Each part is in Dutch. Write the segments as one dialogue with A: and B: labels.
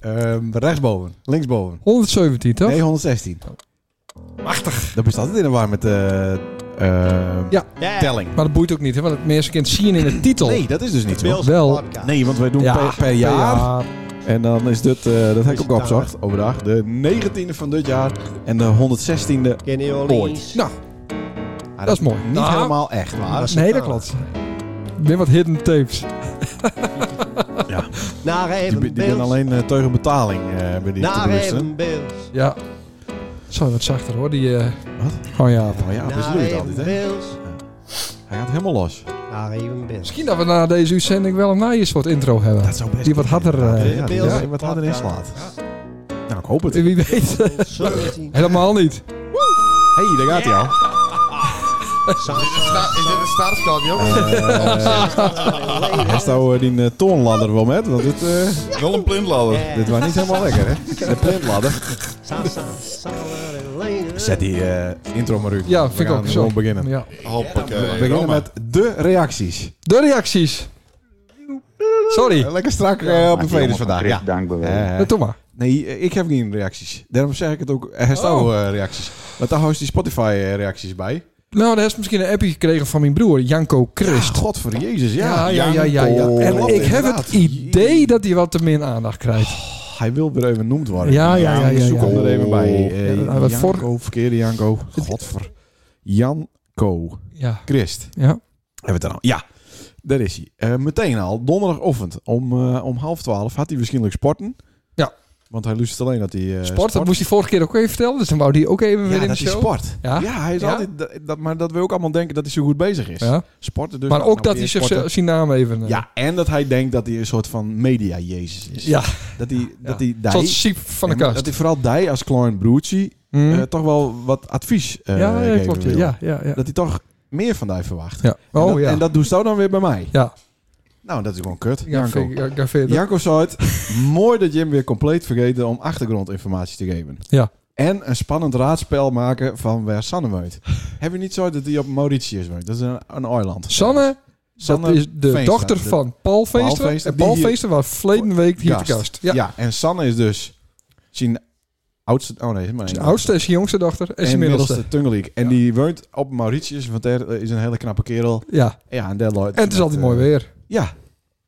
A: Ehm, rechtsboven, linksboven.
B: 117, toch?
A: Nee, 116.
C: Machtig.
A: Dat bestaat altijd in de war met eh eh,
B: Ja.
C: Ja.
A: telling.
B: Maar dat boeit ook niet, hè? Want het meeste kind zien in de titel.
A: Nee, dat is dus niet
C: Het Wils-
A: zo.
B: Wel.
C: Podcast.
A: Nee, want wij doen
B: Ja,
A: per, per
B: Ja.
A: jaar. En dan is dit, eh, dat heb ik
C: het
A: ook opgezocht overdag, de 19e van dit jaar en de 116e.
C: Kenny Orleans.
B: Nou,
A: Ah,
B: dat is mooi.
A: Niet
B: Nou,
A: helemaal echt, maar...
C: is
B: Nee,
C: het
B: dat
C: nou?
B: klopt. Weer wat hidden tapes.
A: Die,
C: Nageven
A: die ben alleen eh, tegen betaling eh, bij die toeristen.
C: Nageven Bills.
B: Ja. Zo, wat zachter hoor, die... eh
A: Wat?
B: Oh ja.
A: Oh ja, dat is het
C: Nageven
A: altijd, hè?
C: Bills.
A: Hij gaat helemaal los.
C: Nageven Bills.
B: Misschien dat we na deze uitzending wel een naaiers soort intro hebben.
A: Dat zou best
B: Die wat
A: kunnen,
B: harder,
A: inderdaad.
B: eh,
A: Ja, die
C: Bills.
A: wat- wat harder inslaat. Nou, ik hoop het. Hé,
B: Wie weet. Helemaal niet.
A: hey, daar gaat hij al.
D: Is dit een startstad, jongens?
A: Eh, Hij zou eh, die eh, toonladder wel met, want dit, eh,
D: Wel een plintladder.
A: dit was niet helemaal lekker, hè? De plintladder. Zet die eh, intro maar uit.
B: Ja, vind
A: We
B: ik
A: gaan
B: ook zo.
A: gewoon beginnen.
B: Ja.
A: We
D: Hoppakee.
A: Eh, beginnen
D: Roma.
A: met de reacties.
B: De reacties. Sorry.
A: Lekker strak eh, op de veders vandaag. Ja.
E: Dankbaar.
A: Eh,
B: Ja, doe maar.
A: nee, eh, ik heb geen reacties. Daarom zeg ik het ook. Er staan
B: Oh.
A: wel, eh, reacties. Want daar houdt die Spotify-reacties bij.
B: Nou, daar is misschien een appje gekregen van mijn broer, Janko Christ.
A: God voor Jezus, ja.
B: Ja, ja, ja, ja. ja.
A: Janko.
B: En
A: Klopt,
B: ik heb
A: inderdaad.
B: het idee dat hij wat te min aandacht krijgt.
A: Hij wil weer even genoemd worden.
B: Ja, ja, ja, ja,
A: Zoek
B: ja. Oh.
A: hem er even bij. Eh,
B: Ja, hij was voor-
A: Janko, verkeerde Janko. Godver. Janko.
B: Ja.
A: Christ.
B: Ja.
A: Hebben we het dan al? Ja, daar is hij. Eh, meteen al, donderdagochtend om, eh, om half twaalf had hij waarschijnlijk sporten.
B: Ja.
A: Want hij lust alleen dat hij eh,
B: Sport, dat moest hij vorige keer ook even vertellen, dus dan wou hij ook even
A: Ja,
B: weer in de
A: dat hij
B: show.
A: sport.
B: Ja.
A: Ja, hij is
B: Ja.
A: altijd... Dat, dat- maar dat we ook allemaal denken dat hij zo goed bezig is.
B: Ja.
A: Sporten dus.
B: Maar
A: nou,
B: ook dat
A: nou
B: hij
A: weer sporten.
B: zich- zijn naam even... eh,
A: Ja, en dat hij denkt dat hij een soort van media-jezus is.
B: Ja.
A: Dat hij... Dat hij
B: Zo'n
A: die,
B: siep van de
A: en dat
B: kast.
A: hij vooral die als klein broertje
B: Mm.
A: eh, toch wel wat advies eh
B: ja, ja,
A: geven
B: klopt. Ja,
A: wil.
B: ja, ja. ja.
A: Dat hij toch meer van die verwacht.
B: Ja.
A: En
B: Oh
A: dat-
B: ja.
A: En dat doet zo dan weer bij mij.
B: Ja.
A: Nou, dat is gewoon kut.
B: Ja,
A: Janko.
B: vind ik- ja, ik vind dat-
A: Janko zei het. Mooi dat Jim weer compleet vergeten om achtergrondinformatie te geven.
B: Ja.
A: En een spannend raadspel maken van waar Sanne woont. Heb je niet zo dat hij op Mauritius woont? Dat is een, een eiland.
B: Sanne,
A: Sanne
B: dat is de
A: Veenstra,
B: dochter
A: de-
B: van Paul Veenstra.
A: Paul Veenstra,
B: en Paul
A: die hier-
B: Veenstra was verleden week hier te
A: gast.
B: gast.
A: Ja.
B: Ja.
A: en Sanne is dus zijn oudste... Oh nee, is maar één.
B: Zijn oudste is zijn jongste dochter en
A: En
B: zijn middelste.
A: middelste Tungeliek. En die woont op Mauritius, want daar is een hele knappe kerel.
B: Ja,
A: Ja, en daar loopt-
B: en het is altijd
A: eh,
B: mooi weer.
A: Ja.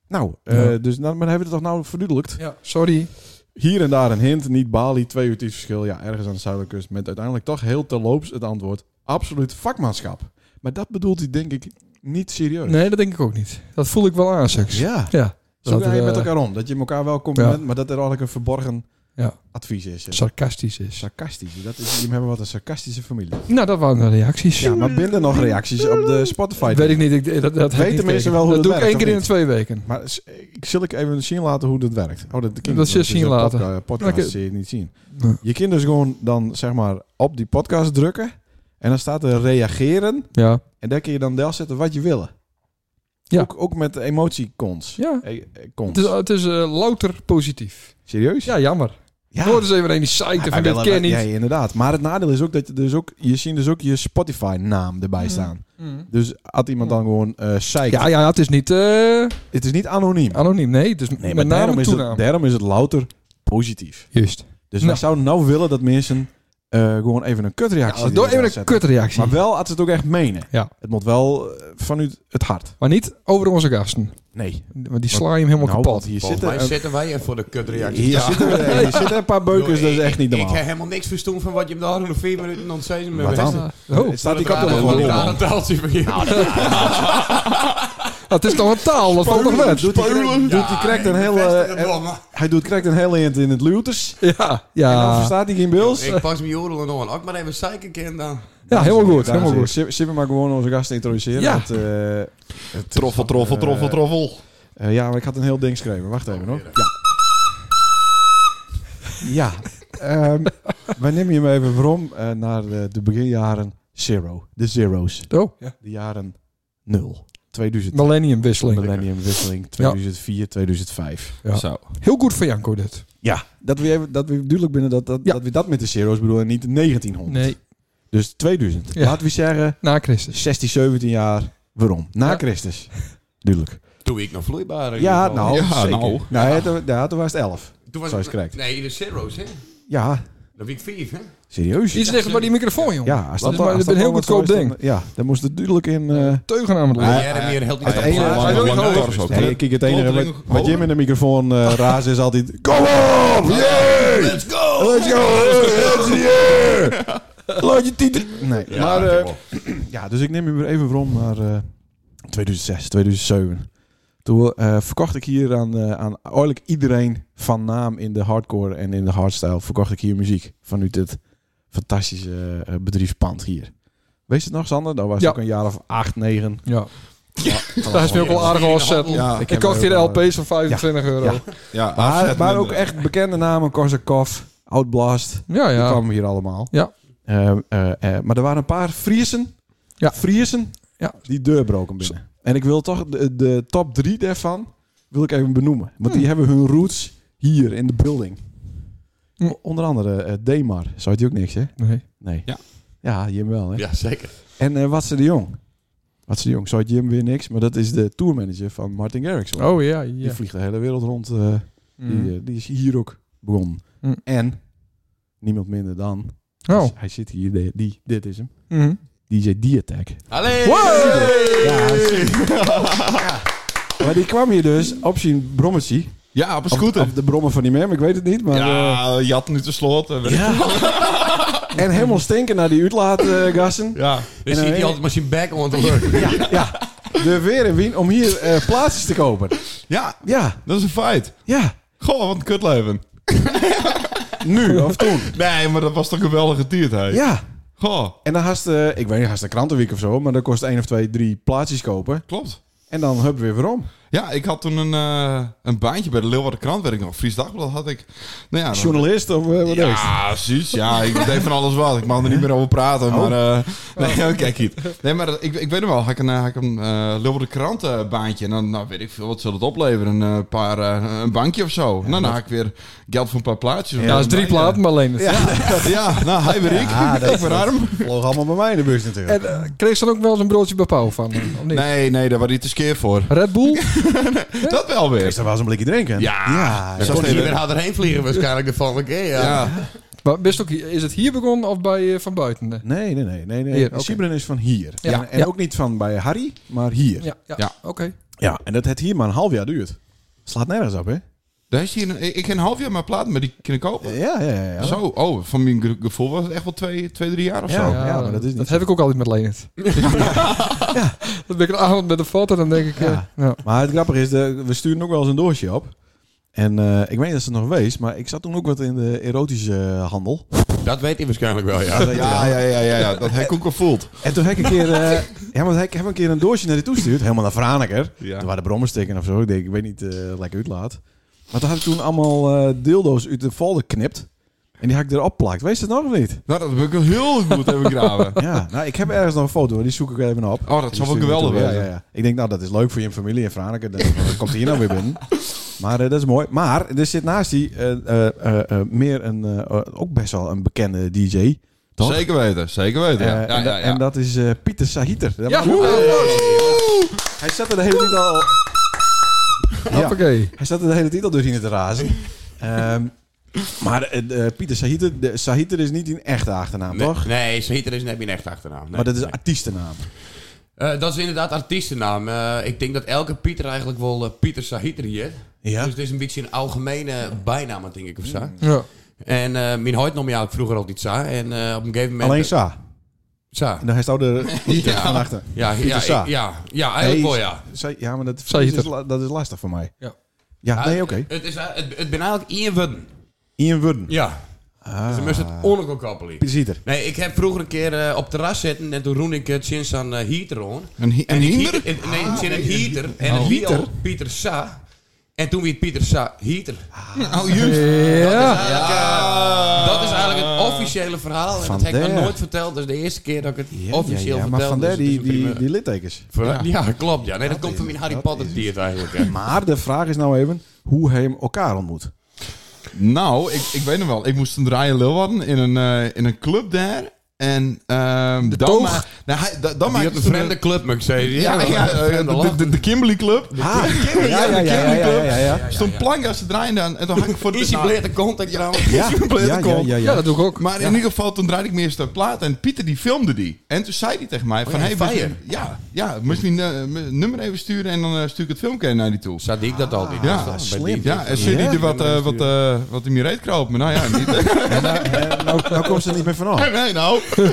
A: Nou, eh,
B: Ja.
A: dus nou, maar hebben we het toch nou verduidelijkt?
B: Ja, sorry.
A: Hier en daar een hint, niet Bali, twee uur tijdverschil, ja, ergens aan de zuidelijke kust. Met uiteindelijk toch heel terloops het antwoord, absoluut vakmanschap. Maar dat bedoelt hij denk ik niet serieus.
B: Nee, dat denk ik ook niet. Dat voel ik wel aan, seks.
A: Ja,
B: Ja.
A: zo ga je
B: eh,
A: met elkaar om. Dat je elkaar wel compliment,
B: Ja.
A: maar dat er eigenlijk een verborgen
B: Ja.
A: advies is. Ja.
B: sarcastisch is.
A: Sarcastisch, dat is, jullie hebben wat een sarcastische familie.
B: Nou, dat waren de reacties.
A: Ja, maar binnen nog reacties op de Spotify.
B: Weet ik niet. Ik, dat, dat heb ik
A: Weten
B: niet
A: mensen
B: tegen.
A: wel hoe
B: Dat
A: dat
B: doe ik
A: werkt,
B: één keer
A: of
B: in de
A: niet?
B: twee weken.
A: Maar s- ik zal ik even zien laten hoe dat werkt. Oh, dat,
B: Dat zul je zien later.
A: De podcast
B: Oké.
A: zie je het niet zien.
B: Nee.
A: Je kunt dus gewoon dan zeg maar op die podcast drukken en dan staat er reageren
B: Ja.
A: en daar kun je dan deel zetten wat je wil.
B: Ja.
A: Ook, ook met emoticons.
B: Ja.
A: Eh, eh,
B: Het
A: cons.
B: is, het is eh, louter positief.
A: Serieus?
B: Ja, jammer.
A: Ja. Ah,
B: Hoor dus- eens even een die site
A: Wij
B: van dit
A: willen-
B: ken niet.
A: Ja, inderdaad. Maar het nadeel is ook dat je dus ook je ziet dus ook je Spotify naam erbij staan.
B: Mm.
A: Dus had iemand dan gewoon eh zeikt.
B: Ja, ja, het is niet eh,
A: Het is niet anoniem.
B: anoniem. Nee, het is
A: Nee, maar
B: met name
A: daarom
B: en
A: is,
B: toenaam.
A: het, daarom is het louter positief.
B: Juist.
A: Dus
B: Nou.
A: wij zouden nou willen dat mensen eh, gewoon even een kutreactie
B: Ja, door
A: erin
B: even een
A: zetten.
B: kutreactie.
A: Maar
B: Maar,
A: wel als ze het ook echt menen.
B: Ja.
A: Het moet wel eh, vanuit het hart.
B: niet over onze gasten.
A: Nee.
B: Want die sla je hem helemaal
A: Nou, want
B: kapot.
A: hier
D: Volgens
A: zitten,
D: mij
A: een-
D: zitten wij er voor de kutreactie.
A: hier, zitten, er- hier zitten een paar beukers, dat is echt niet
D: Ik
A: normaal.
D: heb helemaal niks verstoen van wat je hem daar nog vier minuten ontzettend
A: Wat dan?
B: Oh,
A: Het Staat die
D: Dat
A: kapot
D: is
A: gewoon
D: een
A: op?
D: taaltje van je.
B: dat is toch een taal? Dat valt toch weg?
A: Doet hij doet hij correct een hele... eh, Hij doet correct een hele hint in het Luters.
B: Ja,
A: En dan
B: ja.
A: verstaat hij geen Bills.
D: Ik pas mijn jodelen aan. Ook maar even zeiken, kind dan.
B: Ja, helemaal goed.
A: Dames en
B: Helemaal
A: heren,
B: goed.
A: zullen- Zullen we maar gewoon onze gasten introduceren?
B: Ja.
A: Want, eh, het is-
D: Troffel, troffel, troffel, troffel.
A: Eh, ja, maar ik had een heel ding geschreven. Wacht even hoor. Ja. Ja. Ehm, wij nemen je maar even waarom eh, naar de, de beginjaren Zero. De Zero's.
B: Oh, ja.
A: De jaren nul. 2000.
B: Millennium wisseling.
A: Millenniumwisseling 2004, 2005.
B: Ja.
D: Zo.
B: Heel goed voor Janko dit.
A: Ja, dat we, even, dat we duidelijk binnen dat, dat,
B: Ja.
A: dat we dat met de zero's bedoelen en niet de 1900.
B: Nee,
A: Dus 2000.
B: Ja.
A: Laten we zeggen
B: na Christus.
A: 16, 17 jaar. Waarom? Na
B: Ja.
A: Christus. Duidelijk.
D: Doe ik nog vloeibaar. in
A: Ja,
D: ieder geval.
A: nou,
D: Ja,
A: zeker.
D: nou.
A: Nou, ja, toen, ja, toen was het 11.
D: Toen was
A: Zo is correct.
D: Nee, in de zeros, hè?
A: Ja,
D: Dat week 5, hè?
A: serieus.
B: Iets dichter bij die microfoon, jongen.
A: Ja, als
B: dat is
A: al-
B: maar-
A: als
B: dat ben heel
A: al
B: goedkoop
A: zo is,
B: ding.
A: dan- Ja, dan moest het duidelijk in... eh,
B: Teugen aan het
D: Maar
B: lopen.
D: jij hebt meer helpt
A: het
D: niet.
A: ene-
D: Ja,
A: het
D: hij wil
A: ene-
D: gewoon
A: het
D: neus.
E: ene-
A: Nee, kijk, het enige
E: Klopt,
A: wat, wat Jim in de microfoon eh raast is altijd... Kom op! Yay!
D: Let's go!
A: Let's go! Let's go! Laat je tieten... Nee,
E: Ja,
A: maar...
E: dat
A: eh,
E: heb ik wel.
A: Ja, dus ik neem je weer even rond naar eh, 2006, 2007. Toen eh, verkocht ik hier aan, eh, aan eigenlijk iedereen van naam in de hardcore en in de hardstyle, verkocht ik hier muziek vanuit dit fantastische eh, bedrijfspand hier. Weet je het nog, Sander? Dat was
B: Ja.
A: ook een jaar of acht, negen.
B: Ja.
A: Dat
B: Daar is me ook wel aardig al
D: eh,
B: zetten.
E: Ja,
B: Ik kocht hier de LP's van 25 euro.
A: eh, Ja.
E: ja
A: Maar,
E: afzetten
A: maar
E: en-
A: ook echt bekende namen, Korsakoff, Outblast.
B: Ja,
A: Die
B: ja.
A: kwamen hier allemaal.
B: Ja.
A: Eh, eh, eh, maar er waren een paar Friesen.
B: Ja.
A: Friesen.
B: Ja.
A: Die deurbroken binnen. En ik wil toch de, de top drie daarvan wil ik even benoemen. Want
B: Hmm.
A: die hebben hun roots hier in de building.
B: Hm.
A: Onder andere eh, Demar. Zou je ook niks, hè?
B: Nee.
A: Nee.
E: Ja.
A: Ja, Jim wel, hè?
D: Ja, zeker.
A: En eh, Watse de Jong. Watse de Jong. Zou Jim weer niks. Maar dat is de tourmanager van Martin Garrix.
B: Oh ja,
A: Die
B: ja.
A: vliegt de hele wereld rond. eh,
B: Mm.
A: die, eh, die is hier ook begonnen.
B: Hm.
A: En niemand minder dan
B: Oh.
A: Dus hij zit hier, die, die- dit is hem.
B: Mhm.
A: DJ Diatek.
D: Allee!
A: Wow! Ja, Maar die kwam hier dus op zijn brommetje.
E: Ja, op een
A: Of-
E: scooter.
A: Of, de brommen van die man, ik weet het niet. Maar,
E: ja, jat nu te slot. en weet ik-
A: eh, en helemaal stinken naar die uitlaatgassen.
E: Ja.
D: Dan ziet
A: eh,
D: hij altijd maar zijn back on the work.
A: ja, ja. De weer en wien om hier eh plaatsjes te kopen.
E: ja,
A: Ja,
E: dat is een feit.
A: ja.
E: Goh, wat een kutleven.
A: Nu of toen.
E: Nee, maar dat was toch geweldig getierd, hè?
A: Ja.
E: Goh,
A: En dan haast, eh ik weet niet, haast de krantenweek of zo. Maar dat kost één of twee, drie plaatsjes kopen.
E: klopt.
A: En dan hup weer weer om.
E: Ja, ik had toen een, eh, een baantje bij de Leeuwarden Krant, weet ik nog. Fries Dagblad had ik. Nou ja, dan-
A: Journalist of eh, wat is het?
E: ja, precies. Ja, ik deed van alles wat. Ik mag er niet meer over praten. Maar, eh, nee, kijk hier. Nee, maar ik, ik weet nog wel. Had ik een, eh, had ik een eh Leeuwarden krant eh, baantje. En dan nou, weet ik veel, wat zal het opleveren? Een, eh, paar, eh, een bankje of zo. nou, dan had ik weer geld voor een paar plaatjes.
B: Ja, dat is drie platen, maar alleen het.
E: Ja, ja, nou, hij weer ik. ik ben arm.
A: Vloog allemaal bij mij in de bus natuurlijk.
B: En eh, kreeg ze dan ook wel eens een broodje bij Pauw van? eh, Of niet?
E: Nee, nee, daar was hij te skeer voor.
B: Red Bull?
E: Dat wel
A: Dus
E: weer.
A: daar was een blikje drinken.
E: Ja.
A: ja,
D: Dan
E: Dat
D: kon
E: is
D: hij
E: even-
D: weer harder heen vliegen waarschijnlijk de volgende keer. Ja.
E: Ja.
B: Maar best ook, hier- is het hier begonnen of bij eh, Van Buiten? Ja,
A: Nee, nee, nee. nee, nee.
B: Hier, oké.
A: Sibren is van hier.
B: Ja.
A: En, en
B: Ja.
A: ook niet van bij Harry, maar hier. Ja, Oh,
B: ja, ja.
E: Ja.
B: oké.
A: en dat het hier maar een half jaar duurt. Slaat nergens op, hè?
E: Daar is hier een, ik ik heb een half jaar maar platen, maar die kan ik kopen.
A: Ja, ja, ja. ja.
E: Zo, oh, van mijn ge- gevoel was het echt wel twee, twee drie jaar of zo.
A: Ja, ja, maar dat is niet
B: Dat
A: zo.
B: heb ik ook altijd met Leonard. ja. Dan ben ik een avond met een foto, dan denk ik... eh,
A: Ja.
B: nou,
A: Maar het grappige is, de, we sturen ook wel eens een doosje op. En eh, ik weet niet of ze het nog wees, maar ik zat toen ook wat in de erotische eh, handel.
D: Dat weet hij waarschijnlijk wel, ja.
A: Ja,
E: Ja, ja, ja, ja, ja. Dat heb ik ook gevoeld.
A: En toen heb ik een keer, eh, ja, maar ik heb een keer een doosje naar die toegestuurd. Helemaal naar Franeker.
E: Ja.
A: Er waren brommers stikken of zo. Ik denk, ik weet niet, eh lekker uitlaat. Maar toen had ik toen allemaal eh dildo's uit de folder geknipt. En die had ik erop plakt. Weet je het nog of niet?
E: Nou, dat heb ik wel heel goed hebben graven.
A: Ja, nou, ik heb ergens nog een foto, die zoek ik even op. Die
E: Oh, dat zou wel
A: stuur ik
E: geweldig
A: naartoe.
E: zijn.
A: ja, ja, ja. Ik denk, nou, dat is leuk voor je familie en Franeker. Dan dan komt hij hier nou weer binnen. Maar eh, dat is mooi. Maar er zit naast die eh, eh, eh, eh, meer een, eh, eh, ook best wel een bekende DJ. Toch?
E: Zeker weten, zeker weten.
A: Eh,
E: Ja, ja,
A: en, da-
E: ja, ja.
A: en dat is eh, Pieter Sahiter. Dat
B: Ja.
A: was ook- Hij zat er de hele tijd al... Ja.
B: hoppakee.
A: Hij zat er de hele tijd al doorheen te razen. Ehm, maar eh, eh, Pieter Sahiter, de, Sahiter is niet een echte achternaam,
D: Nee,
A: toch?
D: nee Sahiter is net mijn echt achternaam. Nee,
A: maar dat is
D: nee.
A: een artiestennaam.
D: Eh, dat is inderdaad artiestennaam. Eh, ik denk dat elke Pieter eigenlijk wel eh, Pieter Sahiter hier.
A: Ja.
D: Dus het is een beetje een algemene bijnaam, denk ik of zo.
B: Ja.
D: En eh, mijn huid nam je ook vroeger altijd Sa. En eh, op een gegeven moment...
A: Alleen Sa.
D: Sa.
A: En dan hij staat er niet
D: Ja.
A: van achter.
D: Ja,
A: Pieter
D: ja,
A: Sa.
D: ik- ja, ja, eigenlijk wel
A: Nee,
D: ja.
A: Zij- ja, maar dat,
B: Zij
A: is,
B: het
A: is la- dat is lastig voor mij.
B: Ja.
A: Ja, nee, oké.
D: Het, is, eh, het, het ben eigenlijk Ian Wudden.
A: Ian Wurden.
D: Ja. Dus dan moest het ongekomen koppelen.
A: Pieter Sieter.
D: Nee, ik heb vroeger een keer eh, op terras zitten en toen roen ik het sinds aan eh, heater on.
E: Een hi- een
D: En ik
E: hinder?
D: hiet- en- Nee, het zin een heater. En het hiet al Pieter Sa. En toen weer Pieter Sa heater.
E: Oh, juist.
B: Ja.
E: Ja.
D: Dat is eigenlijk het officiële verhaal. En
A: Van
D: dat heb ik nog
A: der.
D: nooit verteld. Dat is de eerste keer dat ik het
A: Ja,
D: officieel
A: ja, ja,
D: vertel.
A: maar van
D: dus
A: der die,
D: het is een
A: die,
D: primeur.
A: die littekens.
D: Ver- ja. klopt. Ja. Nee, dat, komt van mijn Harry Potter tiert eigenlijk. hè.
A: Maar de vraag is nou even hoe hij hem elkaar ontmoet.
E: Nou, ik, ik weet nog wel. Ik moest een draaien Leeuwarden in een, eh, in een club daar. En ehm dan,
A: toog.
E: ma- nou, hij, da- dan
D: Die
E: maakte
D: had een
E: ze
D: vreemde club, moet ik zeggen.
E: Ja, ja,
D: een
E: eh,
D: vreemde
E: de,
D: lach.
E: de, de Kimberly Club.
A: Ah,
E: Kimberly,
A: ja, ja,
E: de
A: ja,
E: Kimberly
A: ja,
E: Club.
A: ja, ja, ja.
E: Stond plank als ze draaiden aan. En toen had ik voor de
D: Easy Blair de contact trouwens.
A: Ja,
E: Is je blij
A: ja,
E: dat ik
A: ja,
E: kom?
A: ja,
B: Ja,
A: ja.
B: dat doe ik ook.
E: Maar in ieder geval, toen draaide ik me eerst een plaat en Pieter die filmde die. En toen zei hij tegen mij: van,
D: Oh ja,
E: hey,
D: Feijer.
E: misschien- ja, ja, moest je mijn nummer even sturen en dan eh, stuur ik het filmpje naar die toe.
D: Zat ik dat altijd?
E: Ja,
D: Dus dat-
A: slim.
D: bij die-
E: Ja, en zit hij er wat, eh, wat, eh, wat in je reet kroop? Maar nou ja, niet.
A: Nou, nou komt ze er niet meer vanaf.
E: nee, nou.
D: Ik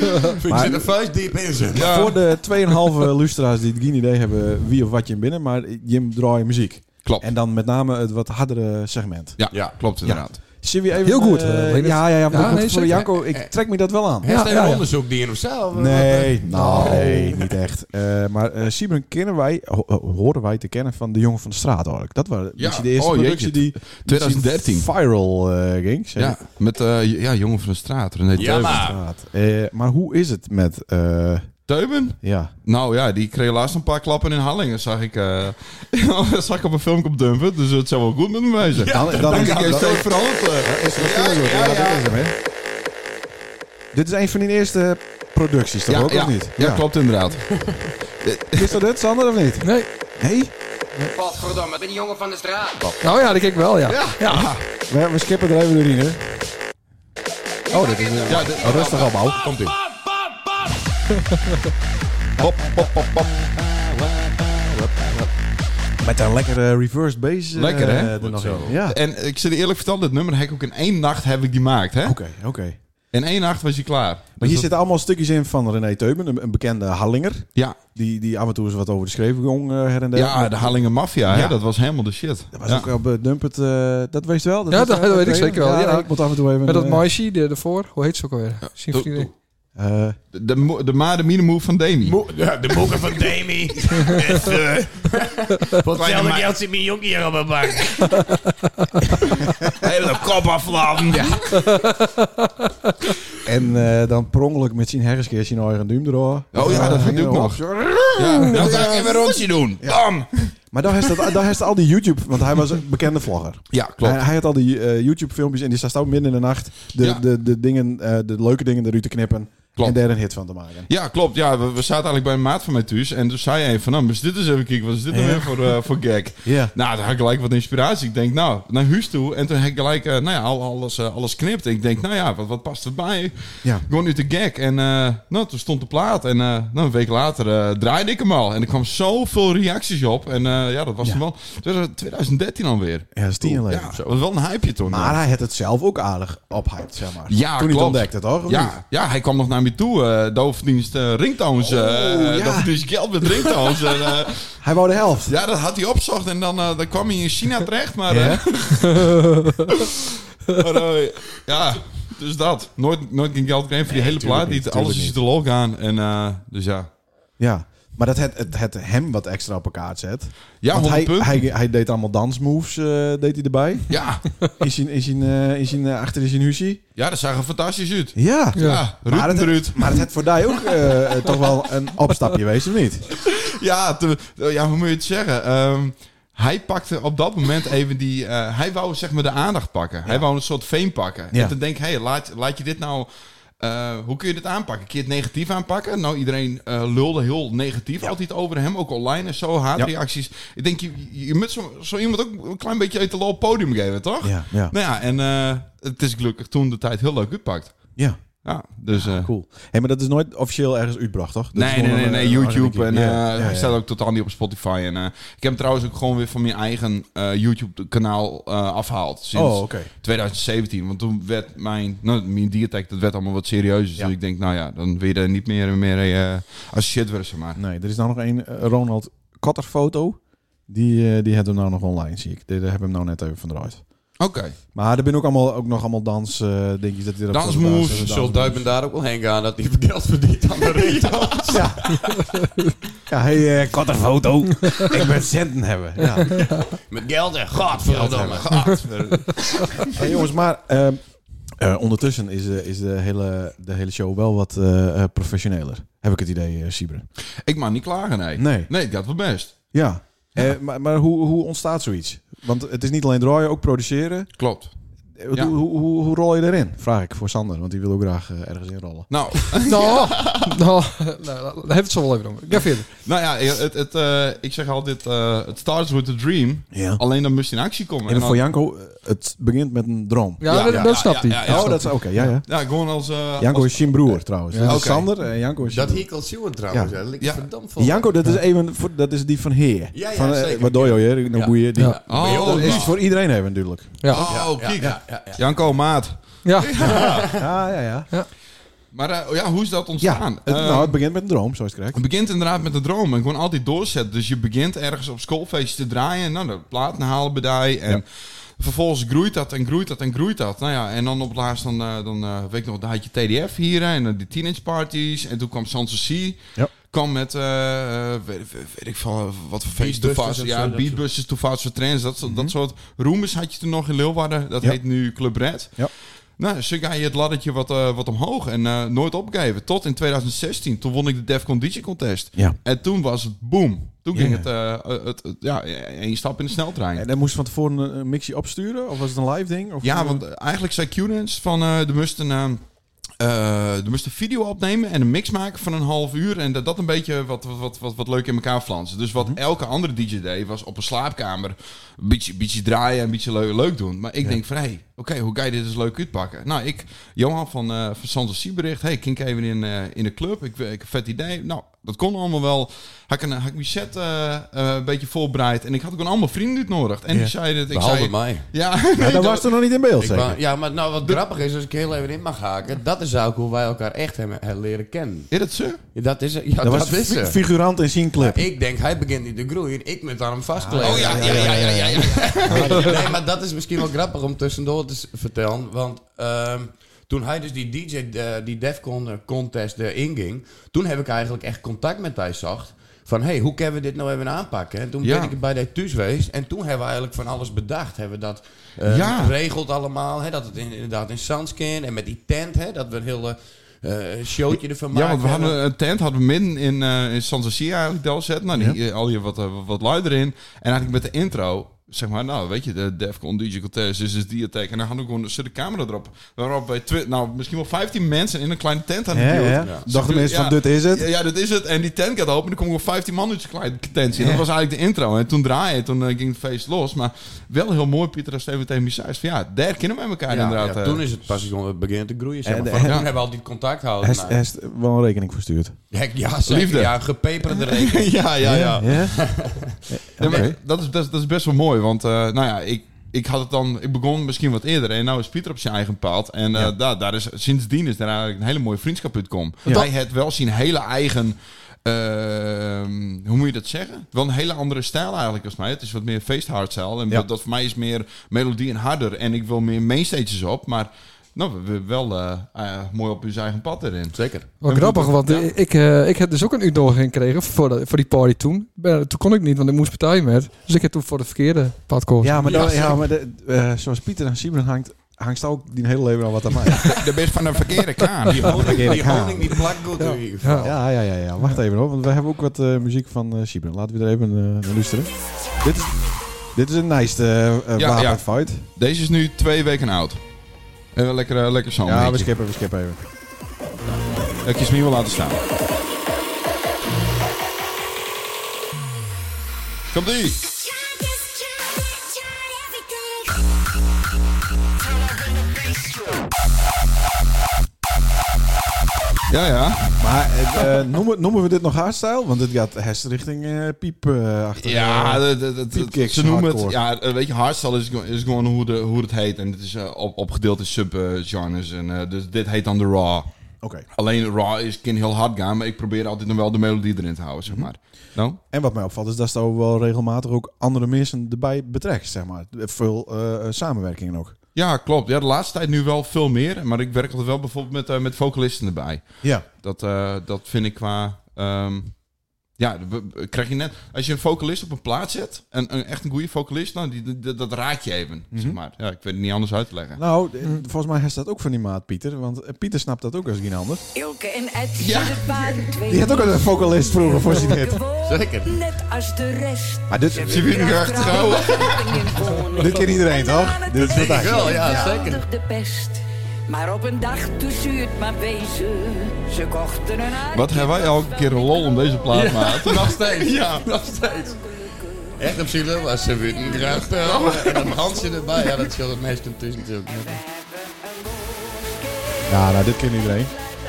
D: zit er vuist diep in ze.
E: Ja.
A: Voor de 2,5 lustra's die het geen idee hebben wie of wat je in binnen, maar Jim draait muziek.
E: Klopt.
A: En dan met name het wat hardere segment.
E: Ja,
D: Ja.
E: klopt inderdaad.
A: Zie we even,
B: Heel goed,
A: eh,
B: eh, Leonard.
A: ja, ja, ja. maar
B: Ja,
A: goed,
B: nee,
A: voor
B: zeker.
A: Janko, ik trek me dat wel aan.
D: Heeft hij
B: Ja,
D: een
B: ja.
D: onderzoek die in hemzelf?
A: Nee, nou, nee, niet echt. Eh, maar eh Siebren kennen wij, ho- ho- horen wij te kennen van de jongen van de straat eigenlijk. Dat was
E: Ja,
A: de eerste
E: oh,
A: productie
E: jeetje.
A: die
E: 2013.
A: die viral eh, ging. zeg
E: Ja,
A: ik.
E: met eh, ja, jongen van de straat, René
D: Ja,
E: Teuben.
D: maar.
A: Straat. Eh, maar hoe is het met, eh,
E: Teuben?
A: ja,
E: Nou ja, die kreeg laatst een paar klappen in Hallingen, zag ik, eh, zag ik op een filmpje op Dumpen. Dus het zou wel goed met me wezen.
A: Dan- dan is-
E: ik
A: dan-
E: heb steeds veranderd. eh.
A: is het natuurlijk, ja, dat is hem, hè. Dit is een van die eerste producties, toch
E: Ja,
A: ook,
E: ja.
A: of niet?
E: Ja, klopt inderdaad.
A: Is dat het, Sander, of niet?
B: Nee.
A: Nee?
F: Godverdomme, ben die jongen van de straat.
B: Nou ja, dat kijk ik wel, ja.
A: We, we skippen er even doorheen, hè. Oh, dit is...
E: Ja, dit-
A: Oh, rustig allemaal.
D: Komt ie.
A: Met een lekkere reverse bass. eh,
E: Lekker, hè?
A: er
E: Goed
A: nog
E: zo. Eh,
A: in. Ja.
E: En ik zit je eerlijk verteld, dit nummer heb ik ook in één nacht heb ik die gemaakt. Hè?
A: Eh, Oké, oké.
E: In één nacht was hij klaar.
A: Maar
E: Dus
A: hier
E: dat-
A: zitten allemaal stukjes in van René Teuben, een, een bekende Hallinger.
E: Ja,
A: Die, die af en toe eens wat over de schreef ging eh, her en der.
E: ja, de Hallingen Mafia, hè?
A: Ja.
E: dat was helemaal de shit.
A: Dat was
E: ja.
A: ook op eh, Dumpet, eh, dat weet je wel.
B: Ja,
A: was,
B: dat-
A: eh,
B: dat weet ik
A: Teuben.
B: zeker wel, ja.
A: Ik moet af en toe even...
B: Met dat
A: eh,
B: Maishi de- ervoor. Hoe heet ze ook alweer? Zien
E: doe-
B: vrienden.
A: eh,
E: De, de, mo- de maar de mine move van Demi.
D: Mo- ja, De boeken van Demi. Echt, eh, Voor hetzelfde
E: ma-
D: geld zit mijn jonkie hier op mijn bank. Hele kop afladen.
A: en eh, dan per ongeluk met zijn hersenkeer zijn eigen duim eraan.
E: Oh ja,
A: Eh,
E: dat
A: hing
E: doe
A: erop.
E: ik nog. Ja, dan ga ik even een rondje doen. Bam!
A: Maar daar heeft dat- daar heeft al die YouTube... Want hij was een bekende vlogger.
E: Ja, klopt.
A: Hij, hij had al die eh, YouTube-filmpjes en die staat ook midden in de nacht de,
E: Ja.
A: de, de, dingen, eh, de leuke dingen eruit te knippen
E: Klopt.
A: en daar een hit van te maken.
E: Ja, klopt. Ja, we, we zaten eigenlijk bij een maat van mij thuis. En toen zei hij van, nou, dus dit is even kijken. Wat is dit nou weer voor, eh, voor gag?
A: Ja.
E: Nou, daar had ik gelijk wat inspiratie. Ik denk, nou, naar huis toe. En toen heb ik gelijk, eh, nou ja, al- alles, eh, alles knipt. Ik denk, nou ja, wat, wat past erbij?
A: Ja.
E: Gewoon nu de gag. En eh, nou, toen stond de plaat. En eh, nou, een week later eh, draaide ik hem al. En er kwam zoveel reacties op. En eh, ja, dat was
A: Ja.
E: toen wel 2013 alweer.
A: Ja, dat is tien jaar geleden.
E: Ja, dat was wel een hypeje toen.
A: Maar hij had het zelf ook aardig ophyped, zeg maar. Toen
E: Ja, klopt.
A: hij het ontdekte, toch? Of niet? Oh,
E: Ja, ja, hij kwam nog naar me toe. eh doofdienst eh, ringtones. eh
A: ja.
E: doofdienst geld met ringtones. en, eh,
A: Hij wou de helft.
E: ja, dat had hij opzocht. En dan, eh, dan kwam hij in China terecht. Maar,
A: Ja.
E: eh, maar, eh, ja, dus dat. Nooit, nooit geen geld gekregen voor die hele plaat.
A: tuurlijk niet,
E: niet, alles
A: tuurlijk
E: is er lol aan. En, eh, dus ja.
A: Ja. Maar dat het, het, het hem wat extra op elkaar zet.
E: Ja,
A: Want
E: 100
A: hij,
E: punten.
A: hij, hij deed allemaal dansmoves, eh, deed hij erbij.
E: Ja.
A: In zijn, in zijn, eh, in zijn, eh, achter in zijn huzie.
E: ja, dat zag er fantastisch uit.
A: Ja.
E: Ja, Ruud
A: Maar
E: en
A: dat-
E: Ruud.
A: Maar het had voor die ook eh, eh, toch wel een opstapje geweest, of niet?
E: Ja, te- eh, ja, hoe moet je het zeggen? Ehm, hij pakte op dat moment even die... eh, hij wou zeg maar de aandacht pakken. Hij wou een soort fame pakken.
A: Ja.
E: En toen denk ik, hey, laat, laat je dit nou... eh, hoe kun je dit aanpakken? Kun je het negatief aanpakken? Nou, iedereen eh, lulde heel negatief altijd over hem. Ook online en zo, haatreacties. Ik denk, je, je moet zo, zo iemand ook een klein beetje uit de lol podium geven, toch?
A: Ja, ja.
E: Nou ja, en eh, het is gelukkig toen de tijd heel leuk uitpakt.
A: Ja.
E: Ja, dus... eh,
A: Cool. Hey, maar dat is nooit officieel ergens uitbracht, toch? Dat is
E: Nee, nee,
A: gewoon
E: nee,
A: een,
E: nee,
A: eh,
E: YouTube.
A: algemeen-
E: En, eh,
A: Ja, ja,
E: Hij
A: ja.
E: staat ook totaal niet op Spotify. En, eh, ik heb hem trouwens ook gewoon weer van mijn eigen eh, YouTube-kanaal eh, afgehaald. Sinds
A: Oh, oké.
E: 2017. Want toen werd mijn, nou, mijn diertek, dat werd allemaal wat serieuzer.
A: Ja.
E: Dus ik denk, nou ja, dan weer er niet meer, meer eh als shit worden, zeg maar.
A: Nee, er is nou nog één eh, Ronald Katter foto. Die, eh, die hebben we nou nog online, zie ik. Die, die hebben we hem nou net even van eruit.
E: Oké.
A: Maar er zijn ook, allemaal, ook nog allemaal dans, eh dingetjes dat hij erop staat te
E: Dansmoves,
A: dansen,
D: Zal
A: dansmoves.
D: Duiven daar ook wel heen gaan dat hij geld verdient aan de ringtoon?
A: Ja. ja, hey, eh Katter foto. ik ben centen hebben. Ja.
D: Met geld en godverdomme.
A: Hey, jongens, maar ehm, eh, ondertussen is, eh, is de, hele, de hele show wel wat eh, eh, professioneler. Heb ik het idee, eh Siebre.
E: Ik mag niet klagen, nee.
A: Nee.
E: Nee, dat was best.
A: Ja. Eh, maar maar hoe, hoe ontstaat zoiets? Want het is niet alleen draaien, ook produceren.
E: Klopt. Ja.
A: Hoe, hoe, hoe, hoe rol je erin? Vraag ik voor Sander, want die wil ook graag eh, ergens in rollen.
E: Nou,
B: Nou, nou, nou, daar hebben we het zo wel even om. Ga verder.
E: nou ja, het, het, eh, ik zeg altijd, eh it starts with a dream.
A: Ja.
E: Alleen dan moest je in actie komen.
A: En
E: En dan-
A: voor Janko, eh, het begint met een droom.
B: Ja,
E: Ja,
B: dat,
E: ja,
B: dat
E: ja,
B: snapt hij.
E: ja, ja,
A: oh, dat is oké. ja, ja.
E: Ja, gewoon als... eh,
A: Janko
E: als-
A: is zijn broer trouwens.
B: Ja.
A: Dat is
E: Oké.
A: Sander en Janko is
D: Dat
A: zijn
D: hier kan zien trouwens.
A: Ja.
D: Ja. Dat lijkt
E: Ja.
D: verdomd
A: broer.
D: vol.
A: Janko, dat is even, voor- dat is die van Heer.
D: Ja, ja,
A: van, eh,
D: zeker.
A: Wat doe je hier? Nou
B: Ja.
A: boeien. Die.
B: Ja.
E: Oh,
D: Bij
A: Dat
D: ons
A: is iets voor iedereen hebben natuurlijk.
B: Ja.
E: Oh, kijk.
D: Ja, ja, ja.
E: Janko, maat.
B: Ja.
A: Ja, ja, ja.
E: Maar eh, ja, hoe is dat
A: Ja,
E: ontstaan?
A: het,
E: Eh,
A: nou, het begint met een droom, zoals het correct.
E: Het begint inderdaad met de droom en gewoon altijd doorzetten. Dus je begint ergens op schoolfeestjes te draaien. Nou, de platen halen bedij. En vervolgens groeit dat en groeit dat en groeit dat. Nou ja, en dan op het laatst, dan, eh, dan eh, weet ik nog, daar had je TDF hier. hè, En dan die teenage parties. En toen kwam Sanssouci.
A: Ja.
E: Kwam met, eh, eh, weet, weet- weet ik van, wat voor feest
D: Beatbusters
E: to Fast-
D: en zo,
E: Ja,
D: dat Mhm.
E: beatbusters, to fast for trends. Dat, soort- dat soort roemers had je toen nog in Leeuwarden. Dat
A: Ja.
E: heet nu Club Red.
A: Ja.
E: Nou, zo ga je het laddertje wat, eh, wat omhoog en eh, nooit opgeven. Tot in 2016, toen won ik de Defcon DJ Contest.
A: Ja.
E: En toen was het boom. Toen
A: Ja.
E: ging het, eh, het, het- ja, één stap in de sneltrein.
A: En dan moest je van tevoren een, een mixje opsturen? Of was het een live ding? Of
E: ja, want eh, eigenlijk zei Q-Dance van, eh er moest een... eh, eh, er moest een video opnemen en een mix maken van een half uur. En dat, dat een beetje wat, wat- wat, wat, wat leuk in elkaar flansen. Dus wat elke andere DJ deed, was op een slaapkamer een beetje, beetje draaien en een beetje leuk, leuk doen. Maar ik denk van, hé, hey, oké, hoe ga je dit eens leuk uitpakken? Nou, ik, Johan van, eh van Santos bericht. Hé, hey, kink even in, eh, in de club. Ik, ik heb een vet idee. Nou, dat kon allemaal wel. Had ik, een, had ik mijn set eh, eh, een beetje voorbereid. En ik had ook een allemaal vrienden uitnodigd. En
A: Ja.
E: die zeiden het. Ik
D: Behalve
E: zei,
D: mij.
E: Ja,
A: Maar dan
E: dat-
A: was er nog niet in beeld,
D: Ik
A: zeker?
D: wou- ja, maar nou, wat grappig is, als ik heel even in mag haken, dat is ook hoe wij elkaar echt hebben hebben leren kennen.
E: Is dat zo?
D: Ja, Dat is, ja,
A: dat
D: dat
A: was
D: is
A: fi-
D: ze.
A: figurant in zijn clip.
D: Ik denk, hij begint niet te groeien, ik moet aan hem vastkleven.
E: Oh ja, ja, ja, ja, ja. ja.
D: nee, maar dat is misschien wel grappig om tussendoor te s- vertellen. Want ehm, toen hij dus die DJ, eh, die Defcon eh, contest eh, inging... toen heb ik eigenlijk echt contact met hij zacht. Van, hey, hoe kunnen we dit nou even aanpakken? En toen
E: Ja.
D: ben ik bij dat thuis geweest. En toen hebben we eigenlijk van alles bedacht. Hebben we dat eh,
E: Ja.
D: geregeld allemaal. Hè, dat het in- inderdaad in Sandskin en met die tent. Hè, dat we een heel eh, showtje ervan
E: Ja,
D: maken.
E: want we hadden een tent hadden we midden in, eh in San Jose eigenlijk del zet. Nou, die, eh, al je wat, eh, wat lui erin. En eigenlijk met de intro, zeg maar, nou weet je, de Defcon Digital Test is dus Diatek. En dan hadden we gewoon zit de camera erop. Waarop wij twi- nou, misschien wel 15 mensen in een kleine tent hadden
A: Ja,
E: geduwd.
A: ja. Dachten mensen van, dit is het?
E: Ja, ja, dit is het. En die tent gaat open en er komen gewoon 15 man uit zo'n kleine tent zien. Dat was eigenlijk de intro. En toen draaide het, toen eh, ging het feest los. Maar wel heel mooi, Pieter, als even tegen me zei. Van, ja, daar kennen wij elkaar
D: Ja,
E: inderdaad.
D: ja,
E: eh.
D: toen is het pas gewoon beginnen te groeien. Zeg maar.
A: En-
D: Van,
A: en-
D: toen hebben we al die contact gehouden.
A: Hij is-
D: Nou,
A: hij is wel een rekening verstuurd.
D: Ja, ja, zeker.
E: Liefde.
D: Ja, een gepeperde rekening.
E: ja, ja, ja.
A: Ja?
E: Ja, maar
A: Oké.
E: dat, is, dat, is, dat is best wel mooi, want eh, nou ja, ik, ik had het dan, ik begon misschien wat eerder en nou is Pieter op zijn eigen pad en eh, daar, daar is sindsdien is daar eigenlijk een hele mooie vriendschap uitkom.
A: Ja.
E: Hij had wel zijn hele eigen, ehm, hoe moet je dat zeggen? Wel een hele andere stijl eigenlijk als mij. Het is wat meer feesthardstijl en
A: Ja.
E: dat, dat voor mij is meer melodie en harder en ik wil meer mainstages op, maar nou, we, we wel eh, eh, mooi op zijn eigen pad erin.
D: Zeker.
B: Wat grappig, want ik, eh, ik heb dus ook een uitnodiging gekregen voor, dat- voor die party toen. Ben- toen kon ik niet, want ik moest partijen met. Dus ik heb toen voor de verkeerde pad gekozen.
A: Ja, maar, dan, ja, maar de, eh, zoals Pieter aan Simon hangt, hangt ook die hele leven al wat aan mij.
E: De best van een verkeerde kaan.
D: Die honing, die,
A: Ja.
D: honing die plakt goed in ieder geval.
A: Ja, ja, ja, ja. Wacht even hoor, want we hebben ook wat eh, muziek van eh Sibren. Laten we er even eh, naar luisteren. Dit is, dit is een nice eh eh,
E: Ja, ja.
A: wapenfeit.
E: Deze is nu twee weken oud. En wel lekker, eh, lekker zo'n
A: Ja, we
E: beetje.
A: skippen, we skippen even.
E: Dat ik je smier wil laten staan. Komt ie! Ja, ja.
A: Maar eh, eh, noemen, noemen we dit nog haarstijl? Want dit gaat hest richting eh, piep eh, achter.
E: Ja,
A: eh,
E: dat- dat- dat-
A: Beatgigs,
E: ze noemen het.
A: hardcore.
E: Ja, eh, weet je, hardstyle is, gewoon- is gewoon hoe, de, hoe het heet. En het is eh, op, opgedeeld in subgenres. en eh, dus dit heet dan de Raw.
A: Oké.
E: Alleen Raw is kan heel hard gaan, maar ik probeer altijd nog wel de melodie erin te houden, zeg maar. Nou?
A: En wat mij opvalt is dat ze ook wel regelmatig ook andere mensen erbij betrekt, zeg maar. Veel eh, samenwerkingen ook.
E: Ja, klopt. Ja, de laatste tijd nu wel veel meer. Maar ik werk altijd wel bijvoorbeeld met, eh, met vocalisten erbij.
A: Ja.
E: Dat, eh, dat vind ik qua ehm, Ja, we- we- krijg je net... Als je een vocalist op een plaat zet, een, een echt een goede vocalist, nou, die, die- dat raak je even, zeg maar. Ja, ik weet het niet anders uit te leggen.
A: Nou, eh,
D: Mm.
A: volgens mij heeft dat ook van die maat, Pieter. Want eh, Pieter snapt dat ook als geen ander.
G: Ilke en Ed
E: Ja.
G: het waren twee
A: Die had ook een vocalist vroeger voor zijn hit.
G: gewoon,
D: Zeker.
G: Net als de rest.
A: Maar dit,
E: Ze willen niet echt trouwen.
A: dit kent iedereen, toch? Dit is fantastisch.
D: wel, ja, zeker.
G: De pest. Maar op een dag toen zuurt maar wezen. Ze kochten een aardje
E: Wat hebben wij elke keer een lol om deze plaat, maat.
D: Nog steeds. Ja, nog steeds. Echt op zielen was ze weer een graag eh, En een handje erbij. Ja, dat scheelt het meest intussen natuurlijk.
A: Ja, nou, dit kent iedereen.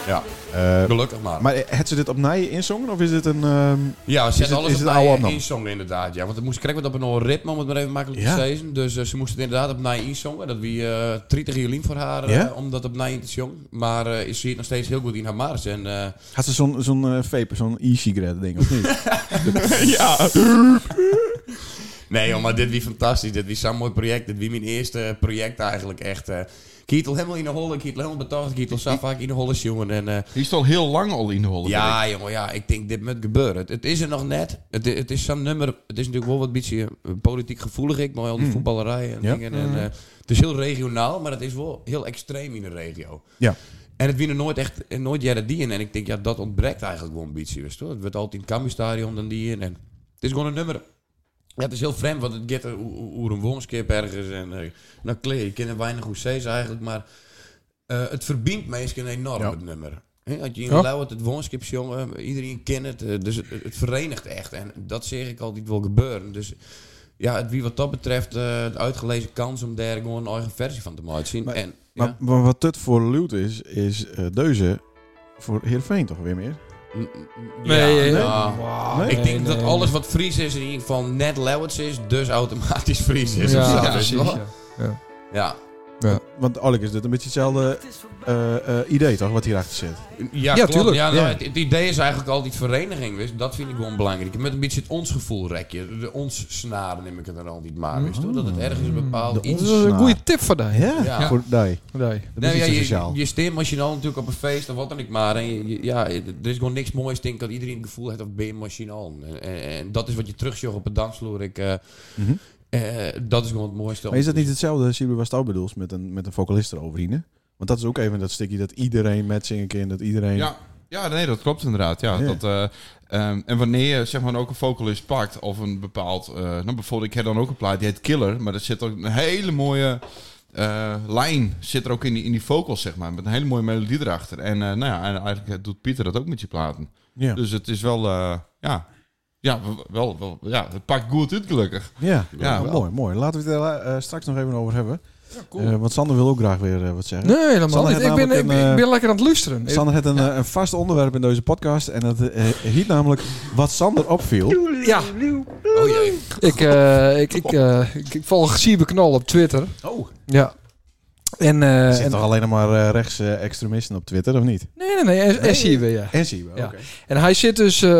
D: Ja,
A: Eh,
D: gelukkig maar.
A: maar eh, had ze dit op Nijen inzongen? Of is dit een... ehm,
D: Ja, ze
A: Is
D: had
A: het-
D: alles
A: is het
D: op
A: oude
D: Nij
A: Amsterdam?
D: inzongen inderdaad. Ja, want het moest krijgen wat op een ritme om het maar even makkelijk
A: Ja.
D: te zeggen. Dus eh, ze moest het inderdaad op Nij inzongen. Dat wie eh 30 jaar lief voor haar eh,
A: Ja?
D: om dat op Nij in te zongen. Maar eh, ze ziet nog steeds heel goed in haar mars. En eh,
A: had ze zo'n zo'n eh, vape, zo'n e-cigarette ding, of niet?
D: Nee, joh, maar dit wie fantastisch. Dit wie zo'n mooi project. Dit wie mijn eerste project eigenlijk echt. eh Kietel helemaal in de holle, Kietel helemaal betaald, Kietel zo vaak in de holle, jongen. En, eh,
E: Die is al heel lang al in de holle.
D: ja, jongen, ja, ik denk dit moet gebeuren. Het, het is er nog net. Het, het is zo'n nummer. Het is natuurlijk wel wat beetje eh, politiek gevoelig, ik, maar al die voetballerij en
A: Ja.
D: dingen. En, eh, het is heel regionaal, maar het is wel heel extreem in de regio.
A: ja.
D: En het winnen nooit echt, eh, nooit jaren die in. En ik denk, ja, dat ontbreekt eigenlijk wel ambitie, wist je wel. Het wordt altijd in het Cambuurstadion dan die in. En het is gewoon een nummer. Ja, het is heel vreemd, want het get er oer- oer een woonskip ergens. En eh nou, kleer, je kent er weinig hoe ze is eigenlijk, maar eh, het verbindt mensen enorm, het nummer. Hè, als je in
B: Ja.
D: Lauwert het woonskip jongen, iedereen kent het. eh, Dus het, het verenigt echt. En dat zeg ik altijd wel gebeuren. Dus ja, het, wie wat dat betreft, eh, de uitgelezen kans om daar gewoon een eigen versie van te maken zien.
A: Maar-
D: en,
A: Maar,
D: ja.
A: maar wat het voor loot is, is eh Deuze voor Heerenveen toch weer meer?
D: Mm, mm,
B: Nee,
D: ja,
B: eh,
D: nou,
A: nee.
D: Ik denk dat
B: nee.
D: alles wat Fries is in ieder geval net Leeuwards is, dus automatisch Fries is.
B: Ja,
D: of zo,
E: ja,
D: weet je wel?
B: ja.
D: Ja.
A: Want eigenlijk is dit een beetje hetzelfde eh, eh, idee toch, wat hierachter zit?
D: Ja,
B: Ja,
D: klopt.
B: tuurlijk,
D: Ja, nou,
B: ja.
D: Het, het idee is eigenlijk altijd vereniging. Wist, je. dat vind ik wel belangrijk. Met een beetje het ons gevoel rek je. De ons snaren neem ik het er altijd maar. Wist, je wel? dat het ergens een bepaald
A: Mhm. De
B: Dat
D: iets...
B: is een
A: Nou.
B: goede tip voor daar.
A: Ja,
D: Ja.
A: voor nee,
B: Nee.
A: dat
D: Nou
A: is niet
D: ja,
A: zo
D: je,
A: sociaal.
D: je stemmachine al natuurlijk op een feest of wat dan ook maar. En je- je- ja, er is gewoon niks moois, denk ik, dat iedereen het gevoel heeft of ben je machine al. En, en- en dat is wat je terugzag op een dansvloer. Ik, eh,
A: Mhm.
D: eh, dat is gewoon het mooiste.
A: Maar is dat niet hetzelfde als Sibu Wastouw bedoelt met een, met een vocalist eroverheen? hè? Want dat is ook even dat stukje dat iedereen met zingen kan, dat iedereen...
E: Ja, ja nee, dat klopt inderdaad. Ja,
A: Ja.
E: Dat, eh, ehm, en wanneer je zeg maar, ook een vocalist pakt of een bepaald... eh, nou, bijvoorbeeld, ik heb dan ook een plaat, die heet Killer. Maar er zit ook een hele mooie eh, lijn zit er ook in die, in die vocals, zeg maar. Met een hele mooie melodie erachter. En eh, nou ja, en eigenlijk eh, doet Pieter dat ook met je platen.
A: Ja.
E: Dus het is wel... eh, ja, ja, wel- wel, wel, ja, het pakt goed uit, gelukkig.
A: Ja,
E: Ja,
A: Nou,
E: wel.
A: mooi, mooi. Laten we het er eh, straks nog even over hebben.
B: cool.
A: Eh, want Sander wil ook graag weer eh, wat zeggen.
B: Nee, helemaal
A: Sander
B: niet. Ik
A: heeft
B: ben, ik,
A: namelijk een,
B: ik ben lekker aan het luisteren. Ik-
A: Sander had een, eh, een vast onderwerp in deze podcast. En dat eh, hiet namelijk wat Sander opviel.
B: Ja,
D: Oh jee.
B: ik, eh, ik, ik, eh, ik, ik volg Siebe Knol op Twitter.
D: Oh.
B: Ja. En, eh,
A: Er zitten
B: en-
A: toch alleen nog maar eh, rechts eh, extremisten op Twitter, of niet?
B: nee, nee, nee. En, en Siebe, ja.
A: En Sibu,
B: Ja.
A: oké.
B: En hij zit dus, eh,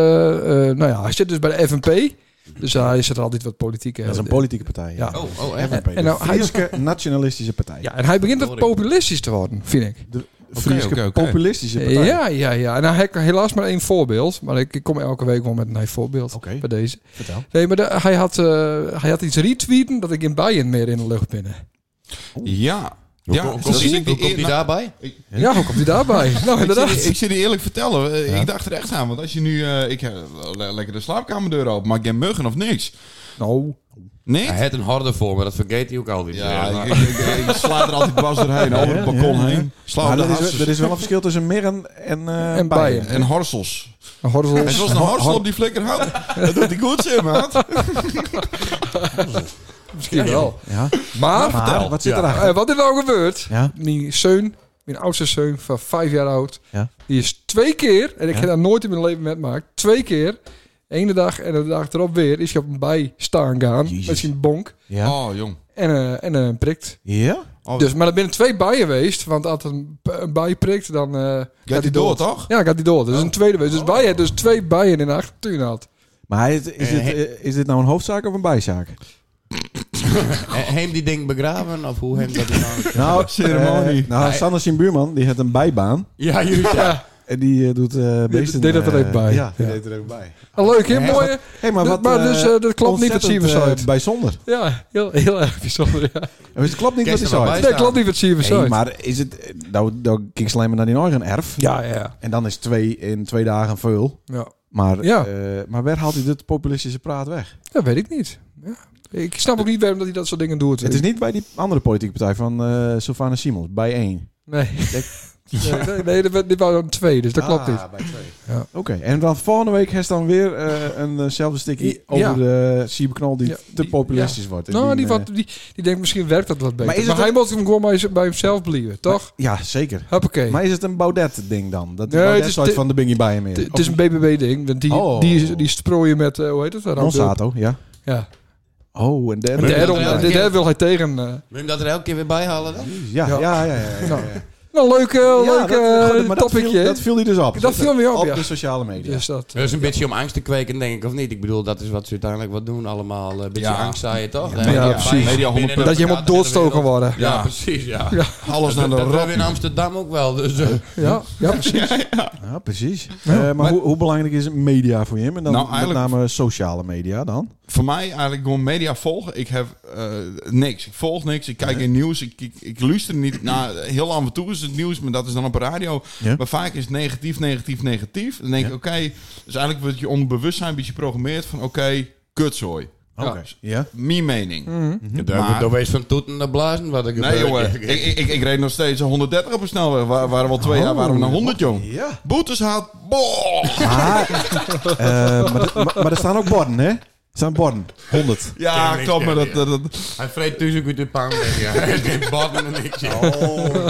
B: eh, nou ja, hij zit dus bij de FNP. Dus hij zit er altijd wat politiek eh,
A: Dat is een politieke partij.
B: Ja.
D: Oh, oh, echt?
A: FNP,
B: En
A: de
B: nou, hij-
A: Friese nationalistische partij.
B: Ja, en hij begint wat
D: Hoor ik.
B: populistisch te worden, vind ik.
A: De Friese
E: oké, oké.
A: populistische partij.
B: Ja, ja, ja. En nou, hij kan helaas maar één voorbeeld. Maar ik, ik kom elke week wel met een voorbeeld
A: Oké.
B: bij deze.
A: Vertel.
B: Nee, maar de- hij, had, eh, hij had iets retweeten dat ik in Bayern meer in de lucht binnen.
E: Ja. ja, Nou,
D: hoe
E: dat
D: komt die,
E: zie ik
D: hoe
E: niet
D: komt
E: eer-
D: die daarbij?
B: Ja, hoe komt hij daarbij? nou,
E: Ik
B: inderdaad.
E: zit, ik zit je eerlijk vertellen. eh, Ik dacht er echt aan. Want als je nu... eh, ik heb le- lekker de slaapkamerdeur open. Maar geen muggen of niks.
B: Nou,
E: Niks?
D: Hij had een harde voor, maar dat vergeet hij ook altijd.
E: Ja,
D: weer. Maar-
E: ik, ik, ik- ik sla er altijd dwars doorheen. Over het balkon
A: ja, ja.
E: heen. Sla
A: Maar
E: op de
A: dat is,
E: hassers.
A: wel- er is wel een verschil tussen Mirren en, eh
B: En Bayern.
E: En horsels.
B: een
E: En
B: horizon.
E: zoals een horsel op die flikker houdt. Dat doet hij goed, zeg maar.
B: Misschien wel.
A: Ja.
B: Maar,
A: Maar wat zit
D: Ja.
A: erachter?
B: eh, wat is nou gebeurd?
A: Ja.
B: Die Seun, mijn oudste Seun van vijf jaar oud,
A: Ja.
B: die is twee keer, en ik
A: Ja.
B: heb daar nooit in mijn leven mee gemaakt, twee keer, ene dag en de dag erop weer, is hij op een bij staan gaan,
A: Jezus.
B: met zijn bonk,
A: Ja.
E: Oh, jong.
B: en, eh en eh, prikt.
A: Ja?
E: Oh.
B: Dus, maar er binnen twee bijen geweest, want als een, b- een bij prikt, dan eh,
E: Gaat hij door, toch?
B: Ja, gaat hij door.
A: Oh.
B: Dus een tweede wees. Dus wij hebben dus twee bijen in de achtertuin had.
A: Maar hij- is, dit, eh, is dit nou een hoofdzaak of een bijzaak?
D: He- Heem die ding begraven of hoe heem dat dan?
A: Nou,
E: ceremonie.
A: eh, nou, Sander zijn buurman, die had een bijbaan.
D: ja, juist. Ja.
A: En die eh, doet eh beesten...
B: deed dat er
A: eh,
B: even bij.
A: Ja, die
B: Ja.
A: deed er even bij.
B: Ah, leuk, hè?
A: Ja,
B: Mooi. hè?
A: Hey, maar
B: Dus-
A: wat,
B: maar
A: eh,
B: dus, eh, dat klopt niet,
A: ontzettend,
B: dat zien we zo
A: eh,
B: uit.
A: bijzonder.
B: Ja, heel, heel erg bijzonder. Ja.
A: Dus het klopt niet
D: Kees
A: wat hij
D: er wel
A: zei.
D: bij.
B: Nee, klopt niet wat zie je
A: Hey,
B: zo uit.
A: maar is het... eh, Nou, dan kijk alleen maar naar die eigen erf.
B: Ja, ja,
A: En dan is twee in twee dagen veel.
B: ja.
A: Maar,
B: Ja.
A: eh, maar waar haalt hij dit populistische praat weg?
B: Dat weet ik niet. Ja. Ik snap ook niet waarom dat hij dat soort dingen doet.
A: Het is niet bij die andere politieke partij van eh Sylvana Simons. Bij één.
B: Nee. Nee, nee, nee, dit wa- dit waren er twee, dus dat
A: Ah,
B: klopt niet.
D: Ah, bij twee.
A: Oké. En dan volgende week heeft dan weer eh, eenzelfde stickie
B: Ja.
A: over de cyberknol die
B: Ja,
A: te
B: die-
A: populistisch wordt. En
B: Nou, die,
A: eh,
B: wat, die, die denkt misschien werkt dat wat beter.
A: Maar
B: Maar,
A: is het
B: hij moet hem gewoon bij, z- bij hemzelf blijven, toch?
A: Ja, zeker.
B: Hoppakee.
A: Maar is het een Baudet-ding dan? Dat
B: Nee,
A: Baudet
B: het is
A: soort
B: te-
A: van de bingie bij hem in.
B: Het het is een BBB-ding, want die,
A: Oh.
B: die, is- die strooien met, eh, hoe heet het? daar ook?
A: Monsanto, ja.
B: Ja.
A: Oh, en daar...
B: En
D: dat
B: daar
D: er elke
B: om- dit-
D: keer-
B: daar wil hij tegen. eh.
D: Wil je hem dat er elke keer weer bij halen dan?
A: Ja, ja, ja. ja, ja, ja.
B: Nou, nou, leuk, eh, leuk eh,
A: goed, maar dat
B: topicje.
A: viel,
B: hè?
A: dat viel hij dus op.
B: Dat viel weer op,
A: Op
B: ja.
A: de sociale media.
B: Dus dat.
D: Dat is een beetje om angst te kweken, denk ik, of niet? Ik bedoel, dat is wat ze uiteindelijk wat doen allemaal. eh, Een beetje
E: Ja.
D: angst, zei je toch?
B: Ja,
D: Binnen-
B: precies.
E: Media
D: binnen
E: 100
D: de
B: Dat je
D: vergadering-
B: moet doodstoken worden.
D: Ja,
E: Ja.
D: precies, ja.
B: Ja.
E: Alles
D: Dat,
E: naar
D: nou
E: de
D: dat
E: rat.
D: hebben we in Amsterdam ook wel. Dus, eh,
B: Ja, ja precies.
A: Ja, precies. Eh, maar hoe, hoe belangrijk is media voor hem? En dan
E: Nou, eigenlijk-
A: met name sociale media dan?
E: voor mij eigenlijk gewoon media volgen. Ik heb eh, niks. Ik volg niks. Ik kijk in nieuws. Ik, ik, ik luister niet naar. Heel af en toe is het nieuws, maar dat is dan op de radio.
A: Ja.
E: Maar vaak is het negatief, negatief, negatief. Dan denk ik, oké. dus eigenlijk wordt je onderbewustzijn een beetje programmeerd van, oké, kutzooi.
A: Oké. Ja.
E: Mijn mening.
A: Mhm.
D: daar
E: Maar-
D: door wees van toeten naar blazen wat ik
E: Nee, jongen. Ik, ik, ik, ik reed nog steeds 130 op een snelweg. Waar, waren we al twee jaar, waren we naar 100, jong.
A: Oh, Ja.
E: Boetes had. Boah.
A: Maar, eh, maar, de- maar, maar er staan ook borden, hè? Er staan borden. 100.
E: Ja,
D: niks
E: klopt. Maar dat,
D: tegen,
E: dat, dat-
D: Hij vreet tussen uit de pan. Ja. Hij is geen bad en niks. joh.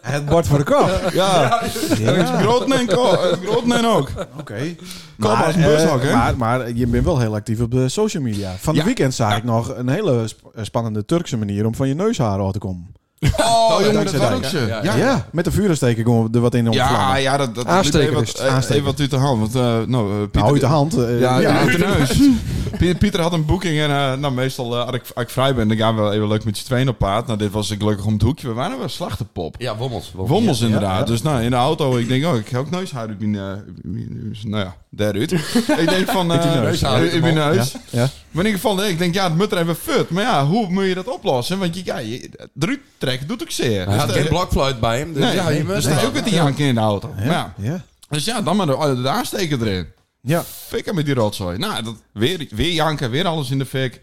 A: Het bord voor de kop.
E: ja.
A: Ja. Oh,
E: Grootnen ko- eh, Grootnen ook.
A: Oké.
E: Kom als een bushok,
A: eh,
E: hè?
A: maar, maar je bent wel heel actief op de social media. Van
E: Ja.
A: het weekend zag ik nog een hele sp- eh, spannende Turkse manier om van je neushaar af te komen.
E: Oh, jongen, dat
A: dankzij
E: was
A: Dijk.
E: ook ze.
A: Ja, met de vuurensteker gewoon er wat in om te
E: Ja,
A: vlammen.
E: ja, dat, dat
B: Aansteker
E: liep even
B: is
E: wat,
B: het,
E: eh,
A: aansteker.
E: Even wat uit de hand. Want, eh, nou, eh, Pieter,
A: Nou, uit de hand. eh,
E: Ja,
A: ja.
E: ja, uit de neus. Pieter, Pieter had een boeking en eh, nou, meestal eh, als, ik, als ik vrij ben, dan gaan we wel even leuk met z'n tweeën op paard. Nou, dit was ik gelukkig om het hoekje. We waren wel slachtepop.
D: Ja, wommels. wommels.
E: Wommels
A: ja,
E: inderdaad.
A: ja.
E: Dus nou, in de auto, ik denk, oh, ik ga ook neushaar uit mijn... eh, uit mijn- nou ja, daaruit. ik denk van... eh,
A: Uit die neus.
E: uit- uit mijn neus.
A: Ja.
E: Maar in ieder geval, nee, ik denk, ja, het moet er even fut. Maar ja, hoe moet je dat oplossen? Want je, ja, je, eruit trekken doet ook zeer.
D: Hij
E: Dus,
D: had
E: eh,
D: geen blokfluit bij hem. Dus
E: Nee,
D: ja, je
E: dan
D: moet
E: sta je ook met die janken in de auto. Maar ja.
A: Ja.
E: Dus ja, dan maar de, de aansteker erin.
A: Ja.
E: Fikken met die rotzooi. Nou, dat, weer, weer janken, weer alles in de fik.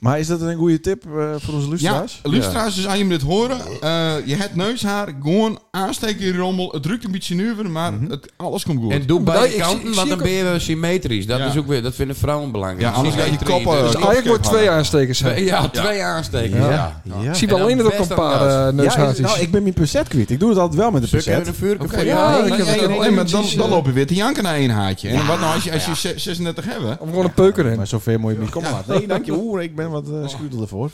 A: Maar is dat een goede tip eh, voor onze
E: Ja,
A: luisteraars?
E: luisteraars, dus als je hem dit horen, eh, je hebt neushaar, gewoon aansteken in die rommel. Het drukt een beetje nuver, maar het, alles komt goed.
D: En doe
B: Nee,
D: beide
B: Nou, ik zie-
D: kanten,
B: ik
D: want
B: zie
D: dan
B: ook-
D: ben je wel symmetrisch. Dat,
E: Ja.
D: is ook weer, dat vinden vrouwen belangrijk.
E: Ja, anders
D: Symmetrie,
E: ga je koppen-
D: dus-
E: koppen-
B: Eigenlijk moet twee aanstekers zijn.
D: ja, twee aansteken. Ja.
A: Ja. Ja.
B: Ik zie
D: En
B: wel alleen
D: dan
B: dat ook
D: best
B: een
D: aan
B: paar
D: de
B: eh,
A: Ja, is-
B: neushaartjes.
A: nou, ik ben mijn percet kwijt. Ik doe het altijd wel met een
D: Stuk hebben
A: percet.
D: een vuurke voor
E: Ja,
B: Ja,
E: nee,
B: ik
E: nee,
B: heb
E: nee,
B: het
E: nee,
B: ook.
E: nee, maar dan,
B: Precies,
E: dan
B: eh.
E: lopen we weer te janken naar één haartje. En wat nou als je, als je zes- 36 hebben?
B: Om gewoon een peuker in.
A: Maar zover moet je me niet komen laten. Nee, dank je. Oeh, ik ben wat eh schuurder ervoor.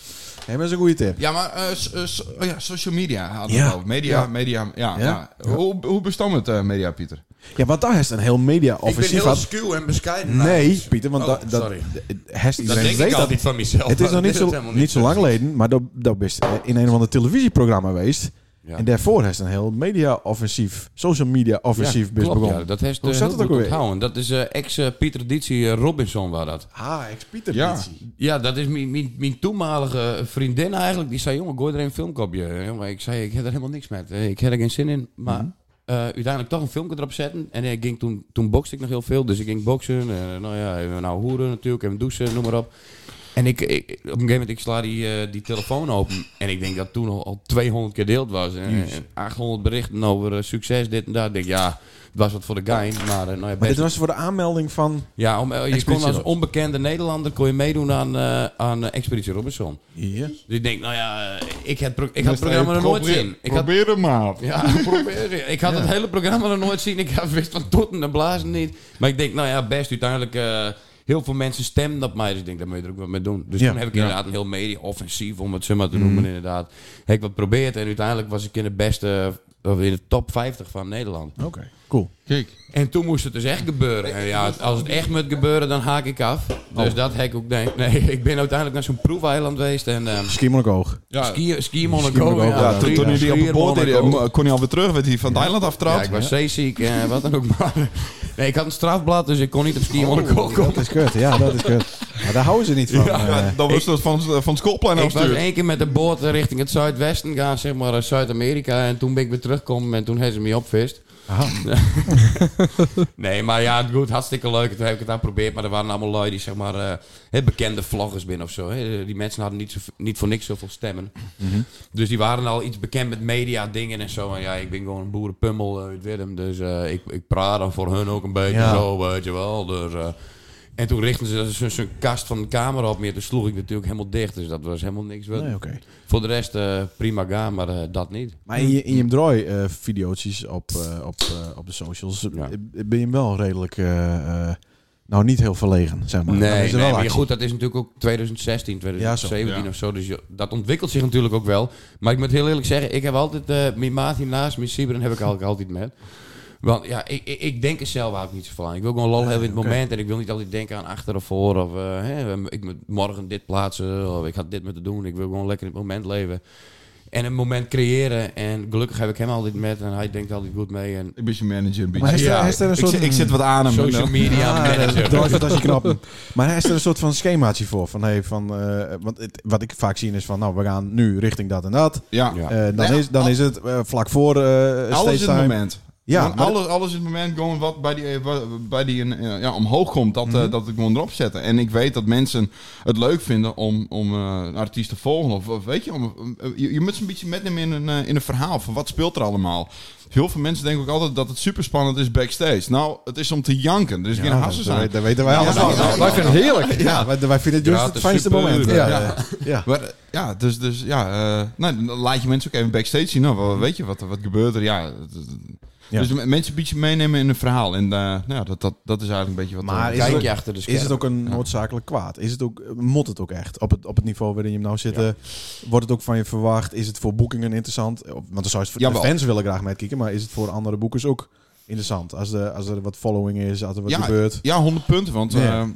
A: Nee, maar dat is een goede tip.
E: Ja, maar eh, s- eh, s- oh ja, social media hadden
A: Ja.
E: we het over. Media, media, ja.
A: Ja.
E: ja. Hoe, hoe bestond het eh, media, Pieter?
A: Ja, want daar is een heel
D: Ik ben
A: media-offensief
D: heel
A: aan.
D: schuw en bescheiden.
A: Nee, Pieter, want
D: Oh,
A: da- dat,
D: sorry.
A: heeft
D: Dat
A: iedereen
D: denk
A: weet
D: ik
A: dat.
D: altijd van mezelf.
A: Het is nog
D: maar dat
A: niet zo,
D: helemaal
A: niet zo lang geleden, maar dat, dat best eh, in een of ander televisieprogramma geweest.
D: Ja.
A: En daarvoor is een heel media-offensief, social media-offensief best
D: Klopt,
A: begonnen.
D: ja, dat heeft
A: Hoe
D: eh,
A: zat
D: heel
A: het ook
D: goed
A: alweer?
D: onthouden. Dat is eh, ex eh, Pieter Dietzie eh, Robinson was dat.
A: Ah, ex-Pieter.
E: Ja.
A: Politie.
D: Ja, dat is mijn, mijn, mijn toenmalige vriendin eigenlijk. Die zei, jongen, gooi er een filmkopje. Eh, jongen, ik zei, ik heb er helemaal niks met. Eh, Ik heb er geen zin in. Maar eh, uiteindelijk toch een filmpje erop zetten. En ik ging toen, toen bokste ik nog heel veel. Dus ik ging boksen. eh, nou ja, even nou hoeren natuurlijk. Even douchen, noem maar op. En ik, ik- op een gegeven moment, ik sla die, eh, die telefoon open. En ik denk dat toen al, al 200 keer deeld was. En, en 800 berichten over eh, succes, dit en dat. Ik denk, ja, het was wat voor de guy. Maar eh, nou ja,
A: Maar dit
D: best-
A: was voor de aanmelding van...
D: ja, om, eh, je kon
A: Expeditie
D: als
A: Robinson.
D: onbekende Nederlander kon je meedoen aan, eh, aan eh, Expeditie Robinson.
A: Ja.
D: Dus ik denk, nou ja, eh, ik had, pro- ik had het
E: Dus, eh,
D: programma nog nooit
E: probeer-
D: zien. Ik had,
E: Probeer het maar.
D: ja, probeer. Ik had het hele programma nog nooit zien. Ik had wist van totten en blazen niet. Maar ik denk, nou ja, best uiteindelijk... eh, heel veel mensen stemden op mij. Dus ik denk, daar moet je er ook wat mee doen. Dus
A: Ja. Mm.
D: toen heb ik inderdaad een heel media-offensief, om het zo maar te noemen, inderdaad. eh, Heb ik wat geprobeerd en uiteindelijk was ik in de beste... Of in de top 50 van Nederland.
A: Oké, Cool.
E: Kijk.
D: En toen moest het dus echt gebeuren. En ja, als het echt moet gebeuren, dan haak ik af.
E: Oh.
D: Dus dat hek ook nee. Nee, ik ben uiteindelijk naar zo'n proefeiland geweest en ehm
A: Misschien moet ik oog.
E: Ja.
D: skiën, skiën
A: Monaco,
D: Monaco.
A: ja.
E: Ja, toen, toen hij die op een boord deed,
D: Monaco.
E: eh, kon hij alweer terug, werd hij van Thailand
D: Ja,
E: aftrapt.
D: ik was zeeziek en wat dan ook maar. Nee, ik had een strafblad, dus ik kon niet op
E: Oh.
D: ski Monaco komen.
A: Dat is kut, ja, dat is kut. Maar daar houden ze niet van. eh.
E: dan was het van, van het schoolplein
D: Ik was
E: afstuurd.
D: één keer met de boot richting het zuidwesten gaan, zeg maar eh, Zuid-Amerika. En toen ben ik weer teruggekomen en toen hebben ze me opvist. nee, maar ja, goed, hartstikke leuk. Toen heb ik het aan geprobeerd, maar er waren allemaal lui die, zeg maar, eh, hè, bekende vloggers binnen of zo. hè. Die mensen hadden niet, zo, niet voor niks zoveel stemmen. Dus die waren al iets bekend met media dingen en zo. En ja, ik ben gewoon een boerenpummel uit Willem, dus eh, ik, ik praat dan voor hun ook een beetje
A: Ja.
D: zo, weet je wel. Dus, eh, en toen richtten ze zo- zo'n kast van de camera op meer. Toen sloeg ik natuurlijk helemaal dicht. Dus dat was helemaal niks.
A: Nee, oké.
D: Voor de rest eh, prima gaan, maar eh, dat niet.
A: Maar in je, in je draai eh video's op, eh, op, eh, op de socials
D: Ja.
A: eh, ben je hem wel redelijk, eh, eh, nou niet heel verlegen, zeg maar.
D: Nee,
A: Dan is
D: nee,
A: er wel
D: maar
A: actie.
D: goed, dat is natuurlijk ook 2016, 2017
E: Ja, zo.
D: of zo. Dus je- dat ontwikkelt zich natuurlijk ook wel. Maar ik moet heel eerlijk zeggen, ik heb altijd eh mijn maat hiernaast, mijn Sibren heb ik eigenlijk altijd met. Want ja, ik, ik, ik denk er zelf eigenlijk niet zoveel aan. Ik wil gewoon lol hebben in het moment en ik wil niet altijd denken aan achter of voor. Of eh, hè, ik moet morgen dit plaatsen of ik had dit moeten doen. Ik wil gewoon lekker in het moment leven. En een moment creëren. En gelukkig heb ik hem altijd met en hij denkt altijd goed mee. En
E: Ik ben je manager een
A: Maar
E: beetje.
A: is er, is er een
E: Ik,
A: soort...
E: zit- ik zit wat aan hem.
D: social media
A: Ah,
D: manager.
A: dat- dat is- dat is je knappen. Maar is er een soort van schemaatje voor? Van, hey, van, eh, want het- wat ik vaak zie is van, nou, we gaan nu richting dat en dat.
E: Ja.
D: Ja.
A: Eh, dan,
E: Nee,
A: is, dan
E: Nou, al-
A: is het eh, vlak voor eh
E: Alles in
A: stage
E: het
A: time.
E: moment.
A: Ja,
E: Ja,
A: maar-
E: alles, alles in het moment gewoon wat bij die, eh, wa- bij die eh, ja, omhoog komt, dat, eh,
A: Mhm.
E: dat ik gewoon erop zet. En ik weet dat mensen het leuk vinden om, om eh, een artiest te volgen. Of, of weet je, om, om- eh, je, je moet ze een beetje metnemen in een, eh, in een verhaal van wat speelt er allemaal. Heel veel mensen denken ook altijd dat het super spannend is backstage. Nou, het is om te janken. Er is geen hassen
A: dat-
E: zijn.
A: dat weten wij alles
E: dat-
A: van.
E: dat-
B: Wij vinden het heerlijk.
A: Ja, wij, wij vinden het juist
D: Ja,
A: het
D: het is
A: fijnste
D: super.
A: moment.
B: Ja.
A: Ja. Ja.
E: Maar, eh, ja, dus, dus ja, eh, nou, dan laat je mensen ook even backstage zien. Nou, wat- weet je, wat, wat gebeurt er? Ja, het- het-
A: Ja.
E: Dus m- mensen een beetje meenemen in een verhaal. En eh, nou, ja, dat, dat, dat is eigenlijk een beetje wat...
A: Maar
E: eh,
A: is
D: Kijk
A: het-
D: je achter de scherm.
A: Is het ook een noodzakelijk kwaad? Is het ook, mot het ook echt? Op het, op het niveau waarin je hem nou zit, eh, wordt het ook van je verwacht? Is het voor boekingen interessant? Of- Want dan zou je het- de
E: Jawel.
A: fans willen graag met kijken, maar is het voor andere boekers ook interessant? Als, de, als er wat following is, als er wat
E: ja,
A: gebeurt.
E: Ja, 100 punten. Want,
A: Ja.
E: eh,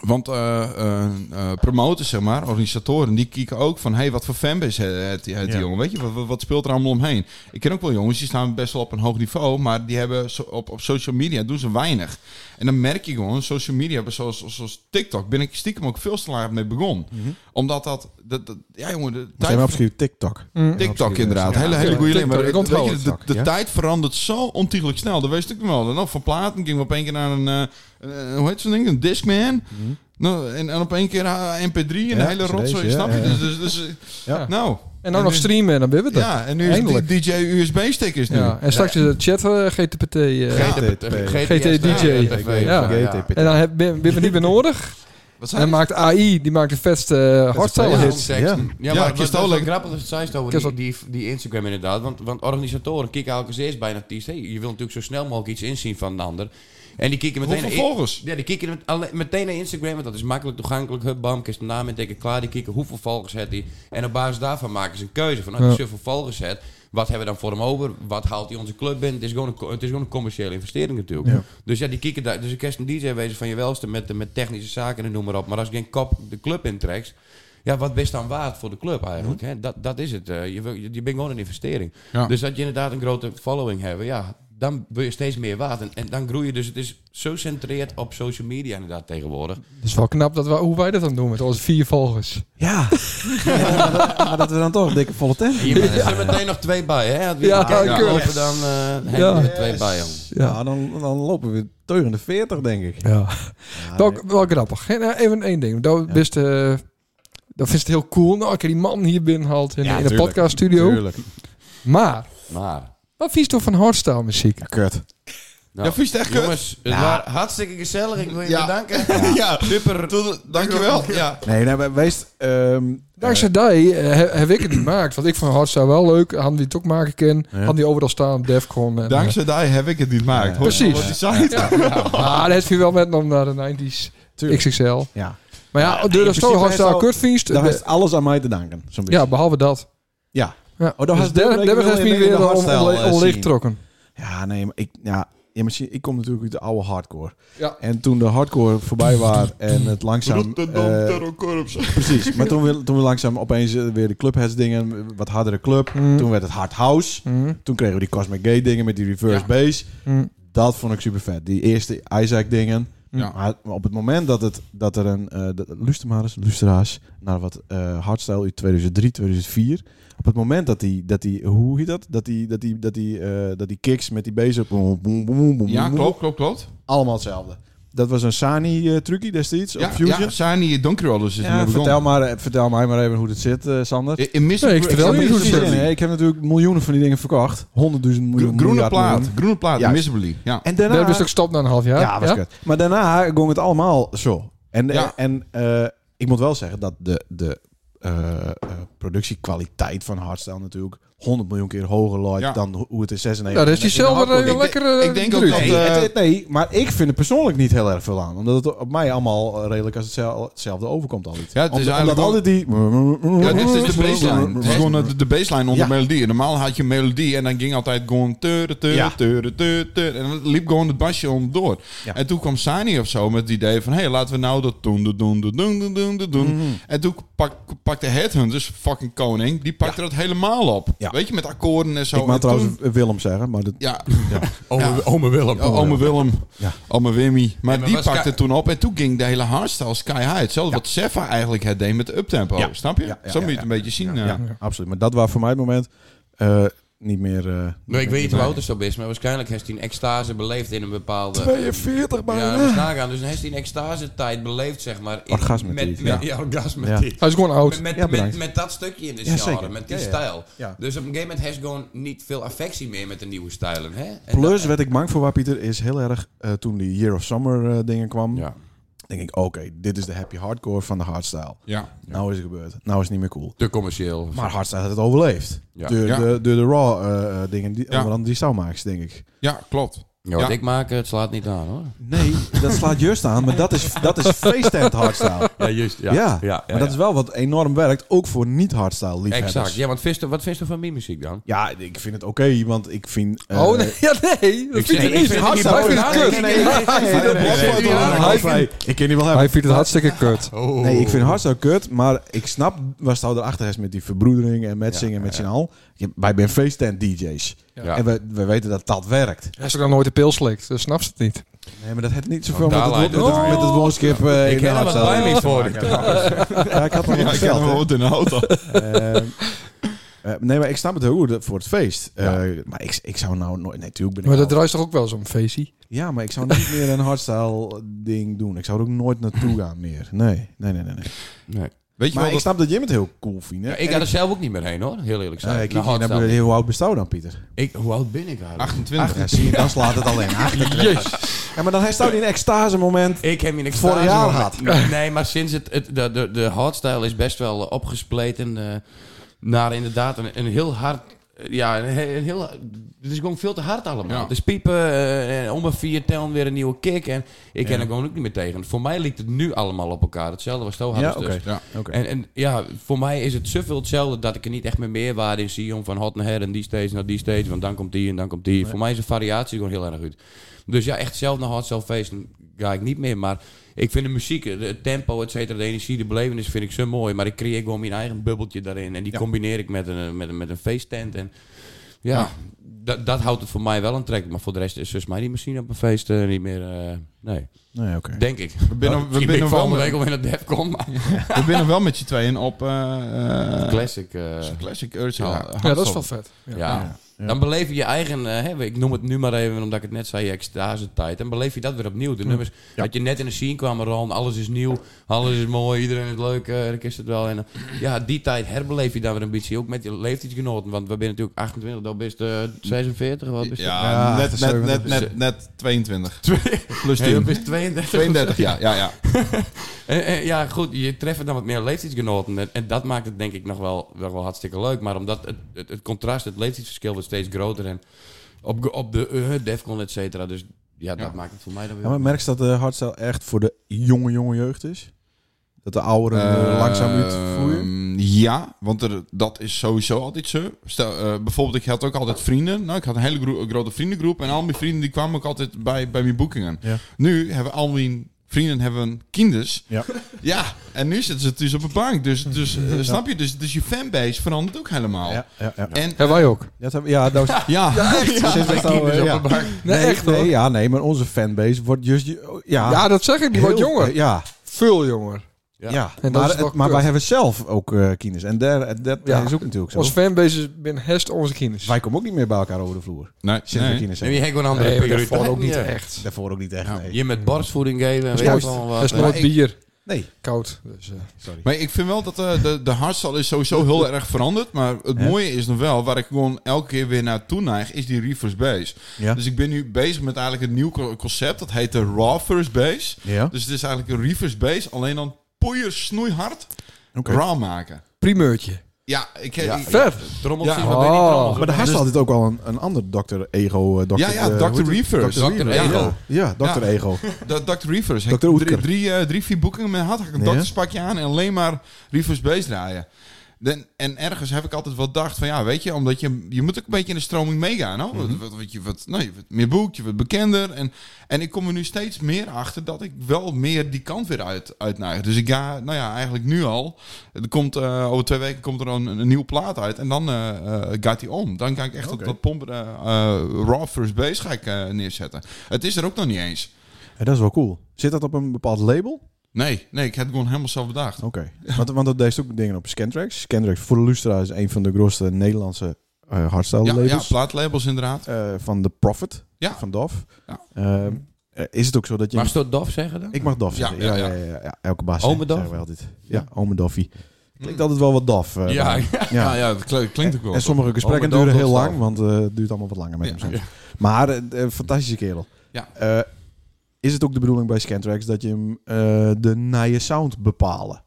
E: want eh, eh, eh, promoters, zeg maar, organisatoren, die kijken ook van... hey, wat voor fanbase heeft die, heeft die
A: Ja.
E: jongen? Weet je, wat- wat, wat speelt er allemaal omheen? Ik ken ook wel jongens, die staan best wel op een hoog niveau... maar die hebben so- op, op social media doen ze weinig. En dan merk je gewoon, social media, zoals, zoals, zoals TikTok... ben ik stiekem ook veel te laat mee begonnen. Omdat dat, dat, dat... Ja, jongen, de
A: Mhm. Zijn we opschrijven TikTok?
E: TikTok inderdaad. hele hele
B: Ja,
E: goede link. Maar
B: TikTok, ik
E: weet
B: onthoud
E: je,
B: het.
E: de, de
A: Ja.
E: tijd verandert zo ontiegelijk snel. Dat wist ik nog wel. Nou, van platen ging we op één keer naar een... eh, eh, hoe heet zo'n ding? Een Discman.
B: Mhm.
E: Nou, en, en op één keer eh, MP3 en
A: Ja,
E: de hele
A: CD's,
E: rotzooi.
A: ja,
E: snap je?
A: ja.
E: Dus, dus, dus, eh,
A: Ja.
E: Nou.
B: En dan nog
E: nu-
B: streamen, dan hebben we dat.
E: Ja, en nu is het
B: Eindelijk.
E: die DJ USB-stickers nu.
B: Ja, en straks is het chat eh, GTPT. eh,
A: Ja.
D: GT,
B: GT DJ.
D: eh,
B: Ja. En dan heb- ben ben we niet meer nodig.
E: Wat
B: En dan
E: zijn
B: maakt AI, die maakt de vetste eh, hardstyle
A: player.
B: hits.
D: Ja,
A: Ja.
D: ja,
E: Ja,
D: maar
E: ik
D: dat is wel
E: leuk.
D: grappig dat het zei, Stover,
B: Kist
D: die, die, die Instagram inderdaad. Want, want organisatoren kieken ook eens eerst bij een artiest. Hey, je wil natuurlijk zo snel mogelijk iets inzien van een ander. En die kieken meteen...
E: Hoeveel volgers?
D: Ja, die kieken met- alle- meteen naar Instagram, want dat is makkelijk toegankelijk. Hup, bam, is de naam en teken klaar. Die kieken hoeveel volgers heeft hij. En op basis daarvan maken ze een keuze van, als je
B: Ja.
D: zoveel volgers hebt, wat hebben we dan voor hem over? Wat haalt hij onze club binnen? Het is gewoon een, co- het is gewoon een commerciële investering natuurlijk. Dus ja, die kieken daar. Dus ik kerst een DJ wezen van je welste met, eh, met technische zaken en noem maar op. Maar als je geen kop de club intrekt, ja, wat best dan waard voor de club eigenlijk? Hè? Dat, dat is het. eh. je, wil- je, je bent gewoon een investering.
E: Ja.
D: Dus dat je inderdaad een grote following hebben, ja, dan wil je steeds meer waard. En, en dan groei je dus. Het is zo centreerd op social media inderdaad tegenwoordig.
B: Het is wel knap dat we, hoe wij dat dan doen met onze vier volgers.
A: Ja. maar dat we dan toch dikke volle tent.
D: En je bent er meteen nog twee bij, hè? Had wie
B: Ja,
D: ja,
B: keurig.
D: lopen dan
B: Ja.
D: eh ja. twee bij, jong.
A: Ja, dan, dan lopen we teugende 40, denk ik.
B: Ja. wel, wel grappig. En, eh, even één ding. Dat,
A: Ja.
B: best, eh, dat vindt het heel cool. Nou, ik die man hier binnenhaalt in,
A: Ja,
B: in de
A: tuurlijk.
B: podcaststudio. Maar,
D: Maar.
B: wat vies toch van hardstyle muziek?
A: Ja, kut.
D: Nou,
E: Ja, vies het echt kut? Nou.
D: Jongens, het
A: Ja.
D: was hartstikke gezellig. Ik wil je
E: Ja.
D: bedanken.
E: Ja, super. Dankjewel. Ja.
A: Nee, nee, wij- wees... ehm,
B: Dankzij die eh, he- heb ik het niet gemaakt. Want ik vond hardstyle wel leuk. Hadden die het ook maken kunnen.
A: Ja.
B: Hadden die overal staan op Defcon. En, eh,
E: Dankzij daar heb ik het niet gemaakt. Hoor je
B: Precies.
E: Wat die site.
B: Maar dat heeft hij wel met om naar de 90s.
A: Tuurlijk.
B: XXL.
A: ja.
B: Maar ja, door dat zo
A: principe
B: hardstyle
A: heeft al-
B: kut vies.
A: Daar is alles aan mij te danken, zo'n beetje.
B: Ja, behalve dat.
A: Ja.
B: Ja.
A: Oh, dat was
B: dus
A: Derek
B: Derek
A: wel
B: heeft
A: in
B: me
A: de
B: weer
A: hardstyle, eh,
B: onleeg
A: scene.
B: getrokken.
A: Ja, nee, maar ik, ja, ja, Ja, maar zie- ik kom natuurlijk uit de oude hardcore.
B: Ja.
A: En toen de hardcore voorbij was en het langzaam... eh, precies, maar toen we, toen we langzaam opeens eh, weer de clubheads dingen, wat hardere club.
B: Mm.
A: Toen werd het hard house.
B: Mhm.
A: Toen kregen we die Cosmic Gate dingen met die reverse bass.
B: Mhm.
A: Dat vond ik super vet. Die eerste Isaac dingen.
E: Ja.
A: Maar op het moment dat, het, dat er een eh de- luisteraars, luisteraars naar wat eh hardstyle uit 2003, 2004. Op het moment dat die, dat die hoe heet dat? Dat die, dat die, dat die, eh, dat die kicks met die bass op. boem, boem, boem, boem, boem,
E: Ja,
A: boem,
E: klopt, klopt, klopt.
A: Allemaal hetzelfde. Dat was een Sani-trucje destijds
E: Ja,
A: op Fusion.
E: ja
B: Dus
E: Sani Donkrollers is
A: Ja,
E: ermee begonnen.
A: vertel, maar, eh, vertel mij maar even hoe dat zit, eh, Sander.
E: I- In Mr.
B: Nee, ik
E: Gr-
B: vertel
E: in
B: niet
E: Mr.
B: hoe het
E: Grizzly.
A: Nee, nee, ik heb natuurlijk miljoenen van die dingen verkocht. Honderdduizend miljoen.
E: Gro- Groene
A: miljard
E: plaat,
A: miljoen.
E: groene plaat,
A: Ja.
E: Miserably. Ja.
A: En
B: Daar
A: daarna...
B: hebben ze ook stop na een half jaar.
A: Ja, was kut. Maar daarna ging het allemaal zo. En,
E: Ja.
A: en eh, ik moet wel zeggen dat de, de eh, eh, productiekwaliteit van Hardstyle natuurlijk 100 miljoen keer hoger lijkt
E: Ja.
A: dan ho- hoe het in 96...
B: Nou, daar is die
A: in de
B: zelf
A: hardcore-
E: denk-
B: een lekkere
E: ik denk ook
B: druid.
E: dat-
A: Nee,
E: eh,
A: het- het- nee, maar ik vind er persoonlijk niet heel erg veel aan. Omdat het op mij allemaal eh, redelijk als hetzel- hetzelfde overkomt altijd.
E: Ja, het is
A: Omdat-
E: eigenlijk
A: omdat altijd die...
E: Ja, dit is de baseline. Het is gewoon eh, de- de baseline
A: Ja.
E: onder melodie. En Normaal had je melodie en dan ging altijd gewoon... Tere, tere,
A: Ja.
E: tere, tere, tere. en dan liep gewoon het basje onderdoor.
A: Ja.
E: En toen kwam Sani of zo met het idee van... hé, hey, laten we nou dat doen, doen, doen, doen, doen, doen, doen, doen, doen.
A: Mhm.
E: En toen pak- pakte Headhunters, fucking koning... die pakte dat helemaal op.
A: Ja.
E: Weet je, met akkoorden en zo.
A: Ik mag
E: En
A: trouwens
E: toen-
A: Willem zeggen, maar dat...
E: Ja,
D: Ome, ome Willem.
E: ja, ome Willem,
A: Ja.
E: ome Wimmy. Maar
D: maar
E: die
D: was Sky-
E: pakte toen op en toen ging de hele hardstyle sky high. Hetzelfde wat Sefa eigenlijk het deed met de uptempo,
A: Ja.
E: snap je?
A: Ja, ja,
E: zo
A: ja,
E: moet je het een beetje zien. eh.
A: Ja, absoluut. Maar dat was voor mij het moment eh, niet meer... eh,
D: Nee, Nou, ik weet niet hoe oud het zo is, maar waarschijnlijk heeft hij een extase beleefd in een bepaalde...
A: 42
D: Ja, dat is nagaan. Dus dan heeft hij een extase-tijd beleefd, zeg maar. in-
A: Orgasme
D: met,
A: tijd,
D: met,
A: ja.
D: ja. orgasme
A: Ja.
D: tijd.
B: Hij is gewoon oud.
D: Met, met,
A: Ja, bedankt.
D: met, met dat stukje in de
A: Ja,
D: genre,
A: zeker.
D: met die
A: Ja, ja.
D: stijl.
A: Ja.
D: Dus op een gegeven moment heeft hij gewoon niet veel affectie meer met de nieuwe stijlen. Hè? En
A: Plus,
D: dat-
A: werd ik bang voor waar Pieter is heel erg eh, toen die Year of Summer eh, dingen kwam.
D: Ja.
A: Denk ik, oké, dit is de happy hardcore van de hardstyle.
E: ja.
A: Nou is het gebeurd. Nou is het niet meer cool.
D: Te commercieel.
A: Maar hardstyle had het overleefd.
D: Ja.
A: Door,
E: Ja.
A: De, door de raw eh, eh, dingen, die,
E: Ja.
A: onder andere die soundmakers, denk ik.
E: Ja, klopt.
D: Ja, wat
E: Ja.
D: ik maak, het slaat niet aan hoor.
A: Nee, dat slaat juist aan, maar dat is, dat is feestend hardstyle.
D: Ja, juist.
A: Ja, maar dat is wel wat enorm werkt, ook voor niet-hardstyle liefhebbers.
D: Exact. Ja, want vist, wat vist er van mijn muziek dan?
A: Ja, ik vind het oké, want ik vind... eh,
B: Oh, nee. Ja, nee. Dat vindt hij
D: ik
B: niet.
D: vind
B: Hij
D: het
B: vindt
D: niet
B: het
D: boven.
B: kut.
D: Nee,
A: nee,
D: nee, nee, nee,
A: nee, nee,
E: Hardstyle
A: nee,
E: door
A: nee,
E: een
A: nee,
E: half
A: nee, Ik ken die wel
B: Hij
A: hebben.
B: vindt het hartstikke kut.
A: Nee, ik vind hardstyle kut, maar ik snap waar Stouw erachter is met die verbroedering en met zingen met z'n al. Je- Wij zijn feesttent DJ's.
D: Ja.
A: En we, we weten dat dat werkt.
B: Hij is ook nog nooit de pil slikt, dus snapt ze het niet.
A: Nee, maar dat heeft niet zoveel
D: daar
A: met, het,
D: leidt
A: met,
D: het
A: het,
D: aan.
A: met het woonskip eh, in
D: Ik
A: de
D: heb er wat
A: hardstyle.
D: bij mee voor.
A: Ja, ik had nog
E: Ja,
A: wat
E: ik heb
A: geld.
E: hem
A: hè.
E: ook in de auto.
A: Ehm, eh, nee, maar ik snap het heel goed eh, voor het feest. Eh, maar ik, ik zou nou nooit... Nee, natuurlijk ben ik
B: Maar dat
A: al-
B: draait toch ook wel zo'n feestje?
A: Ja, maar ik zou niet meer een hardstyle ding doen. Ik zou er ook nooit naartoe gaan meer. Nee, nee, nee, nee. nee.
E: Weet je
A: Maar
E: wel,
A: ik
E: dat,
A: snap dat Jim het heel cool vindt. Hè?
D: Ja, ik dus-
A: En
D: had er zelf ook niet meer heen hoor, heel eerlijk
A: Ja,
D: gezegd.
A: ik kijk
D: Nou,
A: hier naar
D: hardstyle.
A: beneden. hoe oud bestaan dan, Pieter?
D: Ik- Hoe oud ben ik eigenlijk?
E: 28.
A: Ja, zie je, dan slaat het alleen. Ja, maar dan hij staat in een extase moment.
D: Ik heb in een
A: Vorig jaar had.
D: Nee, maar sinds het, het de, de, de hardstyle is best wel eh, opgespleten eh, naar inderdaad een, een heel hard... eh, Ja, een, he- een heel, het is gewoon veel te hard allemaal.
E: Ja.
D: Dus piepen, eh, en om een vier tellen weer een nieuwe kick. En ik ken er gewoon ook niet meer tegen. Voor mij lijkt het nu allemaal op elkaar. Hetzelfde was zo hard
A: Ja,
D: als dus.
A: oké.
E: Ja.
A: Oké.
D: En, en ja, voor mij is het zoveel hetzelfde dat ik er niet echt meer meerwaarde in zie om van hot naar her en die stage naar die stage, want dan komt die en dan komt die. Voor mij is de variatie gewoon heel erg goed. Dus ja, echt zelf naar hard zelf feesten ga ik niet meer, maar ik vind de muziek, eh, het tempo, et cetera, de energie, de belevenis vind ik zo mooi, maar ik creëer gewoon mijn eigen bubbeltje daarin en die combineer ik met een, eh, met een, met een feesttent en ja, dat- dat houdt het voor mij wel aantrekkelijk, maar voor de rest is dus mij die machine op een feest eh, niet meer, eh, nee,
A: Nee, oké.
D: denk ik. We eh,
E: binnen- we
D: Misschien ben ik
E: binnen
D: volgende
E: wel-
D: week alweer naar Defcon, maar...
E: We zijn nog wel met je tweeën op eh, eh,
D: Classic. eh,
E: Classic Urge.
D: Ja.
B: Ja, dat is wel vet. Ja.
D: Ja. Dan beleef je je eigen, eh, hè, ik noem het nu maar even omdat ik het net zei, je extase tijd. Dan beleef je dat weer opnieuw. De nummers, dat je net in de scene kwam, Ron, alles is nieuw, alles is mooi, iedereen is leuk, eh, ik is het wel. En, eh, ja, die tijd herbeleef je dan weer een beetje, ook met je leeftijdsgenoten. Want we zijn natuurlijk 28, dan bist eh 46, wat is het?
E: Ja, net, net, net,
A: 37.
E: net, net 22. Plus
D: Hey, dat
E: 10.
D: is 32.
E: 32, ja, ja, ja.
D: En, en Eh, ja, goed, je treft dan wat meer leeftijdsgenoten. En, en dat maakt het denk ik nog wel, nog wel hartstikke leuk. Maar omdat het, het, het contrast, het leeftijdsverschil wordt steeds groter. En op, ge- op de eh, Defcon, et cetera. Dus ja, dat maakt het voor mij dan weer...
A: Ja, maar merk je dat de hardstyle echt voor de jonge, jonge jeugd is? Dat de ouderen eh, langzaam uitvloeien?
E: Ehm, Ja, want er, dat is sowieso altijd zo. Stel, eh, bijvoorbeeld, ik had ook altijd vrienden. Nou, ik had een hele gro- grote vriendengroep. En al mijn vrienden die kwamen ook altijd bij, bij mijn boekingen.
A: Ja.
E: Nu hebben al mijn vrienden hebben kinders.
A: Ja.
E: Ja, en nu zitten ze dus op een bank. Dus, dus eh, snap je? Dus, dus je fanbase verandert ook helemaal.
A: Ja, ja, ja.
E: En
B: Hebben wij ook.
A: Dat hebben- ja, nou,
E: ja,
A: zit het al, eh, ja.
B: Nee,
A: Nee,
B: echt
A: nee,
B: hoor.
A: ja, nee, maar onze fanbase wordt juist... Ja,
B: Ja, dat zeg ik. Die
A: heel-
B: wordt jonger.
A: Ja,
B: Veel jonger.
A: ja.
B: En dat
A: maar,
B: is wel
A: het- maar
B: kut.
A: wij hebben zelf ook eh kinders. En daar, dat
B: Ja.
A: is ook natuurlijk zo.
B: Onze fanbase is binnen herst onze kinders.
A: Wij komen ook niet meer bij elkaar over de vloer. Zitten
E: nee, nee.
A: we kinderen
D: Neem
A: zijn.
D: je hek wel een andere
B: nee, maar dat
D: prioriteit
B: valt ook niet
D: neer.
B: echt.
A: Daarvoor ook niet echt,
D: Nou,
A: nee.
D: Je met borstvoeding geven en
B: Dat
D: weet
B: is
D: ik
B: nooit,
D: wel eh,
B: dat is
D: wat.
B: nooit bier.
A: Nee,
B: Koud. Dus, eh,
A: sorry.
E: Maar ik vind wel dat eh, de, de hardstyle is sowieso heel erg veranderd. Maar het
A: Ja.
E: mooie is nog wel, waar ik gewoon elke keer weer naartoe neig, is die reverse base.
A: Ja.
E: Dus ik ben nu bezig met eigenlijk een nieuw co- concept. Dat heet de raw first base.
A: Ja, oké.
E: Dus het is eigenlijk een reverse base, alleen dan poeier snoeihard raw maken.
B: primeurtje.
E: Ja, ik
D: Ja.
E: ik-
B: Vet.
D: Trommels
E: Ja.
D: zien wat in die
B: Oh.
D: trommels.
A: Maar daar had
D: Dus-
A: ze altijd ook al een, een ander dokter Ego. eh, dokter,
E: Ja, ja,
A: eh,
E: Dr.
A: hoe heet het?
E: Reverse.
A: Dr.
D: Dr.
A: Reverse,
D: Ego.
A: ja. Ja, dokter
E: Ja.
A: Ego.
E: Dat Dr. Reverse.
A: Dr.
E: Ik
A: Oetker.
E: drie, drie, eh, drie, vier boekingen met had. Had ik een
A: Ja.
E: dokterspakje aan en alleen maar reverse base draaien. Dan, en ergens heb ik altijd wel gedacht van ja, weet je, omdat je, je moet ook een beetje in de stroming meegaan. hoor.
A: Mhm.
E: Wat, wat, wat je, wat, nou, je wordt meer boek, je wordt bekender. En, en ik kom er nu steeds meer achter dat ik wel meer die kant weer uit, uitneig. Dus ik ga, nou ja, eigenlijk nu al. Er komt, eh, over twee weken komt er een, een nieuwe plaat uit en dan eh, eh, gaat die om. Dan ga ik echt dat, dat pompen, eh, eh, raw first base ga ik eh, neerzetten. Het is er ook nog niet eens.
A: Ja, dat is wel cool. Zit dat op een bepaald label?
E: Nee, nee, ik heb het gewoon helemaal zelf bedacht.
A: Oké. Want, want dat deed ze ook dingen op Scantrax. Scantrax voor de Lustra is een van de grootste Nederlandse eh hardstyle
E: Ja, ja,
A: labels.
E: plaatlabels inderdaad.
A: Eh, van The Prophet,
E: Ja.
A: van DAF.
E: Ja.
A: Ehm, eh, is het ook zo dat je...
D: Mag je dat dof zeggen dan?
A: ik mag DAF
E: Ja,
A: zeggen. Ja,
E: ja,
A: ja, ja.
E: ja.
A: ja. elke baas
D: Ome
A: zegt-
D: DAF?
A: zeggen we altijd. Ja, ome Daffie. Klinkt altijd wel wat DAF. eh,
D: Ja,
A: bij hem.
E: Mm. Ja, nou ja dat kli- klinkt ook wel.
A: En sommige gesprekken
D: Ome Daf
A: duren heel
D: tot
A: lang,
D: DAF.
A: want eh, het duurt allemaal wat langer met
E: Ja.
A: hem soms. Maar eh, eh, fantastische kerel.
E: Ja.
A: Eh, is het ook de bedoeling bij Scantrax dat je hem eh, de naaie sound bepalen?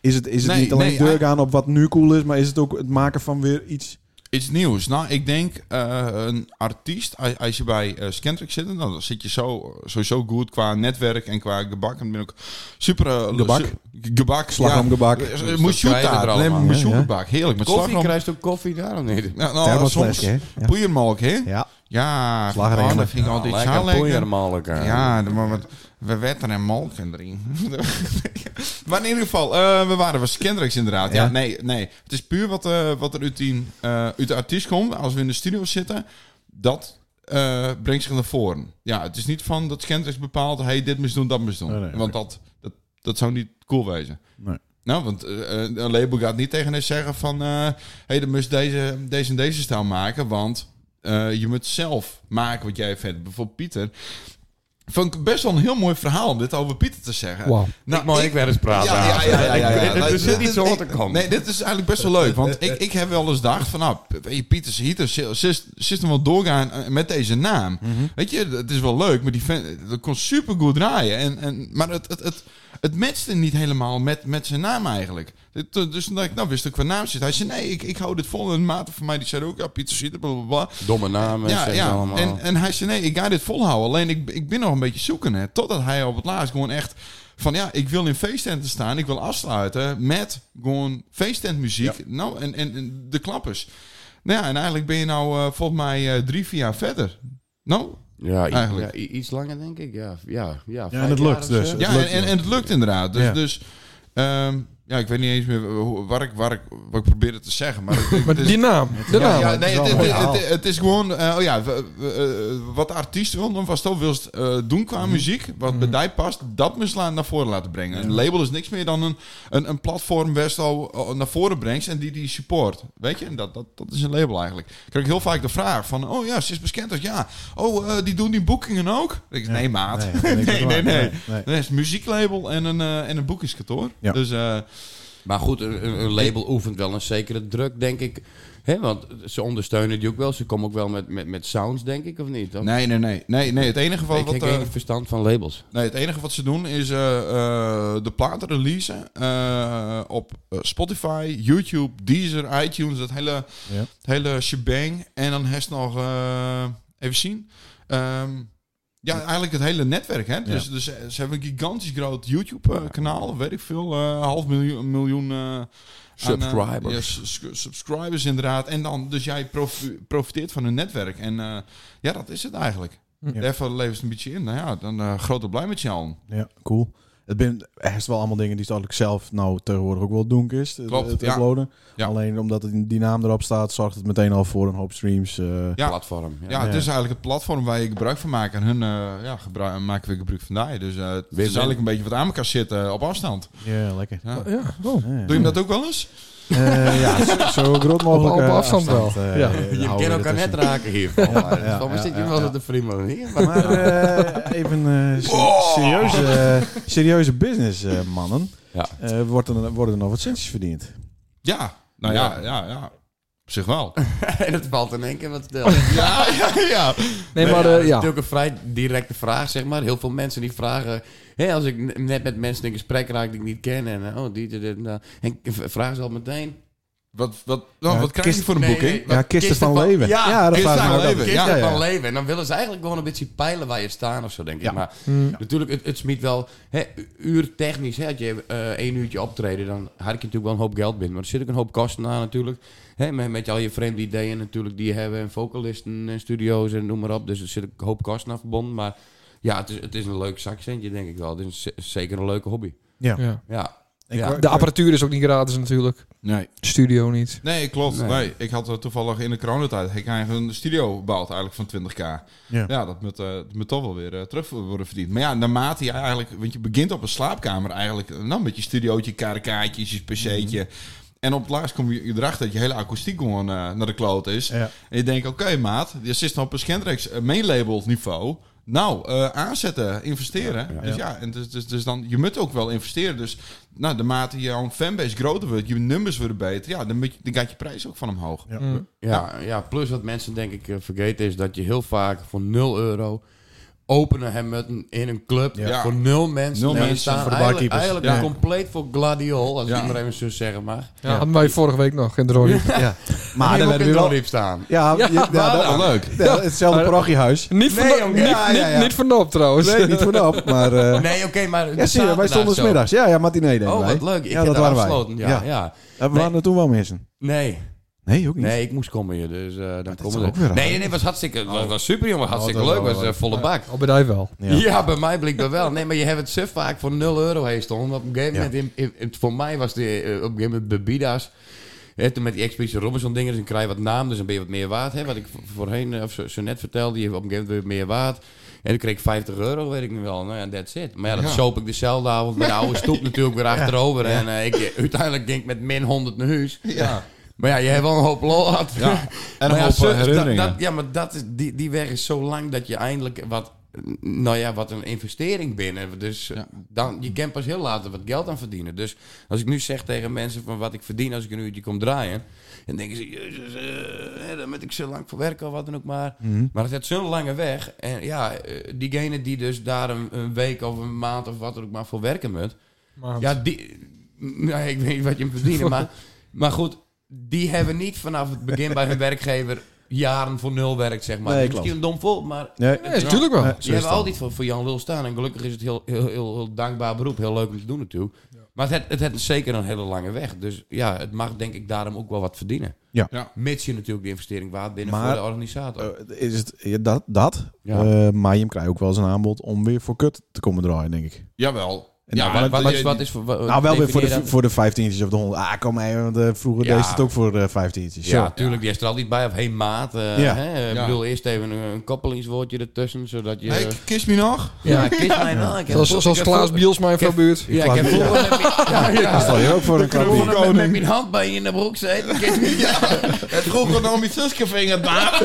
A: Is het, is het
E: Nee,
A: niet alleen
E: nee,
A: deur
E: hij-
A: gaan op wat nu cool is, maar is het ook het maken van weer iets?
E: Iets nieuws. Nou, ik denk eh, een artiest, als- als je bij eh Scantric zit, dan- dan zit je zo, sowieso goed qua netwerk en qua gebak. En ben ook super... eh,
A: Gebak?
E: su- gebak,
A: Slagroomgebak.
E: Ja. Eh, eh,
D: Dat
E: Moussouka,
D: krijg je er
E: alleen maar
D: allemaal.
E: moussouka
A: Ja, ja.
E: gebak. Heerlijk, met
D: Koffie
E: slagroom.
D: krijgt ook koffie daarom niet.
E: Ja, nou,
A: Thermosfles,
E: soms
A: hè? Ja.
E: poeiermelk, hè? Ja,
A: Ja. Slagroom.
E: ja ah, dat vind ik altijd zo lekker.
D: Ja.
E: Ja, de- maar wat, we wetten en molken erin. maar in ieder geval, eh, we waren we Skendrix inderdaad. Ja.
A: Ja.
E: nee, nee. Het is puur wat, eh, wat er uit, die, eh, uit de artiest komt. Als we in de studio zitten, dat eh, brengt zich naar voren. Ja, het is niet van dat Skendrix bepaalt, hey, dit moest doen, dat moest doen.
A: Nee, nee, oké.
E: want dat, dat, dat zou niet cool wezen.
A: Nee.
E: Nou, want eh, eh, een label gaat niet tegen hen zeggen van... eh hey, dan moest deze, deze en deze stijl maken, want... eh, je moet zelf maken wat jij vindt. Bijvoorbeeld Pieter. Vond ik best wel een heel mooi verhaal om dit over Pieter te zeggen. Nou,
B: Wauw.
D: ik mag ik weer eens praten.
E: Ja, ja, ja, ja, ja, ja.
D: Er zit
E: Dit-
D: iets over te
E: dit-
D: komen.
E: Nee, dit is eigenlijk best wel leuk. Want ik, ik heb wel eens gedacht van... Nou, weet je, Pieter Schieten, zit hem wel doorgaan eh, met deze naam. Weet je, het is wel leuk, maar die vent, dat kon super goed draaien. En, en, maar het, het, het, het matchte niet helemaal met, met zijn naam eigenlijk. Dit- Dus toen dacht ik, nou wist ik qua naam zit. Hij zei, nee, ik, ik hou dit vol in mate van mij. Die zei ook, ja, Pieter Schieten, bla, bla, bla.
D: Domme namen,
E: Ja,
D: zeggen ze
E: ja.
D: allemaal.
E: En, en hij zei, nee, ik ga dit volhouden. Alleen ik, ik ben nog een beetje zoeken. Hè. Totdat hij op het laatst gewoon echt van, ja, ik wil in feesttenten staan. Ik wil afsluiten met gewoon feesttentmuziek. Nou, en, en, en de klappers. Nou ja, en eigenlijk ben je nou eh, volgens mij eh, drie, vier jaar verder. Nou,
D: ja, i-
E: eigenlijk.
D: ja, i- iets langer denk ik. Ja, ja, ja,
A: en
D: vijf
A: het
D: jaar
A: lukt
D: of
A: dus.
D: zo.
A: Het
E: ja, en,
A: lukt
E: en,
A: wel.
E: en het lukt inderdaad. Dus,
A: Ja.
E: dus ehm, ja, ik weet niet eens meer hoe- waar ik, waar ik, wat ik probeerde te zeggen. Maar, het-
B: Maar
E: het is-
B: die naam. De
E: Ja,
B: naam.
E: ja, nee, het,
A: wel
E: het-
A: een mooi
E: het- het- het is gewoon, eh, oh ja, we- we, eh, wat de artiest wil, dan vast ook wilst eh, doen qua muziek, wat bij die past, dat moet je la- naar voren laten brengen. Een label is niks meer dan een, een, een platform waar je het al eh, naar voren brengt en die die support. Weet je, en dat, dat, dat is een label eigenlijk. Ik krijg heel vaak de vraag van, oh ja, ze is bekend als ja, oh, eh, die doen die boekingen ook? Ik, nee maat, nee, nee, nee. nee,
A: nee.
E: Dat is een muzieklabel en een, eh, en een boekingskantoor.
A: Ja.
E: Dus eh,
D: Maar goed, een, een- een label oefent wel een zekere druk, denk ik. hè want ze ondersteunen die ook wel. Ze komen ook wel met, met, met sounds, denk ik, of niet? Of-
E: nee, nee, nee, nee, Oh. nee. Het enige wat...
D: ik
E: wat
D: heb
E: eh,
D: geen verstand van labels.
E: Nee, het enige wat ze doen is eh, eh, de platen releasen eh, op eh, Spotify, YouTube, Deezer, iTunes, dat hele,
A: Ja.
E: het hele shebang. En dan heeft nog, eh, even zien, ehm, Ja, eigenlijk het hele netwerk. Hè? Dus, dus eh, ze hebben een gigantisch groot YouTube-kanaal, weet ik veel. eh, half miljoen, miljoen eh, aan, eh,
A: Subscribers.
E: ja, s- s- subscribers, inderdaad. En dan, dus jij prof- profiteert van hun netwerk. En eh, ja, dat is het eigenlijk.
A: Ja.
E: Daarvoor leven ze een beetje in. Nou ja, dan eh grote blij met je allen.
A: Ja, cool. Het zijn echt wel allemaal dingen die eigenlijk zelf nou tegenwoordig ook wel doen is. het-
E: Klopt,
A: het
E: ja.
A: uploaden.
E: Ja.
A: Alleen omdat het, die naam erop staat, zorgt het meteen al voor een hoop streams. eh,
E: Ja.
D: Platform. Ja.
E: Ja, het is eigenlijk het platform waar je gebruik van maakt. En hun eh, ja, gebru- maken weer gebruik van daar. Dus eh het is eigenlijk een beetje wat aan elkaar zitten op afstand.
A: Ja, lekker.
E: Ja.
B: Ja, oh.
A: Ja,
E: Doe je dat ook wel eens?
A: Eh, ja, zo, zo groot mogelijk.
B: Op- op
A: eh,
B: afstand wel.
A: eh,
B: Ja.
A: houden
D: Je
A: we
D: kan elkaar
A: ertussen.
D: net raken hiervan. Ja,
A: ja,
D: Waarom
A: ja,
D: zit je
A: ja,
D: wel
A: ja.
D: op de prima manier?
A: Maar eh, even eh, se- serieuze, eh, serieuze business, eh, mannen.
D: Ja.
A: Eh, wordt er, worden er nog wat centjes verdiend?
E: Ja. Nou ja, ja, ja. Op zich wel.
D: eh, En het valt in één keer wat stil.
E: ja, ja, ja.
B: Nee, maar
D: dat
B: eh,
D: is
B: ja.
D: natuurlijk een vrij directe vraag, zeg maar. Heel veel mensen die vragen... Hé, als ik n- net met mensen in gesprek raak die ik niet ken... en eh, oh, die, dit, dit, en dat. En ik v- vragen ze al meteen...
E: Wat, wat, nou,
A: Ja,
E: wat krijg je
A: kist-
E: voor een
D: Nee,
E: boeking?
D: nee,
A: Ja,
D: wat-
A: kisten van leven.
D: Ja,
A: Ja, dat
E: vraag ik me ook af.
D: Kisten
A: Ja, ja.
D: van leven. En dan willen ze eigenlijk gewoon een beetje peilen waar je staat of zo, denk ik.
A: Ja.
D: Maar
B: Mm.
D: natuurlijk, het, het smiet wel... Hè, u- uurtechnisch, hè, had je eh, één uurtje optreden... dan had ik natuurlijk wel een hoop geld binnen. Maar er zit ook een hoop kosten aan natuurlijk. Hè, met, met al je vreemde ideeën natuurlijk die je hebben... en vocalisten en studio's en noem maar op. Dus er zit ook een hoop kosten aan verbonden. Maar ja, het is, het is een leuk zakcentje, denk ik wel. Het is z- zeker een leuke hobby.
B: Ja.
D: Ja.
A: Ik
D: ja.
A: wou-
B: De apparatuur is ook niet gratis natuurlijk.
E: Nee.
B: De studio niet.
E: Nee, klopt. Nee.
D: Nee.
E: Ik had eh, toevallig in de coronatijd heb ik eigenlijk een studio gebouwd eigenlijk van 20k.
A: Ja.
E: Ja, dat moet, eh, dat moet toch wel weer eh, terug worden verdiend. Maar ja, naarmate je eigenlijk... Want je begint op een slaapkamer eigenlijk. eh, Nou, met je studiootje, karrekaartjes, je pc'tje. En op het laatst kom je erachter dat je hele akoestiek gewoon eh, naar de kloot is.
A: Ja.
E: En je denkt, oké maat, je zit nou op een Schendrex eh, mainlabel niveau. Nou, eh, aanzetten, investeren. Dus ja, en dus, dus, dus dan, je moet ook wel investeren. Dus nou, de mate jouw fanbase groter wordt, je nummers worden beter. Ja, dan, moet je, dan gaat je prijs ook van omhoog.
A: Ja.
B: Mm.
D: Ja, ja, plus wat mensen denk ik eh, vergeten is dat je heel vaak voor 0 euro openen hem met een- in een club
E: Ja.
D: voor nul mensen.
E: Nul
D: En je
E: mensen
D: staat
E: voor de
D: eigenlijk,
A: barkeepers.
D: eigenlijk
E: Ja.
D: compleet voor gladiool, als
E: Ja.
D: ik maar even zo zeggen
A: Ah,
D: mag.
B: Ja, hadden wij vorige week nog in de rode.
A: Ja.
D: Maar
A: Maar
D: dan
A: dan
D: heb
A: werden
D: ik
A: we
D: wel
A: wel...
D: diep staan.
A: Ja, ja, ja, dat-
E: wel leuk.
A: ja, hetzelfde parochiehuis.
B: Niet van
D: Nee,
B: de-
D: jongen.
B: niet-
A: Ja, ja, ja.
B: niet- niet van de op trouwens.
A: Nee, niet voor de op, maar... eh,
D: Nee, oké, maar... de
A: ja, zie je, wij
D: zaterdag
A: stonden
D: zo.
A: smiddags. Ja, ja, matinee deden
D: Oh,
A: wij.
D: wat leuk. Ik
A: ja,
D: heb
A: dat
D: daar
A: waren wij.
D: afgesloten. Ja, ja.
A: Ja, We waren er toen wel missen.
D: Nee,
A: Nee, ook niet.
D: nee, ik moest komen hier, dus eh, dan
A: dat is
D: komen
A: ook weer
D: we.
A: raar. Oh.
D: Nee, nee, nee, was hartstikke... Was, was super, jongen. Hartstikke
A: dat
D: leuk.
A: wel,
D: Was eh, volle bak.
B: Al bij die wel.
A: Ja.
D: Ja. bij mij blijkbaar wel. Nee, maar je hebt het suf vaak voor 0 euro heen stonden. Want Op een gegeven moment, in, in- in- voor mij was de, eh, op een gegeven moment Bebida's. Hè, toen met die Expeditie Robinson dingen, dus dan krijg je wat naam, dus dan ben je wat meer waard. Hè? Wat ik vo- voorheen, eh, of zo, zo net vertelde, je hebt op een gegeven moment weer meer waard. En dan kreeg ik 50 euro, weet ik nu wel. Nou ja, that's it. Maar ja, dat
E: Ja.
D: soop ik dezelfde avond bij de oude stoep natuurlijk weer achterover. En eh, ik, uiteindelijk ging ik met min 100 naar huis.
E: Ja.
D: Maar ja, je hebt wel een hoop lol gehad.
E: Ja. En
D: Maar
E: een
D: ja,
E: hoop
D: zo-
E: eh, herinneringen.
D: dat- dat- ja, maar dat is, die, die weg is zo lang dat je eindelijk wat, nou ja, wat een investering binnen. Dus eh,
E: Ja.
D: dan, je kan pas heel later wat geld aan verdienen. Dus als ik nu zeg tegen mensen van wat ik verdien als ik een uurtje kom draaien, dan denken ze, jezus, eh, hè, daar moet ik zo lang voor werken of wat dan ook maar. Maar het heeft zo'n lange weg. En ja, eh, diegene die dus daar een, een week of een maand of wat dan ook maar voor werken moet,
B: Maar
D: ja, die. Nee, ik weet niet wat je hem verdienen, maar. Maar goed, die hebben niet vanaf het begin bij hun werkgever jaren voor nul werkt, zeg maar.
A: Nee,
D: Misschien
A: klopt.
D: een dom vol, maar.
A: Nee.
B: nee, is natuurlijk wel.
A: Nee.
D: Die hebben altijd voor, voor Jan Lul staan. En gelukkig is het heel, heel, heel, heel dankbaar beroep. Heel leuk om te doen natuurlijk. Maar het, het heeft zeker een hele lange weg. Dus ja, het mag denk ik daarom ook wel wat verdienen.
A: Ja.
E: Ja.
D: Mits je natuurlijk de investering waard binnen
A: Maar-
D: voor de organisator.
A: Eh, is het, ja, dat, dat.
D: Ja.
A: Eh, maar je krijgt ook wel eens een aanbod om weer voor kut te komen draaien, denk ik.
E: Jawel.
A: En
E: ja,
A: nou,
D: wat, wat,
E: dat- dat-
D: is, dus wat is voor... wat-
E: Oh,
A: nou, wel weer voor de,
D: definieer dat-
A: voor de 15 of de 100. Ah, kom maar, want eh, vroeger
D: Ja.
A: deed ze het ook voor eh 15
D: Ja, tuurlijk. Die is er altijd bij. Of hey maat. eh,
A: Ja.
D: hè? Ik
E: Ja.
D: bedoel, eerst even een, een koppelingswoordje ertussen, zodat je...
E: Hey, kiss me nog?
D: ja, kies mij wel. Ik heb-
B: Zoals, zoals
D: ik heb
B: Klaas
D: voor-
B: Bielsma in
D: heb-
B: jouw buurt.
D: Ja, ik heb vroeger met mijn- ja, ja.
A: Dat je ook voor een
D: Ik heb
A: klapje.
D: vroeger met- met mijn hand bij je in de broek zitten. Kies me.
E: Het vroeger nog mijn zusje vinger daar.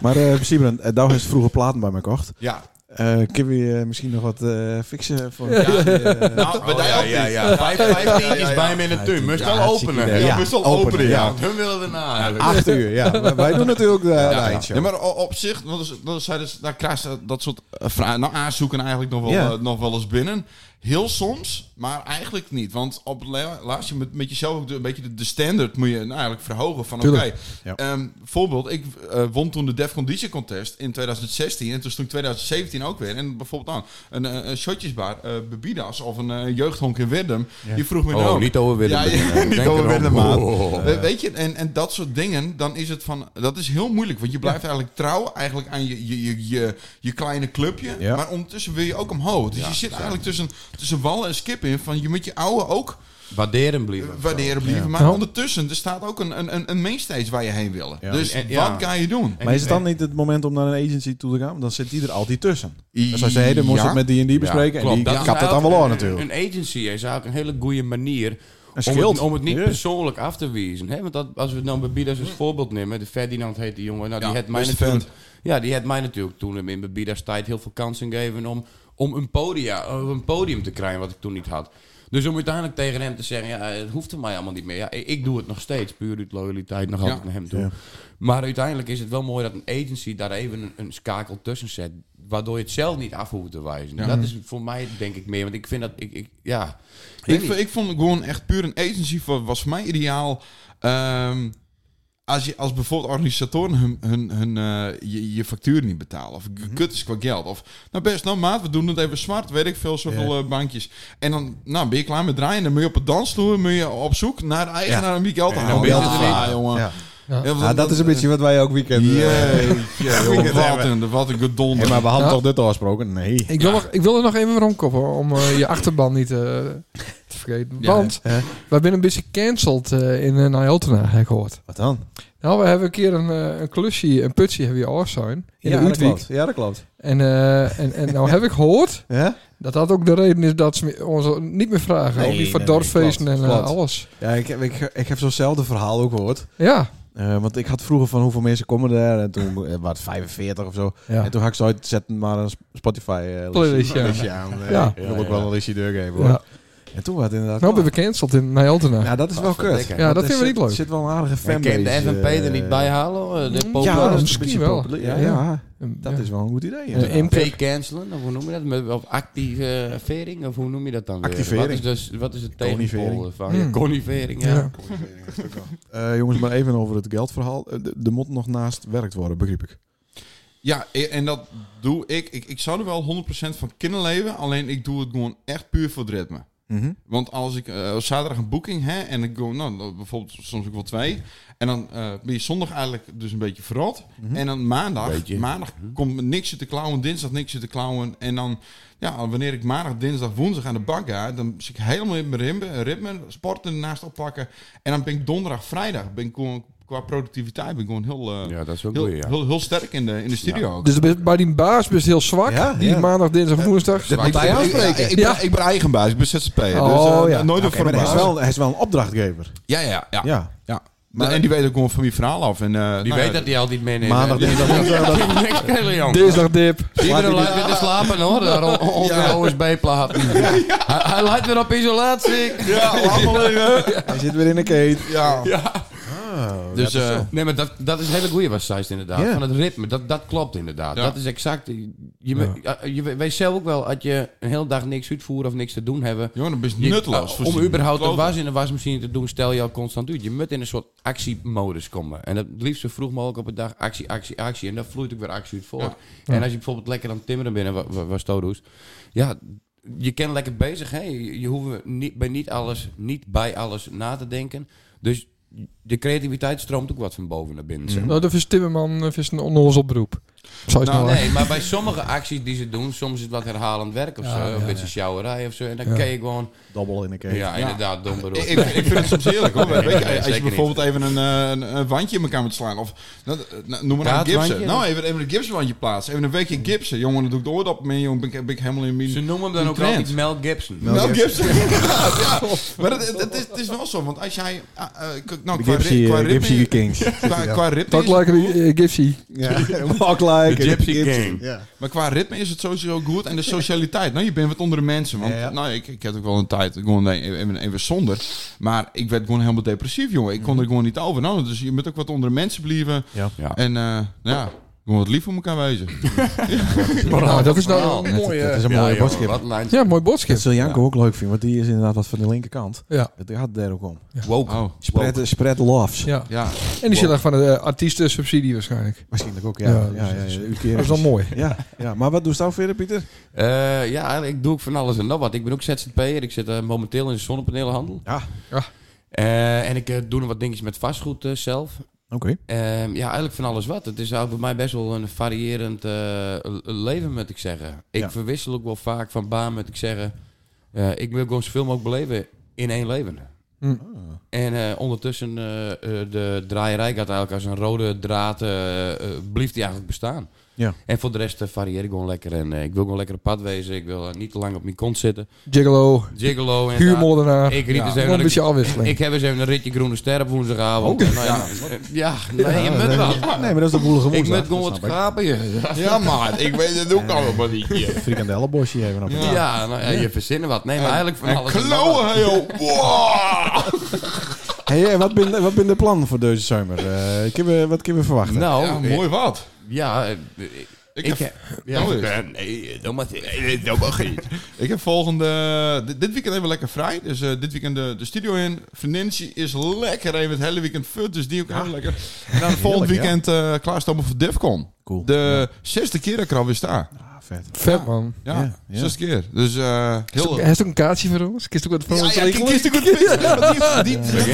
A: Maar eh Sibren, eh, daar is vroeger platen bij me gekocht.
E: Ja.
A: Eh kunnen we je misschien nog wat eh, fixen? Voor...
E: Ja, eh, nou, bij
D: Ja,
E: jou
D: ja, ja. Vijf, vijf tientjes
E: ja.
D: bij hem in de tuin. Moest wel openen.
A: idee. Ja,
D: Ja, moest wel
A: openen,
D: openen,
A: ja.
D: ja. Want hun willen erna. eigenlijk.
A: Acht uur, ja. Maar Wij doen natuurlijk eh, de, de
E: Ja,
A: eindshow.
E: Ja, maar o- op zich, want dat is- dat is, zij dus, daar krijg je dat soort eh, vragen, nou, aanzoeken eigenlijk nog wel,
A: Ja.
E: eh, nog wel eens binnen. Heel soms, maar eigenlijk niet. Want op het la- laatst je met, met jezelf ook de, een beetje de, de standaard moet je nou eigenlijk verhogen. Van oké,
A: Tuurlijk. Ja.
E: ehm, voorbeeld, ik eh, won toen de Defcon DJ Contest in 2016. En toen stond ik 2017 ook weer. En bijvoorbeeld dan een, eh, een shotjesbar, eh Bebidas of een eh, jeugdhonk in Werdum. Die vroeg me
D: Oh,
E: nou...
D: niet over Willem.
E: Ja, ja,
D: Denk
E: niet over
D: erom.
E: Werdum, maat.
D: Oh.
A: Eh,
E: We- Eh, Weet je, en, en dat soort dingen, dan is het van... Dat is heel moeilijk, want je blijft eigenlijk trouw eigenlijk aan je, je, je, je, je kleine clubje.
A: Ja.
E: Maar ondertussen wil je ook omhoog. Dus je zit eigenlijk tussen, tussen wal en skip in. Van je moet je oude ook
D: Waarderen blijven.
E: waarderen, blijven. Maar
B: Ja.
E: ondertussen, er staat ook een, een, een- een mainstage waar je heen wil.
A: Ja.
E: Dus
D: En- ja.
E: wat ga je doen?
A: Maar is het dan niet het moment om naar een agency toe te gaan? Want Dan zit die er altijd tussen.
E: I-
A: Dus als je hey, dan moest
E: ja.
A: het met die en die bespreken. en die kapt het dan wel aan natuurlijk.
D: nou Een agency is eigenlijk een hele goede manier om
A: schild.
D: het, om het niet
A: Ja.
D: persoonlijk af te wijzen. Hè? Want dat, als we het nou bij Bidas als voorbeeld nemen, de Ferdinand heet die jongen, nou, die
E: Ja,
D: had mij
E: beste
D: natuurlijk, ja, die had mij natuurlijk toen in Bidas tijd heel veel kansen gegeven om, om een, podia, om een podium te krijgen wat ik toen niet had. Dus om uiteindelijk tegen hem te zeggen, ja, het hoeft er mij allemaal niet meer. Ja, ik, ik doe het nog steeds, puur uit loyaliteit nog altijd naar hem toe. Maar uiteindelijk is het wel mooi dat een agency daar even een, een schakel tussen zet. Waardoor je het zelf niet af hoeft te wijzen. Dat is voor mij denk ik meer. Want ik vind dat, ik, ik ja... weet
E: Ik,
D: niet.
E: v- ik vond gewoon echt puur een agency voor, was voor mij ideaal. Ehm, als, je, als bijvoorbeeld organisatoren hun, hun, hun, eh, je, je factuur niet betalen. Of k- kut is qua geld. Of nou best, nou maat, we doen het even zwart. Weet ik veel, zoveel eh, bankjes. En dan nou, ben je klaar met draaien. Dan moet je op het dansvloer moet je op zoek naar de eigenaar om je geld te halen.
A: belt
E: Ja,
A: het
E: ja, jongen.
A: Ja.
E: want-
H: Ja, dat is een beetje wat wij ook weekend... eh,
E: Jeetje, joh, wat een, wat een
A: Hey,
E: gedonder.
A: maar we hadden
B: Ja.
A: toch dit al afgesproken? Nee.
B: Ik wil, nog, ik wil er nog even rondkoppen hoor, om eh, je achterban niet eh, te vergeten.
E: Ja,
B: Want
A: hè?
B: wij zijn een beetje gecanceld eh, in uh, Nijltena, heb ik gehoord.
A: Wat dan?
B: Nou, we hebben een keer een, eh, een klusje, een putje hebben we af zijn. In de
H: dat
B: Utrecht.
H: klopt. Ja, dat klopt.
B: En, eh, en, en nou heb ik gehoord
A: Ja?
B: dat dat ook de reden is dat ze me- ons niet meer vragen.
A: Nee,
B: ook niet voor
A: nee, nee,
B: dorpfeesten
A: klopt,
B: en eh,
A: klopt.
B: alles.
A: Ja, ik, heb- ik, ik heb zo'nzelfde verhaal ook gehoord.
B: Ja.
A: Eh, want ik had vroeger van hoeveel mensen komen daar. En toen eh, waren het 45 of zo.
B: ja.
A: En toen had ik ze uitzetten maar een Sp- Spotify eh,
B: Playlist, ja.
A: listje aan. Eh,
B: Ja.
A: Ik wil ook wel een listje doorgeven hoor.
B: Ja.
A: En toen was het inderdaad...
B: Nou ben we gecanceld in Nijltena.
A: ja, dat is wel kut.
D: Ja,
A: Want
B: dat
A: er
B: vinden we
A: zit-
B: niet leuk.
A: zit wel een aardige
D: En
A: fanbase.
D: kan de FNP er niet
A: eh,
D: bij halen? Eh, De
B: Mm,
A: Ja,
D: populair-
A: dat is
B: Misschien
A: misschien
B: wel.
A: wel. Ja,
B: Ja, ja.
A: ja, dat
B: Ja.
A: is wel een goed idee.
B: Een
A: inderdaad.
B: impact.
D: Pre-cancelen, of hoe noem je dat? Met, of activering, of hoe noem je dat dan weer?
A: Activering.
D: Wat is, dus, wat is het
A: Conivering.
D: tegenpool van?
B: Hmm.
D: Ja, conivering, ja.
B: Ja.
A: Eh, jongens, maar even over het geldverhaal. Eh, de- Er moet nog naast werkt worden, begreep ik.
E: Ja, e- en dat doe ik. Ik, ik zou er wel 100% van kunnen leven. Alleen ik doe het gewoon echt puur voor het ritme.
D: Mhm.
E: Want als ik eh, op zaterdag een boeking hè en ik go, nou, bijvoorbeeld soms ook wel twee. En dan eh, ben je zondag eigenlijk dus een beetje verrot. En dan maandag,
D: Mhm. Beetje. Mhm.
E: maandag komt niks zitten klauwen, dinsdag niks zitten klauwen. En dan, ja, wanneer ik maandag, dinsdag, woensdag aan de bak ga, dan zit ik helemaal in mijn ritme, ritme sporten ernaast oppakken. En dan ben ik donderdag, vrijdag, ben ik gewoon qua productiviteit ben ik gewoon heel, eh,
D: Ja, dat is ook
E: heel,
D: goed, ja.
E: heel, heel sterk in de, in de studio ook.
B: Dus best- bij die baas best heel zwak.
H: Ja,
B: die
H: ja.
B: maandag, dinsdag, woensdag.
E: Ik ben- ik- Ik, ik,
B: Ja.
E: ben, ik ben eigen baas, ik ben ZZP'er.
B: Oh,
E: dus, eh,
B: ja.
E: Nooit
A: Oké,
E: op voor
A: maar
E: een
A: hij is,
E: baas.
A: wel, hij is wel een opdrachtgever.
E: Ja, ja,
D: Ah.
E: ja. ja.
A: Ja.
E: Maar, en die weet ook gewoon van die verhaal af. En, eh,
D: Die
E: nou
D: weet
E: ja,
D: dat hij al niet meeneemt.
A: Maandag,
D: Die
A: dinsdag, woensdag.
D: is niks killen, jong.
B: Dinsdag dip.
D: Iedereen lijkt weer te slapen, hoor. Daar o- o- op de OSB-plaat. Hij, hij lijkt weer op isolatie.
A: Hij zit weer in een keet.
E: Ja. Dus,
A: dat is
E: eh,
A: zo.
D: Nee, maar dat, dat is een hele goeie wat zij is inderdaad.
A: Ja.
D: Van het ritme, dat, dat klopt inderdaad.
E: Ja.
D: Dat is exact... Je, me- je we- weet zelf ook wel, als je een hele dag niks uitvoert of niks te doen hebben...
E: Jongen, dan ben je
D: je- eh,
E: nutteloos.
D: om überhaupt een
E: Kloten.
D: was in de wasmachine te doen, stel je al constant uit. Je moet in een soort actiemodus komen. En dat het liefst zo vroeg mogelijk op een dag actie, actie, actie. En dan vloeit ook weer actie uit voort. En als je bijvoorbeeld lekker aan het timmeren binnen was wa, wa, Todo's, Ja, je kan lekker bezig. Hè? Je, je hoeft niet, bij niet alles, niet bij alles na te denken. Dus de creativiteit stroomt ook wat van boven naar binnen. zeg maar.
B: Nou, dat is Timmerman eh, is een onnozel beroep. Zo is het
E: Nou,
B: nou,
D: Nee, maar bij sommige acties die ze doen, soms is het wat herhalend werk of zo. een beetje sjouwerij of zo. En dan kan je gewoon...
A: Dobbel in een keet.
D: Ja, inderdaad, dom beroep.
E: Ik, ik, ik vind het soms heerlijk hoor. Weet je,
D: nee,
E: als je
D: zeker
E: bijvoorbeeld even een, eh, een, een wandje in elkaar moet slaan. Of nou, nou, noem maar een
D: Draadwandje?
E: Gibson. Nou, even, even een Gibson wandje plaatsen. Even een weekje Gibson. Jongen, dan doe ik de oordappen mee. Jongen, ben ik, ben ik helemaal in mijn...
D: Ze noemen hem dan
E: Die
D: ook
E: trend.
D: altijd Mel Gibson.
E: Mel Gibson. ja, ja. Maar het, het, het is, het is wel zo. Want als jij... ah, eh, nou,
A: De
E: qua,
A: Gypsy,
E: ri- qua
A: eh,
E: ritme...
A: Gypsy Kings.
E: Qua, qua ritme
B: Talk
E: is het
B: like a
E: goed.
B: eh, gypsy.
A: Ja, walk like a
D: De Gypsy
A: gypsy.
D: King.
A: Ja.
E: Maar qua ritme is het sowieso goed. En de socialiteit. Nou, je bent wat onder de mensen. Want
A: Ja, ja.
E: Nou, ik, ik had ook wel een tijd gewoon nee, even, even zonder. Maar ik werd gewoon helemaal depressief, jongen. Ik kon er gewoon niet over. Nou, dus je moet ook wat onder de mensen blijven.
A: Ja.
D: Ja.
E: En eh, ja, Gewoon wat lief voor elkaar wezen.
B: Nou,
A: Oh,
B: dat is nou...
D: Moraal.
A: Net- dat is een mooie
D: jongen,
A: boskip.
D: Wat een lijntje.
B: Ja, mooi
A: Dat
B: boodschap.
A: zal Janko ook leuk vinden, want die is inderdaad wat van de linkerkant.
B: Ja.
A: Het gaat daar ook om.
D: Woke.
E: Oh,
A: Spread, spread loves.
B: Ja.
E: ja.
B: En die zullen van de eh, artiestensubsidie waarschijnlijk.
A: Waarschijnlijk ook, ja.
B: Ja,
A: ja,
B: dus
A: ja, ja,
B: dat is-
A: uitkering.
B: Dat is wel mooi.
A: Ja, ja, maar wat doe je nou verder, Pieter?
D: Eh, ja, ik doe ook van alles en nog wat. Ik ben ook ZZP'er. Ik zit eh, momenteel in de zonnepanelenhandel.
A: Ja.
B: Ja.
D: Eh, en ik eh, doe nog wat dingetjes met vastgoed eh, zelf.
A: Oké.
D: Ehm, ja, eigenlijk van alles wat. Het is eigenlijk bij mij best wel een variërend eh, l- leven, moet ik zeggen. Ik
A: Ja.
D: verwissel ook wel vaak van baan, moet ik zeggen. Eh, ik wil gewoon zoveel mogelijk beleven in één leven.
B: Hm.
D: En eh, ondertussen, eh, eh, de draaierij gaat eigenlijk als een rode draad, eh eh, blijft die eigenlijk bestaan.
A: Ja.
D: En voor de rest eh, varieer ik gewoon lekker. En eh, ik wil gewoon lekker op pad wezen. Ik wil eh, niet te lang op mijn kont zitten.
B: Gigolo,
D: Gigolo en...
B: huurmoordenaar.
D: Ik riep eens even
B: Gewoon
D: naar
B: een
D: de-
B: beetje afwisseling.
D: Ik heb eens even een ritje groene ster op woensdagavond.
E: Oh,
D: En, nou ja, ja, nee, je moet wel.
A: Nee, maar dat is de boelige
D: Ik
A: woensdag.
D: moet gewoon wat
A: Dat snap ik.
D: gapen. je.
E: ja, maar ik weet het ook allemaal niet.
A: Een frikandellenbosje even op.
E: Ja.
D: Ja, nou ja, je verzinnen wat. Nee, maar eigenlijk van
E: En
D: alles. en nog wat.
E: klauwen, joh. Wow.
A: Hey, eh, wat ben wat ben de plannen voor deze zomer? Eh, kunnen we- wat kunnen we verwachten?
D: Nou,
E: Ja, mooi wat.
D: Ja, eh, ik,
E: Ik
D: ik
E: heb,
D: ja,
E: Nou,
D: eh,
E: dus.
D: nee, dat mag niet. Dat mag niet.
E: ik heb volgende... Dit, dit weekend even lekker vrij. Dus eh, dit weekend de, de studio in. Financiën is lekker. Even het hele weekend fut. Dus die ook heel lekker. En dan volgend
A: Heerlijk, ja.
E: weekend eh klaarstomen voor DEFCON.
A: Cool.
E: De zesde keer dat ik er alweer sta.
A: Ah, vet.
B: Vet man.
E: Ja,
A: Ja, ja.
E: zesde keer. Dus eh heel...
B: Hij is ook een kaartje voor ons. Kist ook wat voor
E: Ja,
B: ons
E: ja,
B: regelen?
E: kies ook een dat, is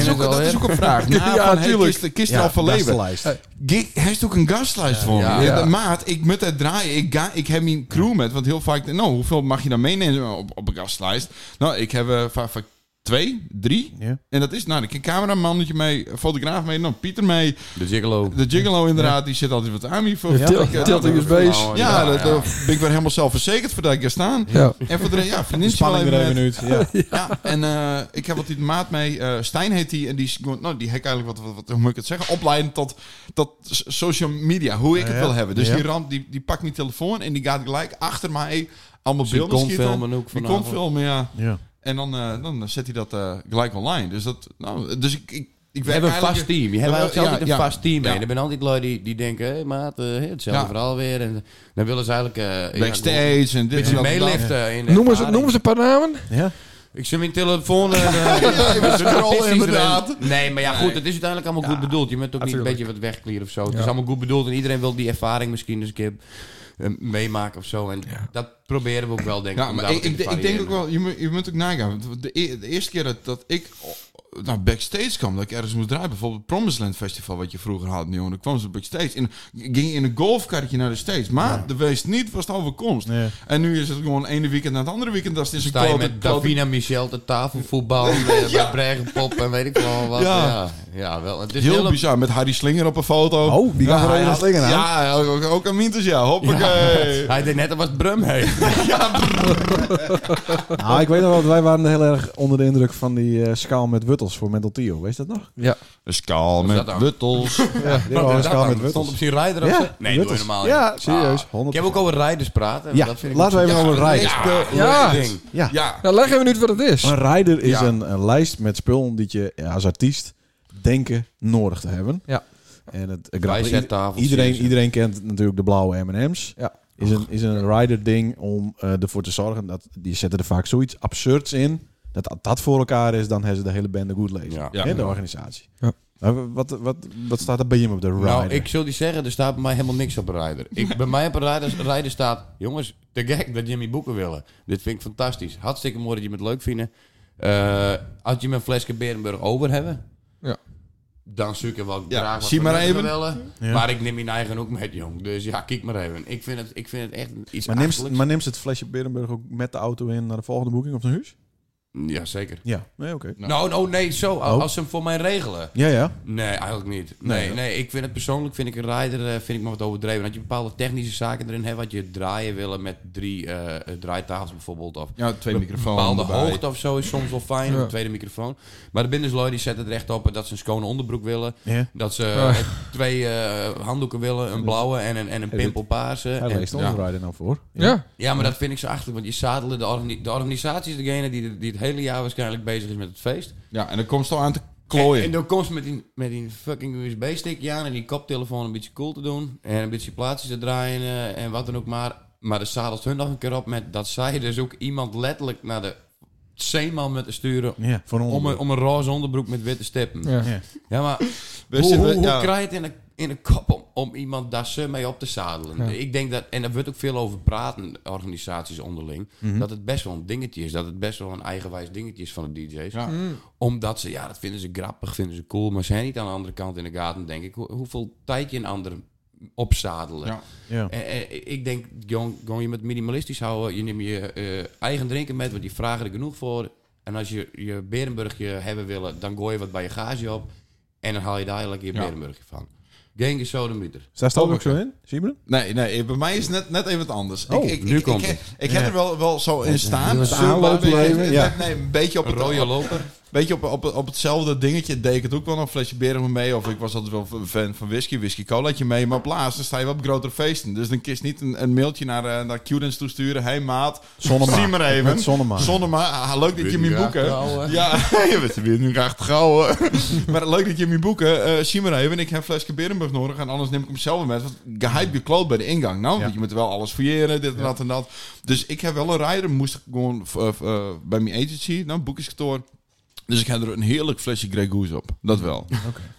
E: ook-
D: wel,
E: dat
D: hè?
E: is ook een vraag. Na
B: Ja,
E: van, hey,
B: tuurlijk.
E: kist- kist er al van leven.
A: gastenlijst.
E: Gig, hij is ook een gastlijst voor
D: Ja.
E: me.
B: Ja.
E: Maat, ik moet het draaien. Ik, ga, ik heb mijn crew met. Want heel vaak, nou, hoeveel mag je dan meenemen op, op een gastlijst? Nou, ik heb eh, vaak, vaak twee, drie.
A: Ja.
E: En dat is, nou, ik een cameramannetje mee, een fotograaf mee, nou, Pieter mee.
D: De gigolo.
E: De Gigolo inderdaad, die zit altijd wat aan hier voor. Ja,
B: Tilt-
E: ik, eh,
B: Tilt
E: nou, eh,
B: USB's.
E: ja, dat, eh, ben ik weer helemaal zelfverzekerd voor dat ik er staan.
B: Ja.
E: En voor de rest, ja,
A: De
E: vriendin
A: spanning er even
E: nu.
A: uit. Ja.
E: Ja, en eh, ik heb altijd een maat mee. eh, Stijn heet die. En die, is gewoon- nou, die hek eigenlijk, wat, wat, wat- hoe moet ik het zeggen? Opleiden tot, tot s- social media. Hoe ik het
A: Ja.
E: wil hebben. Dus
A: Ja.
E: die ramp, die, die pakt mijn telefoon. En die gaat gelijk achter mij allemaal
D: Die
E: beelden
D: kon
E: schieten.
D: filmen ook
E: Die
D: vanavond.
E: kon filmen, ja.
A: Ja.
E: En dan, eh, dan zet hij dat eh, gelijk online. Dus, dat, nou, dus ik, ik, ik
D: We
E: werk
D: hebben een
E: eigenlijk-
D: vast team. Je hebt
E: Ja,
D: altijd altijd
E: ja,
D: een vast team.
E: ja.
D: mee. Er zijn altijd lui die, die denken, hé maat, eh, hetzelfde
E: Ja.
D: verhaal weer. En dan willen ze eigenlijk... eh, ja, gewoon
E: Backstage en
D: een
E: dit en
D: beetje
E: dat. en dat.
D: meeliften. in de
B: Noem, eens,
D: ervaring.
B: noem eens een paar namen.
A: Ja.
D: Ik zit mijn telefoon... en, eh,
E: Ja, we scrollen
D: Precies,
E: inderdaad.
D: Ren. Nee, maar ja, goed, het is uiteindelijk allemaal goed bedoeld. Je bent ook niet een beetje wat wegklieren of zo. Het
B: Ja.
D: is allemaal goed bedoeld en iedereen wil die ervaring misschien eens een keer eh, meemaken of zo. En dat proberen we ook wel, denk ik.
E: Ja,
D: om
E: maar
D: daar
E: ik,
D: wat in
E: ik,
D: te
E: ik denk ook
D: variëren.
E: wel, je moet, je moet ook nagaan. Want De, e- de eerste keer dat, dat ik oh, naar backstage kwam, dat ik ergens moest draaien, bijvoorbeeld het Promisland Festival, wat je vroeger had, jongen, dan kwam ze backstage en ging je in een golfkarretje naar de stage. Maar de wees niet was het overkomst.
A: Nee.
E: En nu is het gewoon ene weekend na het andere weekend, dat is het een
D: Sta je
E: klote-
D: met
E: klote-
D: Davina Michel te tafel voetballen, eh, bij Bregenpop en weet ik wel wat.
E: Ja.
D: Ja, ja, wel. Het is
E: Heel
D: heel
E: bizar, met Harry Slinger op een foto.
A: Oh, die gaat er even slingen aan.
E: Ja, ook, ook aan Mintus, ja. Hoppakee.
D: Hij deed net als was Brum heen.
A: Nou, ik weet nog wel, wij waren heel erg onder de indruk van die eh, schaal met wuttels voor Mental Tio. Weet je dat nog?
B: Ja.
E: Een skaal met
D: dat dan?
E: wuttels.
A: Ja, een schaal met
D: stond
A: wuttels.
D: op zijn rijder of
A: Ja,
D: zo? Nee, doe
A: Wuttels.
D: helemaal niet. Ah,
A: Ja, serieus. 100%.
D: Ik heb ook over rijders praten.
A: Ja,
D: dat vind ik
A: laten we even over een rider.
E: Ja.
B: Ja.
D: ding.
A: Ja.
E: ja.
B: Nou, leg even uit wat het is.
A: Een rider is
E: Ja.
A: een, een lijst met spullen die je ja, als artiest denken nodig te hebben.
B: Ja.
A: En het,
D: Bijzettafeltjes.
A: iedereen, iedereen kent natuurlijk de blauwe M&M's.
B: Ja.
A: Is een, is een rider ding om eh, ervoor te zorgen dat die zetten er vaak zoiets absurds in. Dat als dat voor elkaar is, dan hebben ze de hele bende goed lezen.
D: Ja.
E: Ja.
A: Hè, de organisatie.
B: Ja.
A: Maar wat, wat, wat staat er bij je op de rider?
D: Nou, ik zul die zeggen, er staat bij mij helemaal niks op een rijder. Ik, bij mij op een rijder, rijder staat, jongens, te gek dat Jimmy boeken willen. Dit vind ik fantastisch. Hartstikke mooi dat je het leuk vindt. Eh als je me een flesje Berenburg over hebben,
B: Ja.
D: dan zoek ik wel
E: Ja,
D: graag wat
E: zie
D: van
E: maar
D: hun te
E: even.
D: willen. Maar ik neem mijn eigen ook met, jong. Dus ja, kijk maar even. Ik vind het, ik vind het echt iets
A: maar, neemt,
D: achterlijks.
A: maar neemt ze het flesje Berenburg ook met de auto in naar de volgende boeking of naar huis?
D: Ja, zeker.
A: Ja. Nee, oké.
D: Nou, nou, nee, zo.
A: Oh.
D: Als ze hem voor mij regelen.
A: Ja, ja.
D: Nee, eigenlijk niet. Nee,
A: hè?
D: nee, ik vind het persoonlijk, vind ik een rider, eh, vind ik maar wat overdreven. Dat je bepaalde technische zaken erin hebt, wat je draaien willen met drie eh, eh, draaitafels bijvoorbeeld. Of
E: Ja, twee microfoons.
D: bepaalde
E: erbij.
D: hoogte of zo is soms wel fijn, een tweede microfoon. Maar de binderslui die zetten het recht op dat ze een schone onderbroek willen.
A: Ja.
D: Dat ze eh, twee eh, handdoeken willen, een blauwe en een, en een pimpelpaarse.
A: Hij
D: En-
A: leest onze rider nou voor.
B: Ja.
D: ja, maar dat vind ik zo achterlijk, want je zadelen de, organi- de organisatie is degene die, die het hele jaar waarschijnlijk bezig is met het feest.
E: Ja, en dan komt het al aan te klooien.
D: En, en dan komt ze met die, met die fucking USB-stickje aan en die koptelefoon een beetje cool te doen. En een beetje plaatjes te draaien eh, en wat dan ook maar. Maar de zadelt hun nog een keer op met dat zij dus ook iemand letterlijk naar de zeeman met te sturen.
A: Ja, voor
D: Om een,
A: ons.
D: om een roze onderbroek met witte stippen. Ja,
B: Ja.
A: Ja.
D: maar
E: We
D: hoe,
E: zitten-
D: hoe, hoe
E: ja.
D: krijg je het in de, in de kop om, om iemand daar ze mee op te zadelen?
B: Ja.
D: Ik denk dat, en daar wordt ook veel over praten, organisaties onderling,
E: Mhm.
D: dat het best wel een dingetje is. Dat het best wel een eigenwijs dingetje is van de DJ's.
E: Ja.
D: Omdat ze, ja, dat vinden ze grappig, vinden ze cool, maar ze zijn niet aan de andere kant in de gaten, denk ik. Hoe- hoeveel tijd je een ander opzadelen.
E: Ja.
A: Ja.
D: Eh, eh, ik denk, gewoon gewoon je moet minimalistisch houden. Je neemt je eh, eigen drinken met, want die vragen er genoeg voor. En als je je Berenburgje hebben willen, dan gooi je wat bij je gage op. En dan haal je daar eigenlijk je
E: Ja.
D: Berenburgje van. Gang is sodemieter.
A: Dus daar staat ook zo in, Simon?
E: Nee, nee, eh, bij mij is het net, net even wat anders.
A: Oh,
E: ik, ik,
D: nu
E: ik,
D: komt
E: ik,
D: het.
E: ik heb er wel, wel zo in staan.
H: het
E: Zo, maar
H: aanlopen
E: een beetje-
H: leven, ja.
E: Nee, een beetje op
D: Een
E: het
D: rode loper.
E: beetje op, op, op hetzelfde dingetje deed ik het ook wel een flesje beren mee. Of ik was altijd wel een fan van whisky, whisky colaatje mee. Maar op laatst dan sta je wel op grotere feesten. Dus dan kist niet een, een mailtje naar, eh naar Q-Dance toe sturen. Hey maat,
A: Zonnema.
E: zie maar even.
A: Met Zonnema.
E: Zonnema, ah, leuk dat je me boeken.
D: trouwen.
E: Ja, je bent weer nu graag trouwen. maar leuk dat je me boeken. Eh zie maar even, ik heb een flesje Berenburg nodig. En anders neem ik hem zelf met. Want gehype je kloot bij de ingang. Nou, want je moet wel alles fouilleren, dit en dat en dat. Dus ik heb wel een rider. Moest ik gewoon eh, eh, bij mijn agency, nou, boekingskantoor. Dus ik heb er een heerlijk flesje Grey Goose op. Dat wel.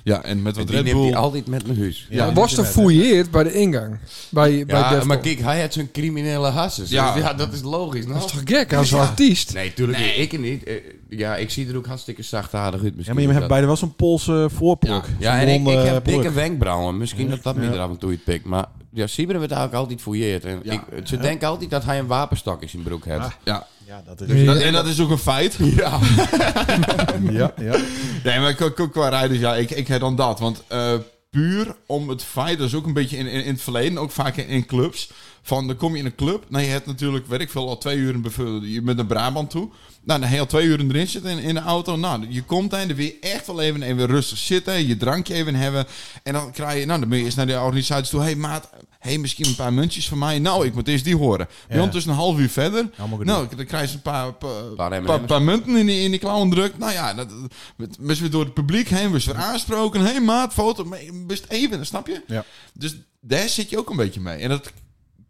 E: Ja, en met wat
D: Die
E: Red
D: neemt hij
E: Bull.
D: altijd met mijn huis.
B: Ja, was er fouilleerd bij de ingang. Bij, bij
D: Ja,
B: Defcon.
D: maar kijk, hij had zijn criminele hassen. Ja.
E: Ja.
D: ja, dat is logisch. Nou.
B: Dat is toch gek als artiest?
D: Nee, tuurlijk niet. Ik niet. Eh, Ja, ik zie er ook hartstikke zachtaardig uit
A: Ja,
D: misschien.
A: maar je hebt
D: Dat-
A: beide wel zo'n Poolse voorpluk.
D: Ja,
A: Zo'n
D: en ik, ik
A: blonde
D: heb
A: eh, pluk.
D: dikke wenkbrauwen. Misschien dat dat minder af en toe iets pikt. Maar ja, Siberen werd eigenlijk altijd fouilleerd. En
E: Ja.
D: ik, ze denken altijd dat hij een wapenstok in zijn broek heeft.
E: Ja.
A: Ja, dat
B: Ja.
A: is...
E: Dat- en dat is ook een feit. Ja.
A: Ja, ja.
E: Nee, maar qua- qua, qua rijders, ja, ik, ik heb dan dat. Want eh, puur om het feit, dat is ook een beetje in, in, in het verleden, ook vaak in, in clubs. Van, dan kom je in een club, nou je hebt natuurlijk, weet ik veel, al twee uur een bevul- je bent naar Brabant toe. Nou, dan heb je al twee uur erin zitten in, in de auto. Nou, je komt en dan wil je echt wel even, even rustig zitten, je drankje even hebben. En dan krijg je, nou, dan ben je eerst naar de organisatie toe. Hé hey, maat, hey, misschien een paar muntjes van mij. Nou, ik moet eerst die horen.
A: Ja.
E: Ja. Ondertussen een half uur verder.
A: Allemaal gedoe.
E: Nou, dan krijg je een paar, paar,
D: Paar
E: paar,
D: M&M's.
E: paar munten in die, in die klauwen drukt. Nou ja, dat, dat- we zijn weer door het publiek heen, we zijn weer aansproken. Hé hey, maat, foto, maar je best even, snap je?
A: Ja.
E: Dus daar zit je ook een beetje mee. En dat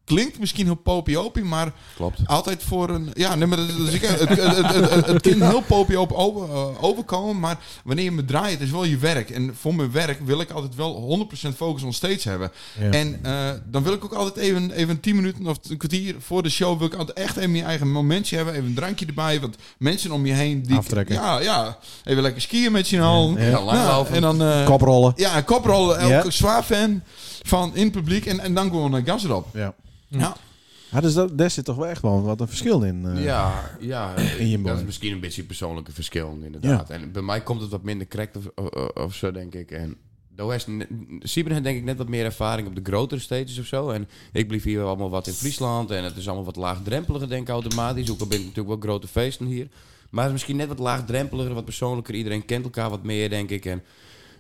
E: klinkt misschien heel popiopie, maar
D: Klopt.
E: altijd voor een... Ja, nee, maar dat, dat is, het, het, het, het, het, het kan heel popioop over, eh, overkomen, maar wanneer je me draait, het is wel je werk. En voor mijn werk wil ik altijd wel 100% focus on stage hebben.
A: Ja.
E: En eh, dan wil ik ook altijd even, even 10 minuten of een kwartier voor de show, wil ik altijd echt even je eigen momentje hebben, even een drankje erbij, wat mensen om je heen... Die,
A: Aftrekken.
E: Ja, ja. Even lekker skiën met z'n allen.
A: Ja,
E: Nou,
D: langlopen.
E: en dan... eh,
A: Koprollen.
E: ja, een koprol, elke
A: Ja.
E: zwaar fan van in het publiek en, en dan gewoon een gas erop.
A: Ja.
E: Ja.
A: Ja, dus dat, daar zit toch wel echt wel wat een verschil in. eh.
D: Ja, ja
A: In je
D: dat
A: boy.
D: is misschien een beetje persoonlijke verschil, inderdaad. En bij mij komt het wat minder correct of, of, of zo, denk ik. En de West, Sibren heeft denk ik net wat meer ervaring op de grotere stages of zo. En ik bleef hier allemaal wat in Friesland en het is allemaal wat laagdrempeliger, denk ik automatisch. Ook al ben ik natuurlijk wel grote feesten hier. Maar het is misschien net wat laagdrempeliger, wat persoonlijker. Iedereen kent elkaar wat meer, denk ik. En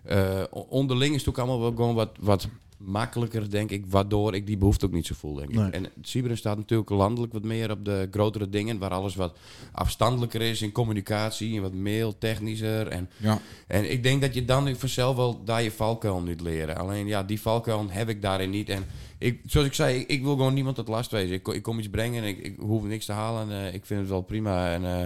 D: eh, o- onderling is het ook allemaal wel gewoon wat, wat makkelijker, denk ik. Waardoor ik die behoefte ook niet zo voel, denk ik.
A: Nee.
D: En Siberen staat natuurlijk landelijk wat meer op de grotere dingen. Waar alles wat afstandelijker is in communicatie. En wat mail technischer. En,
E: Ja.
D: en ik denk dat je dan nu vanzelf wel daar je valkuil niet leren. Alleen ja, die valkuil heb ik daarin niet. En ik, zoals ik zei, ik, ik wil gewoon niemand tot last wezen. Ik, ko- ik kom iets brengen en ik, ik hoef niks te halen. En, eh, ik vind het wel prima. En... eh,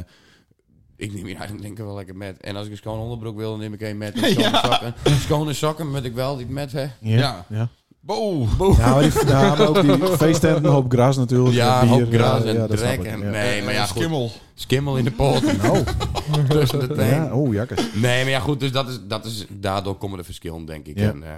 D: ik neem hier eigenlijk denk ik wel lekker met. En als ik een schoon onderbroek wil, dan neem ik één met. En schone, sokken. schone sokken met ik wel niet met, hè.
A: Ja.
E: Ja.
A: Ja.
E: Boe.
A: Ja, maar, die, ja, maar ook die feesttenten, een hoop gras natuurlijk.
D: Ja, een
A: bier, eh,
D: hoop gras
A: ja,
D: en
A: ja, dat snap
D: drek.
A: ik,
D: En,
A: ja.
D: Nee, maar ja, goed.
E: Eh, Skimmel.
D: Skimmel in de pot.
A: Oh,
D: tussen de teen.
A: ja, oh, jakkes.
D: Nee, maar ja, goed. Dus dat is, dat is, daardoor komen de verschillen, denk ik.
A: Ja.
D: En, eh,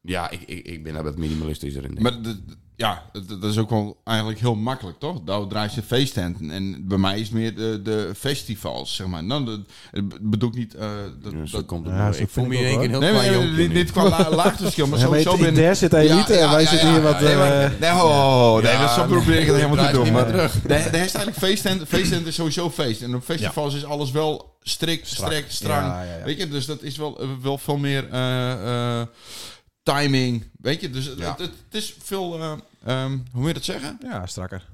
D: ja, ik, ik, ik ben daar wat minimalistischer in. denk ik.
E: Maar de- de- ja, dat dat is ook wel eigenlijk heel makkelijk, toch? Daar draait je feesttenten. En bij mij is het meer de, de festivals, zeg maar. Nou, dat, dat bedoel ik niet... eh, dat,
D: Ja, zo
E: dat-
D: Dus komt het
A: Ja,
D: door.
A: zo
D: Ik voel
A: vind
D: me
A: ik
D: in één
A: ook,
D: keer een
E: Nee,
D: heel
E: maar
D: klein
E: nee,
D: jongetje
E: dit,
D: nu.
E: dit qua la, laagteverschil, maar
A: Ja, maar
E: sowieso
A: het-
E: ben
A: daar zit de elite en wij zitten hier wat,
E: Nee, maar-
A: eh,
E: nee, oh, nee,
D: Ja,
E: dat zo probeer ik het helemaal te
D: draait
E: doen.
D: niet
E: Maar
D: meer
E: de, de rest eigenlijk feesttent, feesttent is sowieso feest. En op festivals is alles wel strikt, strekt, strang.
A: Ja, ja, ja.
E: Weet je, dus dat is wel, eh, wel veel meer eh, eh, timing. Weet je, dus het-
D: Ja.
E: het, het is veel, eh, ehm, hoe moet je dat zeggen?
A: Ja, strakker.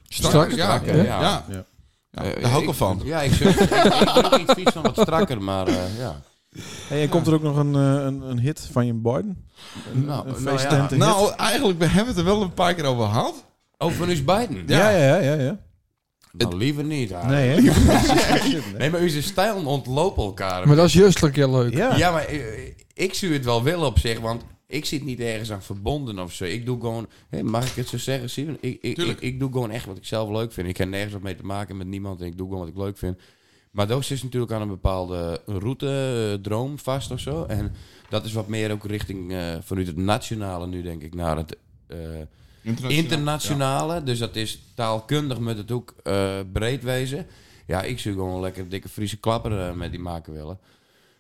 D: strak,
E: Strak, ja.
D: ja.
E: Ja. Ja.
A: Ja.
E: Ja, daar hou ik wel van.
D: Ja, ik, ik, ik, ik druk iets fiets van wat strakker, maar eh, ja.
A: Hey, en komt er ook nog een, eh, een, een hit van je Biden? Een,
D: Nou,
A: een
D: nou ja.
A: feesttent- hit?
E: Nou, eigenlijk, we hebben het er wel een paar keer over gehad.
D: Over is Biden.
A: ja, ja, ja, ja. ja.
D: Nou, liever niet. eigenlijk.
A: Nee, hè?
D: Nee, maar uw stijl ontlopen elkaar.
B: Maar dat is juist een keer leuk.
A: ja.
D: Ja, maar eh, ik zie het wel willen op zich, want ik zit niet ergens aan verbonden of zo. Ik doe gewoon, hé, mag ik het zo zeggen, Steven? Ik, ik, ik,
E: Tuurlijk.
D: ik doe gewoon echt wat ik zelf leuk vind. Ik heb nergens wat mee te maken met niemand en ik doe gewoon wat ik leuk vind. Maar Doos is natuurlijk aan een bepaalde route, eh, droom vast of zo. En dat is wat meer ook richting eh, vanuit het nationale nu, denk ik, naar het eh, internationale. Dus dat is taalkundig met het ook eh, breed wezen. Ja, ik zou gewoon lekker dikke Friese klapper eh, met die maken willen.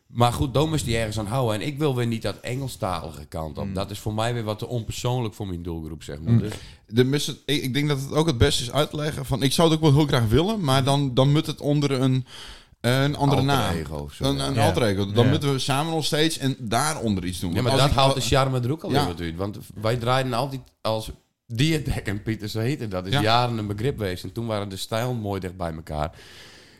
D: Maar goed, Dom is die ergens aan houden. En ik wil weer niet dat Engelstalige kant
E: Mm.
D: op. Dat is voor mij weer wat te onpersoonlijk voor mijn doelgroep, zeg maar. Dus,
E: De missen, ik, ik denk dat het ook het beste is uit te leggen van... Ik zou het ook wel heel graag willen, maar dan, dan moet het onder een, een andere
D: Alter
E: naam.
D: ego of zo,
E: een
D: ja.
E: een
A: Ja.
E: alter ego. Dan
A: Ja.
E: moeten we samen nog steeds en daaronder iets doen.
D: ja, maar
E: Als
D: dat
E: ik-
D: haalt de charme er ook al
E: Ja.
D: weer wat uit. Want wij draaiden altijd als Dietek en Pieter zo heette. Dat is
E: Ja.
D: jaren een begrip geweest. En toen waren de stijl mooi dicht bij elkaar.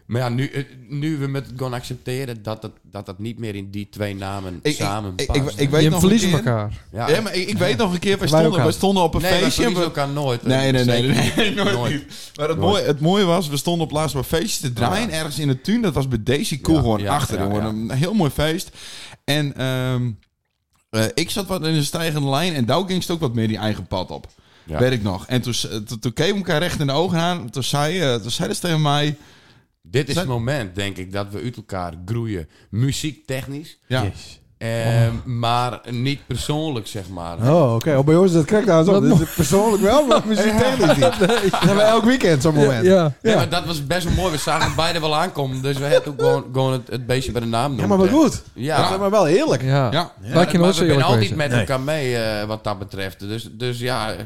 D: Maar ja, nu, eh, nu we met het gaan accepteren dat het, dat dat niet meer in die twee namen
E: ik-
D: samen
E: ik-
D: past.
E: ik- ik weet
B: Je
E: nog
B: verliezen
E: een keer-
B: elkaar.
D: ja,
E: Ja, maar ik, ik weet nog een keer, wij
B: Wij
E: stonden,
B: elkaar.
E: wij stonden op een
D: nee,
E: feestje. en we-
D: dat kan nooit.
E: Nee, nee, nee.
D: Zeker
E: nee, nee, nooit
D: Nooit.
E: niet. Maar het mooie, het mooie was, we stonden op laatst bij feestje te draaien. Ergens in de tuin. Dat was bij Daisy Koelhoorn
D: ja,
E: achter.
D: ja,
E: jongen.
D: ja.
E: Een heel mooi feest. En ehm, eh, ik zat wat in een stijgende lijn. En Douw ging ook wat meer die eigen pad op.
D: Ja.
E: Weet ik nog. En toen, s- eh, toen, toen keek ik elkaar recht in de ogen aan. Toen zei, eh, toen zei ze tegen mij...
D: Dit is
E: Zijn-
D: het moment, denk ik, dat we uit elkaar groeien. Muziektechnisch.
E: Ja,
D: Ehm,
E: Oh.
D: Maar niet persoonlijk, zeg maar.
H: Oh, oké. Oh, bij ons is dat krijgt nou zo.
B: Dat
H: Dit is persoonlijk wel, maar muziektechnisch niet. Dat hebben we elk weekend zo'n moment.
B: Ja.
D: Nee, maar dat was best wel mooi. We zagen hem beide wel aankomen. Dus we hebben ook gewoon, gewoon het, het beestje bij de naam
A: Ja,
D: noemen.
A: maar wat goed.
D: Ja,
A: Dat is maar wel heerlijk.
B: Ja.
E: ja.
B: Laat je
D: maar
B: nooit
D: we
B: zo
D: zijn
B: eerlijk
D: altijd
B: wezen.
D: met elkaar mee eh, wat dat betreft. Dus, dus ja, eh,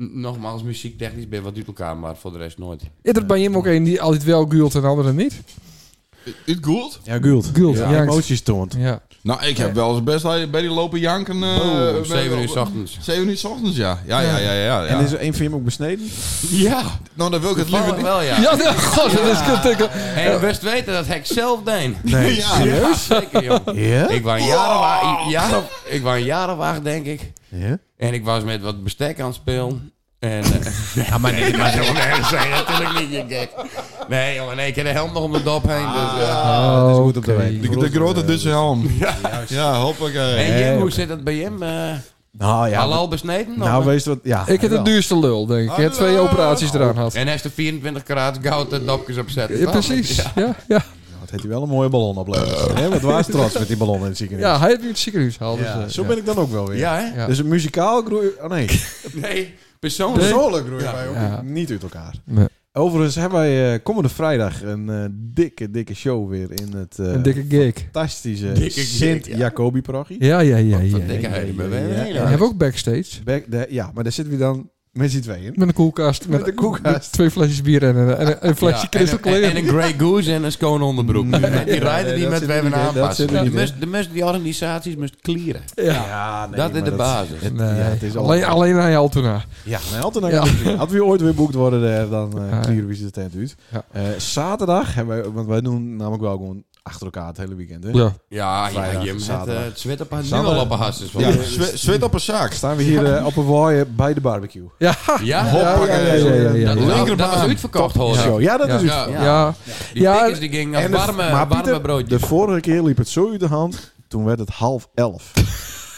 D: n- nogmaals, muziektechnisch ben je wat uit elkaar, maar voor de rest nooit.
B: Is er bij hem ook een die altijd wel guilt en anderen niet?
E: Het goed.
A: Ja, gult.
B: Gult,
A: Ja,
B: ja.
A: emoties toont.
B: Ja.
E: Nou, ik heb wel eens best bij die lopen janken. eh,
D: Boom,
E: bij-
D: 7 uur 's ochtends.
E: 7 uur 's ochtends, ja. Ja, ja, ja, ja. ja,
A: En is er één van hem ook besneden?
E: ja. Nou, dan wil ik het liever
D: Liever
E: niet.
D: wel, ja.
B: Ja, nee, god, dat is kuttikken.
D: En best weten dat ik zelf deed.
A: Nee.
E: Ja.
D: Ja, zeker, joh.
A: Ja?
D: Ik was een jaar of acht- jaar of- ik was een jaar of acht, denk ik.
A: Ja?
D: En ik was met wat bestek aan het spelen. En, eh, ja, maar nee, maar zo nee, zei natuurlijk niet, je gek. Nee, jongen, nee, ik heb de helm nog om de dop heen. Dus, eh.
A: Ah, dat is goed op de
B: Oké.
A: wijk.
E: De, de grote Duitse helm. Ja, ja hoppakee.
D: En Jim,
A: oké.
D: hoe zit dat bij Jim? eh
A: Nou ja.
D: halal besneden?
A: Nou,
D: Of-
A: wees wat. Ja.
B: Ik heb de
A: wel.
B: duurste lul, denk ik. Ik heb twee operaties eraan gehad.
D: en hij heeft de 24 karaat goud de dopjes opzetten.
B: Ja,
D: toch?
B: precies.
D: Ja.
B: Ja, ja.
A: Het heeft Nou, hij wel een mooie ballon opleverd. Hè, Wat was trots met die ballon in het ziekenhuis.
B: ja, hij heeft nu het ziekenhuis gehaald. Dus,
A: Ja,
B: eh,
A: Zo
B: ja.
A: ben ik dan ook wel weer.
D: Ja, hè?
B: Ja.
A: Dus een muzikaal groei... Oh nee,
D: Nee, persoonlijk.
A: persoonlijk groeien wij ook
B: Ja.
A: niet uit elkaar.
B: Nee.
A: Overigens hebben wij eh, komende vrijdag een eh, dikke, dikke show weer in het eh,
B: Een dikke geek.
A: fantastische
D: Dikke gig, ja.
A: Sint-Jacobi-parochie.
B: Ja, ja, ja. ja,
D: Wat
B: ja.
D: denk jij?
A: ja,
D: Ja,
A: ja, ja.
B: En hebben we ook backstage.
A: Back- de- Ja, maar daar zitten we dan met z'n tweeën.
B: Met een koelkast. Met,
A: Met een koelkast.
B: met twee flesjes bier en een, en een, een flesje
D: en, een,
B: crystal clear.
D: en een Grey Goose en een schone onderbroek. die rijden
A: nee,
D: die
A: dat
D: met
A: zit
D: we
A: er
D: hebben
A: niet in, dat
D: aanpassen.
A: zit er
D: De
A: niet in.
D: must- De mensen die organisaties moest clearen.
B: ja.
A: nee,
D: dat is
A: maar
D: de basis.
A: het-
B: Nee,
A: ja, het is
B: alleen,
A: eh, al,
B: alleen naar Altona.
A: ja, nee, altijd
B: Ja.
A: naar Als we ooit weer boekt worden, eh, dan eh
B: ja.
A: clearen we ze de tent uit.
B: Ja.
A: Eh, zaterdag hebben wij, want wij doen namelijk wel gewoon achter elkaar het hele weekend. Hè?
B: Ja.
D: Ja, ja,
A: Vrijdag,
D: Jim het,
A: zaterdag.
D: eh, het zwet op haar nu
A: Zaterdag.
D: al op haar hasses.
E: Ja,
D: Ja.
E: zwe- zweet op een zaak.
A: Staan we hier eh, op een waaien bij de barbecue.
B: Ja.
D: Ja?
E: Hoppakee.
A: ja, ja, ja, ja.
D: Dat,
E: Ja.
D: dat, dat was uitverkocht, hoor.
A: Zo, ja, dat is het.
E: Ja.
D: Ja.
B: Ja.
D: Die
B: Ja,
D: tickets die gingen als
A: En de-
D: warme,
A: maar
D: warme
A: Pieter,
D: broodjes.
A: De vorige keer liep het zo uit de hand. Toen werd het half elf.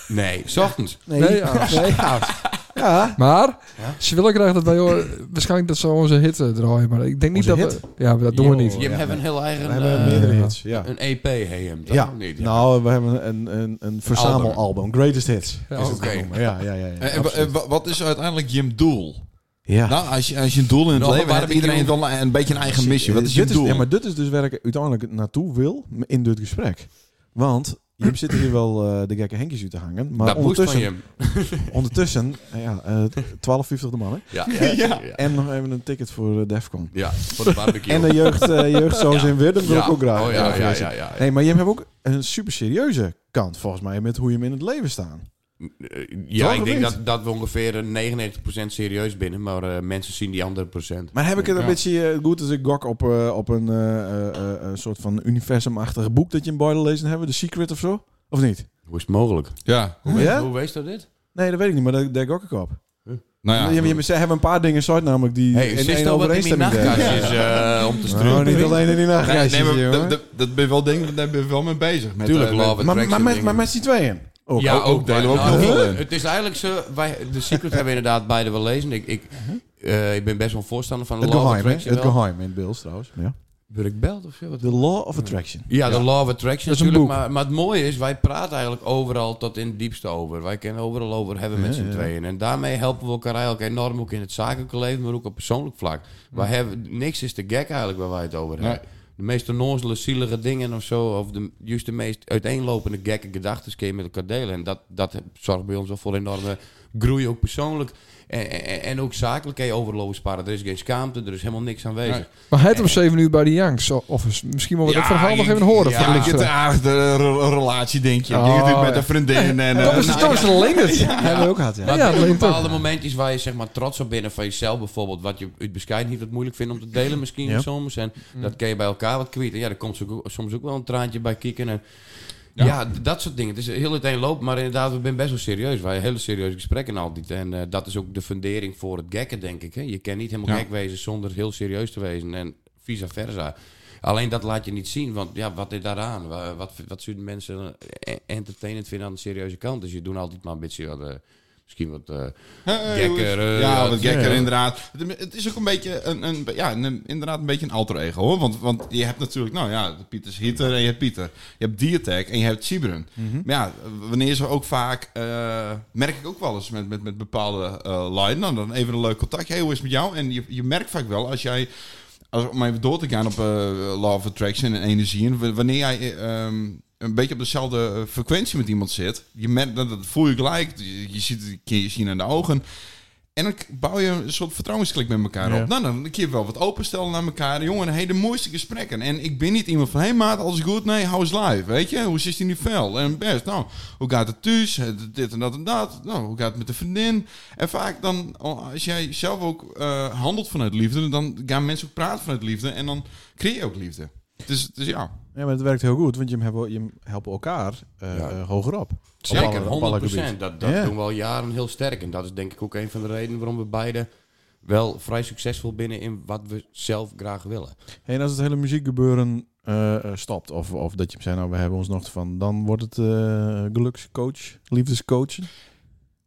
D: Nee, 's ochtends.
B: Nee, ja.
A: Ja.
B: Maar ze willen graag dat wij hoor, waarschijnlijk dat ze onze hit eh, draaien. Maar ik denk niet
A: Onze
B: dat we. Ja, maar dat doen we niet.
D: Jim heeft een heel eigen...
A: We hebben
D: eh,
A: meerdere hits. Ja.
D: Een EP heet hem, toch?
A: Ja.
D: Niet,
A: Nou, we hebben een, een, een verzamelalbum. Greatest hits.
B: Ja,
A: is het
D: oké.
A: genoemd. Ja, ja, ja. ja,
D: Eh,
E: En- en wa- en wa- wat is uiteindelijk Jim doel?
A: ja.
E: Nou, als je, als je een doel in het
D: Nog een
E: leven hebt,
D: barbecue.
E: iedereen heeft wel een, een beetje een eigen missie. Wat is je
A: dit
E: doel?
A: ja, maar dit is dus waar ik uiteindelijk naartoe wil in dit gesprek. Want je zit hier wel eh, de gekke henkjes uit te hangen. Maar
D: dat moest van
A: ondertussen,
D: Jim.
A: ondertussen eh, ja, eh 12,50 de mannen.
D: Ja, ja, ja. ja.
A: En nog even een ticket voor eh, Defcon.
D: Ja, voor de barbecue.
A: En de jeugd, eh jeugdzoons in Wirden wil
D: ja.
A: ik ook graag.
D: Oh ja, ja,
A: graag
D: ja.
A: lezen.
D: ja, ja.
A: Nee, maar je hebt ook een super serieuze kant volgens mij met hoe je hem in het leven staat.
D: eh, ja,
A: Toch,
D: ik
A: of
D: denk
A: niet?
D: dat, dat we ongeveer een 99% serieus binnen, maar eh, mensen zien die andere procent.
A: Maar heb ik het een
E: Ja.
A: beetje eh, goed als ik gok op, eh, op een eh, eh, eh, een soort van universumachtig boek dat je in Boyle lezen hebben? The Secret of zo? Of niet?
D: Hoe is het mogelijk?
E: Ja.
D: Hoe,
A: Ja?
D: hoe wees dat dit?
A: Nee, dat weet ik niet, maar daar, daar gok ik op.
E: Nou
A: Je-
E: ja.
A: je- ze hebben een paar dingen soort namelijk die
D: Hey, is dit al wat in die nachtkast is eh, om te
A: Nou,
D: struinen?
A: niet alleen in die dus,
E: Nee,
A: nachtkastjes,
E: nee, maar
A: jongen.
E: dat- dat- dat ben je wel dingen, daar ben je wel mee bezig. Met,
D: Tuurlijk,
E: eh,
D: love
E: met-
D: it.
A: maar, maar, met,
D: Attraction
A: maar met z'n tweeën. Ook.
D: ja, ook,
E: ook, delen we
D: maar-
E: ook heel
D: nou,
E: veel in.
D: Het is eigenlijk zo, wij, de Secret hebben we inderdaad beide wel lezen. Ik, ik, eh, ik ben best wel een voorstander van de
A: Uh-huh. Het
D: Law of
A: geheim, hè?
D: Attraction.
A: Het
D: wel.
A: geheim in het beeld trouwens. Ja.
D: Word ik belt of zo? Wat-
A: The Law of Attraction.
D: Ja, de Law of Attraction
B: Dat is een
D: natuurlijk.
B: boek.
D: Maar, maar het mooie is, wij praten eigenlijk overal tot in het diepste over. Wij kennen overal over hebben met
A: Ja,
D: z'n
A: ja.
D: tweeën. En daarmee helpen we elkaar eigenlijk enorm, ook in het zakelijke leven, maar ook op persoonlijk vlak. Wij hebben, niks is te gek eigenlijk waar wij het over hebben. De meest onnozele, zielige dingen of zo, of de, juist de meest uiteenlopende gekke gedachten kun je met elkaar delen. En dat, dat zorgt bij ons wel voor enorme groei, ook persoonlijk. En, en, en ook zakelijk kun je overal over sparren. Er is geen schaamte, er is helemaal niks aanwezig.
E: Nee.
B: Maar het om 7 uur bij de Yanks. zo- Of is- misschien wel we dat
E: Ja,
B: verhaal nog
E: je-
B: even horen.
E: Ja,
B: van
E: je hebt
B: Dijkstra.
E: een aardige re- relatie, denk je.
B: Oh,
E: je hebt natuurlijk
B: ja.
E: met een vriendin. En, eh,
B: Dat is
E: nou,
B: dat is
E: ja.
B: een Leendert.
A: Hebben we ook gehad, ja.
D: Maar
B: Ja,
D: er
B: dat
D: zijn
B: weet ik
D: bepaalde momentjes waar je zeg maar trots op bent en van jezelf bijvoorbeeld. Wat je uit bescheidenheid wat moeilijk vindt om te delen misschien
A: Ja.
D: soms. En dat kan je bij elkaar wat kwijt. En ja, daar komt zo- soms ook wel een traantje bij kieken. En ja. d- dat soort dingen. Het is heel uiteenloop, maar inderdaad, we zijn best wel serieus. Wij hebben hele serieuze gesprekken altijd. En eh, dat is ook de fundering voor het gekken, denk ik. Hè. Je kan niet helemaal
E: Ja.
D: gek wezen zonder heel serieus te wezen. En vice versa. Alleen dat laat je niet zien, want ja, wat is daaraan? Wa- Wat, wat zullen mensen eh, entertainend vinden aan de serieuze kant? Dus je doet altijd maar een beetje wat, eh, misschien wat eh,
E: Hey,
D: gekker. eh,
E: ja, wat gekker
A: ja.
E: inderdaad. Het, het is ook een beetje een, een, ja, een, inderdaad een beetje een alter ego. Hoor. Want, want je hebt natuurlijk, nou ja, Pieter Schitter en je hebt Pieter. Je hebt Diertek en je hebt Sibren. Maar ja, wanneer ze ook vaak, eh, merk ik ook wel eens met, met, met bepaalde eh line, dan, dan even een leuk contactje. Hey, hoe is het met jou? En je, je merkt vaak wel als jij... Als, om even door te gaan op eh Law of Attraction en energie. En w- wanneer jij eh, ehm, een beetje op dezelfde eh, frequentie met iemand zit. Je merkt, dat, dat voel je gelijk. Je, je ziet het kun je zien aan de ogen. En dan k- bouw je een soort vertrouwensklik met elkaar
A: Ja.
E: op. Nou, dan kun je wel wat openstellen naar elkaar. Jongen, hey, de mooiste gesprekken. En ik ben niet iemand van... Hé hey, maat, alles goed? Nee, hou eens live. Weet je? Hoe zit hij nu fel? En best. Nou, hoe gaat het thuis? Eh, Dit en dat en dat. Nou, hoe gaat het met de vriendin? En vaak dan... Als jij zelf ook eh, handelt vanuit liefde... Dan gaan mensen ook praten vanuit liefde. En dan creëer je ook liefde. Dus, dus ja.
A: Ja, maar het werkt heel goed, want je helpt, je helpt elkaar eh,
D: Ja.
A: eh, hoger op. Op alle-
D: Zeker,
A: op alle
D: 100
A: gebieden.
D: Dat, dat
A: Ja.
D: doen we al jaren heel sterk. En dat is denk ik ook een van de redenen waarom we beide wel vrij succesvol binnen in wat we zelf graag willen.
A: Hey, en als het hele muziekgebeuren eh, eh, stopt, of, of dat je zei, nou, we hebben ons nog van, dan wordt het eh, gelukscoach, liefdescoach.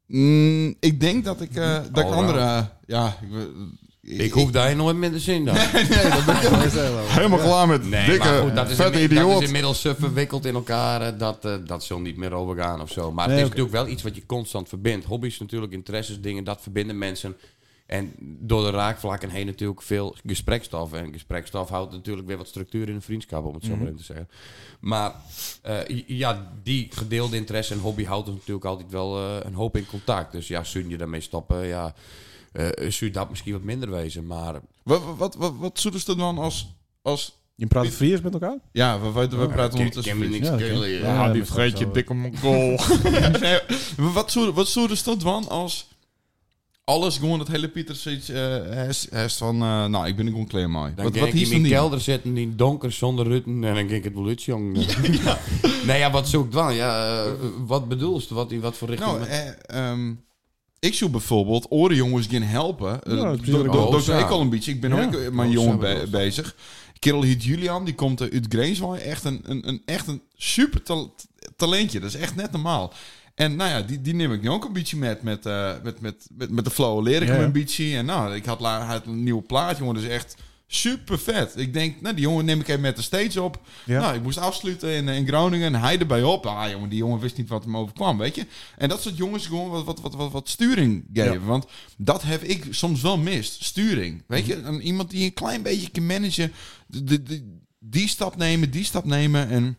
E: Mm, ik denk dat ik... eh, dat ik
D: Allround.
E: andere... eh, ja, ik... ik-
D: Ik hoef daar nooit minder zin dan.
E: Helemaal klaar met
D: Nee,
E: dikke,
D: maar goed, dat is,
E: vette
D: inmi- dat
E: idioot.
D: is inmiddels eh, verwikkeld in elkaar. eh, dat, eh, dat zal niet meer overgaan of zo. Maar
A: Nee,
D: het is
A: oké.
D: natuurlijk wel iets wat je constant verbindt. Hobby's natuurlijk, interesses, dingen, dat verbinden mensen. En door de raakvlakken heen natuurlijk veel gesprekstof. En gesprekstof houdt natuurlijk weer wat structuur in een vriendschap, om het
E: Mhm.
D: zo maar even te zeggen. Maar eh, ja, die gedeelde interesse en hobby houdt ons natuurlijk altijd wel eh, een hoop in contact. Dus ja, zul je daarmee stoppen, ja... eh zou dat misschien wat minder wezen, maar
E: Wat, wat, wat, wat, wat zullen ze dan als... als
A: Je praat Fries met elkaar?
E: ja, we, we, we praten
D: ik Oh, ken
E: ondertussen...
D: me
E: Fries.
D: niks
A: Ja, oké.
D: keulen, ja.
A: Ja, die vreet
E: vreet
A: je dikke
E: mongool. nee, maar wat zullen wat zullen ze dan doen als... Alles gewoon het hele Pieter zoiets... eh, hij is- hij is van, eh, nou, ik ben gewoon kleermaai.
D: Dan
E: Wat,
D: ging
E: wat
D: ik
E: is
D: in
E: dan
D: mijn
E: die?
D: kelder zitten, die donker zonder rutten. En dan ging ik het wel uit, jong. Nee, ja, wat zoek ik dan? Ja, eh, wat bedoelst? Wat, in wat voor richting?
E: Nou, eh, ehm, ik zou bijvoorbeeld oren jongens gaan helpen. Eh,
A: Ja,
E: dat
A: precies.
E: doe ik- dat
D: Oh,
E: doe ik
D: zo.
E: ook al een beetje. Ik ben
A: Ja.
E: ook eh, mijn
D: Oh, zo
E: jongen
D: bedoel je.
E: be- bezig. Kerel heet Julian, die komt eh, uit Greenswaai. Echt een, een, een, echt een super tal- talentje. Dat is echt net normaal. En nou ja, die, die neem ik nu ook een beetje met. Met, eh, met, met, met, met de flow leer ik
A: Ja,
E: hem
A: ja.
E: een beetje. En nou, ik had laatst een nieuwe plaat, jongen. Dat is echt super vet. Ik denk, nou, die jongen neem ik even met de stage op.
A: Ja.
E: Nou, ik moest afsluiten in, in Groningen. En hij erbij op. Ah, jongen, die jongen wist niet wat hem overkwam, weet je. En dat soort jongens gewoon wat, wat, wat, wat, wat sturing geven.
A: Ja.
E: Want dat heb ik soms wel mist. Sturing. Weet je, een, iemand die een klein beetje kan managen. De, de, de- die stap nemen, die stap nemen. En,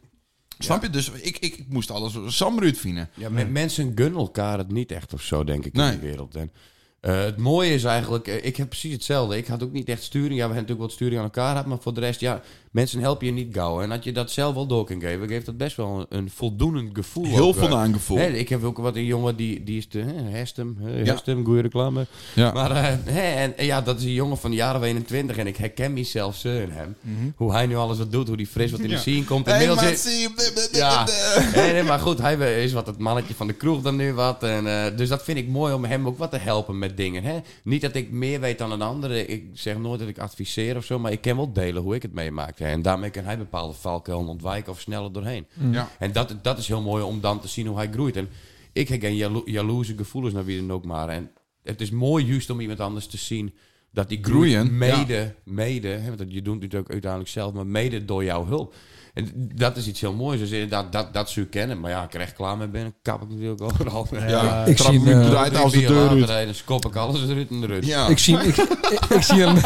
E: snap je? Dus ik, ik, ik moest alles Samruut vinden.
D: Ja, men- mensen gunnen elkaar het niet echt of zo, denk ik,
E: eh, Nee.
D: in de wereld. En, eh, het mooie is eigenlijk, eh, ik heb precies hetzelfde. Ik had ook niet echt sturing. Ja, we hebben natuurlijk wat sturing aan elkaar gehad, maar voor de rest, ja, mensen helpen je niet gauw. En dat je dat zelf wel door kan geven, geeft dat best wel een, een voldoenend gevoel.
E: Heel
D: ook, eh.
E: voldaan gevoel.
D: Hè, ik heb ook wat een jongen die, die is te hè, Hestem, hè,
E: Ja.
D: Hestem, goede reclame.
E: Ja.
D: Maar eh, hè, en, en ja, dat is een jongen van de jaren 21 en ik herken mezelf zo in hem. Hoe hij nu alles wat doet, hoe die fris wat in de scene komt.
E: Mhm. Hey,
D: Inmiddels
E: maat,
D: is-
E: zie je- eh?
D: ja, nee, nee, maar goed, hij is wat het mannetje van de kroeg dan nu wat. En, eh, dus dat vind ik mooi om hem ook wat te helpen met dingen. Hè? Niet dat ik meer weet dan een ander. Ik zeg nooit dat ik adviseer of zo, maar ik kan wel delen hoe ik het meemaakte. En daarmee kan hij bepaalde valkuilen ontwijken of sneller doorheen.
E: Ja.
D: En dat, dat is heel mooi om dan te zien hoe hij groeit. En ik heb geen jalo jaloerse gevoelens naar wie dan ook maar. En het is mooi juist om iemand anders te zien dat die groeit
E: Groeien,
D: mede, mede, hè, want dat- je doet het ook uiteindelijk zelf, maar mede door jouw hulp. En dat is iets heel moois. Dus inderdaad, dat, dat zou ik kennen. Maar ja, ik er echt klaar mee ben, dan kap ik natuurlijk overal.
E: Ja,
B: ik
E: trap
B: zie,
E: hem
B: eh,
E: draait als de
D: Drie bier
E: deur
D: later
E: uit.
D: rijden, Dan kop ik alles eruit en eruit.
E: Ja.
B: Ik zie, ik, ik, ik zie een,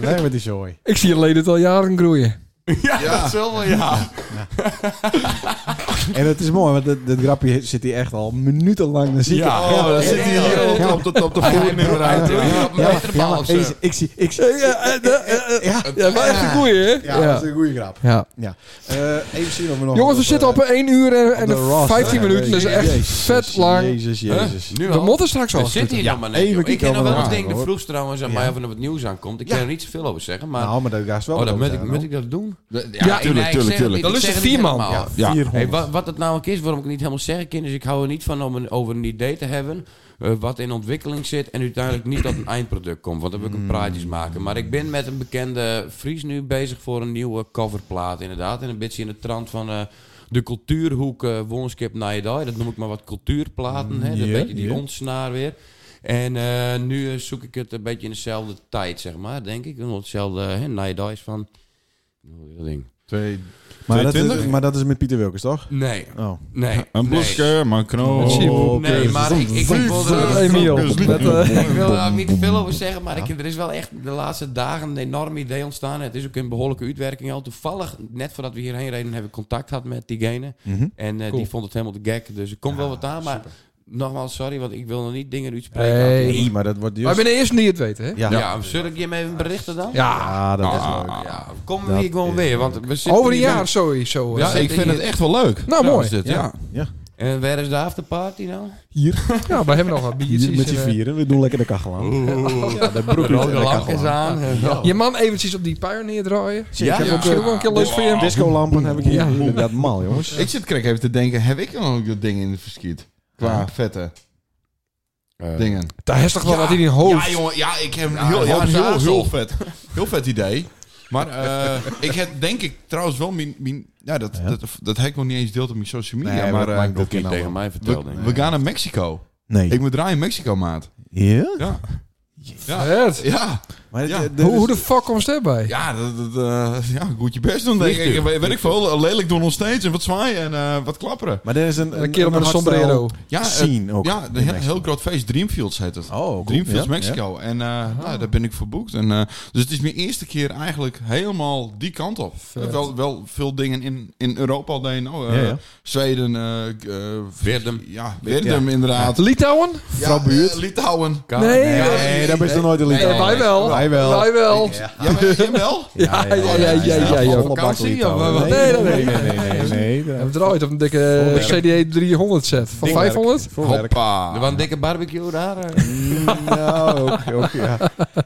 A: Nee, met die zooi.
B: ik zie een leden het al jaren groeien.
E: Ja.
D: dat is wel wel, ja.
A: En het is mooi, want dat, dat grapje zit hier echt al minutenlang. Dan zie ik
D: Ja,
A: het.
D: oh, dan zit hij hier
A: Ja.
E: op de, op de voornummer uit.
D: Ja, ja,
A: Ja,
D: meter
A: ja, maar
D: of zo.
A: ik, ik zie... Ik zie ja,
B: Ja, maar echt een groeien, hè?
A: ja, dat is een goede grap.
B: Ja.
A: Ja. Eh, even zien of we nog...
B: Jongens, we
A: op,
B: zitten
A: eh,
B: op 1 uur en, en
A: de Ross,
B: 15
A: hè?
B: minuten. Dat is echt
A: Jezus,
B: vet lang.
A: Jezus, jezus.
D: Nu
B: We
D: al.
B: moeten straks al.
D: We zitten hier
A: Ja,
D: nog maar net.
A: even
D: joh. Ik
A: kijken
D: ken nog
A: wat
D: wel
A: we
D: eens
A: gaan,
D: denk de
A: hoor.
D: vroeg trouwens eh, aan
A: Ja.
D: mij of er wat nieuws aankomt. Ik kan er niet zoveel over zeggen, maar...
A: Nou, maar dat gaat wel...
D: oh, dan
A: wat
D: moet
A: over
D: ik,
A: zijn,
D: moet ik dat doen?
E: Ja, tuurlijk, tuurlijk, tuurlijk.
B: Dan lust je vier man.
A: hoor.
D: Ja.
A: Ja,
E: Ja.
A: 400.
D: Hey, wat, wat het namelijk is, waarom ik het niet helemaal zeggen kan, is ik hou er niet van om een, over een idee te hebben eh, wat in ontwikkeling zit en uiteindelijk niet tot een eindproduct komt, want dan wil ik een praatjes maken. Maar ik ben met een bekende Fries nu bezig voor een nieuwe coverplaat inderdaad, en een beetje in de trant van... eh, de cultuurhoek eh Woonskip Naaidaai, dat noem ik maar wat cultuurplaten, hè?
A: Ja,
D: een beetje die
A: ja.
D: ontsnaar weer. En eh, nu eh, zoek ik het een beetje in dezelfde tijd, zeg maar, denk ik. Omdat Hetzelfde hè, Naaidaai is van... hoe heet dat ding?
E: Twee.
A: Maar dat, is,
E: 22?
A: maar dat is met Pieter Wilkes, toch?
D: Nee,
A: Oh.
D: nee.
E: Een
D: nee.
E: bloeske, maar knoop.
B: Chibo.
D: Nee, maar ik, ik, ik wil
B: Eh,
D: er,
B: Emiel. Dat, eh,
D: ik wil er ook niet te veel over zeggen, maar ik, er is wel echt de laatste dagen een enorm idee ontstaan. Het is ook een behoorlijke uitwerking al. Toevallig, net voordat we hierheen reden, heb ik contact gehad met diegene.
A: Mhm.
D: En eh, die vond het helemaal te gek, dus er komt wel wat aan. Maar nogmaals, sorry, want ik wil nog niet dingen uitspreken.
B: Hey.
A: Nee, maar dat wordt
B: Maar
A: juist...
B: ik ben de eerste die het weet, hè?
A: Ja,
D: Ja,
A: ja.
D: zul ik je mee even berichten dan?
A: dat is leuk.
E: Ah.
D: Ja, kom
A: Dat
D: hier gewoon
A: is
D: weer, want we zitten
B: Over een
D: hier
B: jaar
D: met-
B: sowieso.
E: Ja,
B: Ja,
E: ik vind het echt wel leuk.
B: nou,
D: Zo is
B: mooi.
D: dit, ja.
A: Ja.
D: En Eh, waar is de afterparty nou?
B: Ja, we hebben nog wat biertjes.
A: Hier met z'n
B: en, eh,
A: vieren. We doen lekker de kachel aan. Ja, de broek
D: Rode
A: en de
D: lampjes
A: kachel aan.
D: aan. Ja.
B: Je man eventjes op die Pioneer draaien.
A: Zie, ik
D: Ja,
A: heb
D: ja.
A: ook, eh,
B: Zullen we ook een keer los voor je?
A: Discolampen heb ik hier.
B: Ja.
A: Inderdaad, mal, jongens.
E: Ik zit krek even te denken, heb ik nog dat ding in de verschiet? Qua vette dingen.
B: Daar is toch wel wat in je hoofd.
E: Eh. Ja, jongen, ja, ik heb
D: Ja,
E: heel,
D: ja,
E: heel,
D: dat is
E: heel,
D: wel
E: heel
D: zo.
E: vet. Heel vet idee. Maar eh, ik heb denk ik trouwens wel mijn... mijn- ja, dat, dat, dat heb ik nog niet eens deeld op mijn social media.
A: Nee,
E: maar
A: dat
E: eh,
A: maakt
E: we,
A: niet uit.
D: Niet tegen mij vertelde.
E: we gaan naar Mexico.
A: Nee.
E: Ik moet draaien in Mexico, maat.
A: Ja?
E: Ja. Ja.
B: Vet.
E: Ja,
A: Maar dit-
E: Ja.
A: dit
B: Hoe,
A: is-
B: hoe de fuck komt het bij?
E: ja, dat, dat, eh, ja goed je best doen, denk ik.
D: Vliegtuig.
E: Weet ik veel, lelijk doen nog steeds en wat zwaaien en eh, wat klapperen.
A: Maar dit is een...
B: Een keer op een
A: hardstyle
B: sombrero.
E: Ja, eh,
A: Scene ook.
E: Ja, een
A: in
E: heel,
A: Mexico.
E: heel groot feest. Dreamfields heet het.
A: Oh, cool.
E: Dreamfields
A: Ja, Ah.
E: Mexico. En eh, nou, daar ben ik voor boekt. En, eh, dus het is mijn eerste keer eigenlijk helemaal die kant op. Wel, wel veel dingen in, in Europa al deden. Oh, eh,
A: Ja, ja.
E: Zweden. eh eh,
D: Weerdum.
E: Ja, Weerdum inderdaad.
B: Litouwen?
E: Ja,
A: Vrouwbuurt.
E: eh, Litouwen.
B: Nee.
A: Nee, daar ben je nog nooit een lied
E: Nee,
A: aan.
B: wij wel.
A: Wij wel.
B: Wij wel.
E: Ja, maar, jij wel?
B: Ja, ja, ja,
A: ja,
B: ja,
A: ja,
B: ja, ja.
A: Allemaal
E: vakantie,
A: bakkelied
E: of,
A: houden.
B: eh,
A: Nee,
B: wat?
A: nee, nee, nee, nee, nee, nee.
B: We draaien op een dikke eh, CDA 300 set. Van
A: Dingwerk.
B: 500?
A: Voor werk.
D: Er
E: Hoppa.
D: was een dikke barbecue daar. eh.
A: Nou, ook, ook, ja.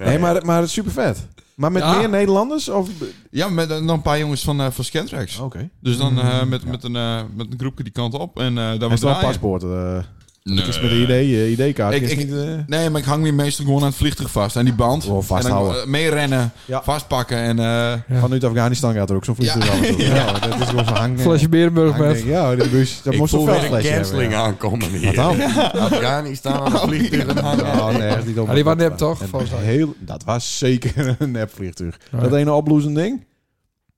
A: Nee, maar, maar super vet. Maar met
B: Ja.
A: meer Nederlanders? Of...
E: Ja, met eh, dan een paar jongens van, eh van Scantrax.
A: Oké.
E: Dus dan eh,
A: Mm.
E: met, met, een, eh, met een groepje die kant op. En eh daar
A: Hij
E: was
A: is wel een paspoort. eh
E: Nee.
A: is met een ID, eh, ID-kaart.
E: Ik-
A: is
E: ik-
A: niet, eh,
E: Nee, maar ik hang me meestal gewoon aan het vliegtuig vast. Aan die band.
A: Gewoon
E: En
A: vasthouden.
E: dan eh, meerennen,
A: Ja.
E: vastpakken en... eh,
A: Vanuit Afghanistan gaat er ook zo'n vliegtuig aan. Ja. dat is gewoon verhangen.
B: Flesje Berenburg
A: Hangding.
B: met.
A: eh, Ja, de bus. Dat
D: Ik
A: moest
D: voel
A: een
D: weer een
A: veldflesje hebben.
D: canceling
A: ja.
D: aankomen hier.
A: Wat dan?
D: Afghanistan aan het vliegtuig hangen.
A: Oh, nee, echt niet op-
B: Ja, die waren nep,
A: dat-
B: toch?
A: een
B: Volgens mij.
A: heel, dat was zeker een nepvliegtuig. Dat ene opbloezend ding.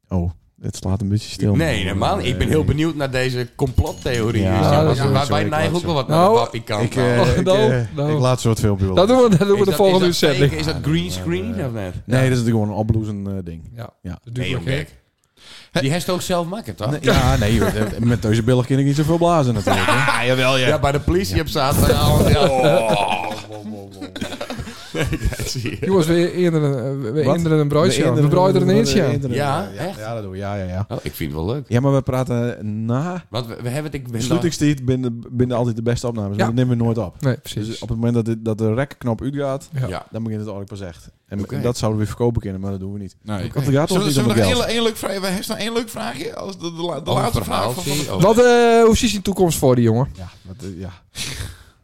A: Oh, het slaat een beetje stil. Eh,
D: Nee, nee, man. Ik ben heel benieuwd naar deze complottheorie.
A: Ja,
D: Ja,
B: dat
D: ja,
B: is wel
D: wij-
A: zo,
D: wij
A: ik
D: neigen
A: laat
D: ook wel
A: zo.
D: wat naar de
B: Nou,
D: papi-kant.
A: Ik,
D: man.
A: eh, ik,
B: nou,
A: eh,
B: nou.
A: ik laat zo'n filmpje wel.
B: Dat doen we, dat doen
D: Is
B: we de
D: dat-
B: volgende
D: is dat fake?
B: uitzending.
D: Is dat green screen of net?
A: Nee, dat is natuurlijk gewoon een opbloezend eh, ding.
B: Ja.
A: Ja.
D: Nee, joh, gek. Die heeft ook zelf maken, toch?
A: Ja, nee, joh, eh, met deze billen kan ik niet zoveel blazen natuurlijk. hè.
E: Ah, jawel, ja.
D: Ja, bij de politie op zaterdag. Ja. Ja, zie je.
B: Jongens, we eerder een, we
A: Wat?
B: eerderen een bruidsje. We bruiden een
A: eentje.
B: eentje.
D: Ja, echt?
A: Ja, dat doen we. Ja, ja, ja.
D: Oh, ik vind het wel leuk.
A: Ja, maar we praten na
D: Want we, we hebben het... Ik ben dan-
A: sluitingstijd binnen, binnen altijd de beste opnames.
B: Ja.
A: Maar dat nemen we nooit op.
B: Nee,
A: Dus
B: precies.
A: op het moment dat, dit, dat de rekknop uitgaat,
B: Ja.
D: Ja.
A: dan begint het eigenlijk pas echt. En
D: Oké.
A: dat zouden we weer verkopen kunnen, maar dat doen we niet.
E: Nee.
A: Want het gaat toch
E: Zullen we,
A: niet
E: zullen
A: om
E: we
A: het
E: nog
A: geld.
E: één, één leuk vraagje? We hebben nog één leuk vraagje. Als de, de, la- de
D: Oh, een
E: laatste vraag van
D: verhaaltje.
E: van
D: Oh.
B: Wat, eh, hoe zie je de toekomst voor die jongen?
A: Ja, wat, eh, ja.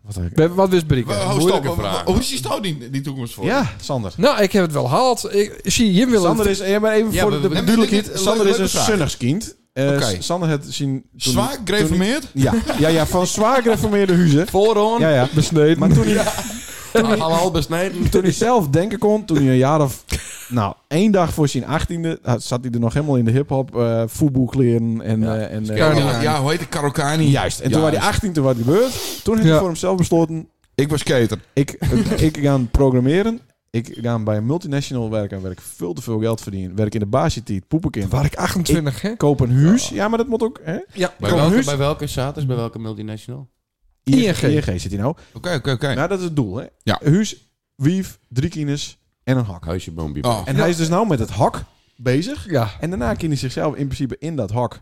A: wat een-
B: We hebben- Wat wist
E: Wa-
B: Brieke?
E: ho, oh, stop.
D: moeilijke
E: Wa- wa-
D: vraag.
E: Hoe is die stout die, die toekomst voor?
A: Ja, Sander.
B: Nou, ik heb het wel gehaald. Ik zie Jim willen...
A: Sander is, ja, maar even
D: Ja,
A: voor
D: we-
A: de
D: we-
A: duidelijkheid.
E: dit- dit-
A: Sander
E: leuk-
A: is een
E: leuke vraag.
A: zunnigskind. Eh,
E: Oké.
A: S- Sander het zien... toen-
E: Zwaar gereformeerd?
A: Ja, ja, ja, van zwaar gereformeerde huizen.
D: Voorhand,
A: Ja, ja.
B: besneden.
A: Maar toen hij,
D: halal besneden.
A: toen hij zelf denken kon, toen hij een jaar of... Nou, één dag voor zijn achttiende had- zat hij er nog helemaal in de hip-hop, eh voetbalkleren en...
D: Ja.
A: eh, en eh,
E: Ja,
B: Karokani.
E: ja, hoe heet het? Karokani.
A: Juist. En toen was hij 18, toen was het gebeurd. Toen heeft
B: Ja.
A: hij voor hemzelf besloten,
E: Ik was skater.
A: ik, ik ga programmeren. Ik ga bij een multinational werken, waar ik veel te veel geld verdien. Werk in de basitiet, poepenkind.
B: Waar ik 28, hè?
A: Koop een huis. Ja, maar dat moet ook... Hè?
B: Ja,
D: Bij welke, bij welke Satis, bij welke multinational?
B: ING.
A: zit hij nou.
E: Oké, oké, oké.
A: Nou, dat is het doel, hè?
E: Ja.
A: Huus, wief, drie kines en een hak.
D: Huisje Boompie.
E: Oh.
A: En
B: Ja.
A: hij is dus nou met het hak bezig.
B: Ja,
A: En daarna kan hij zichzelf in principe in dat hak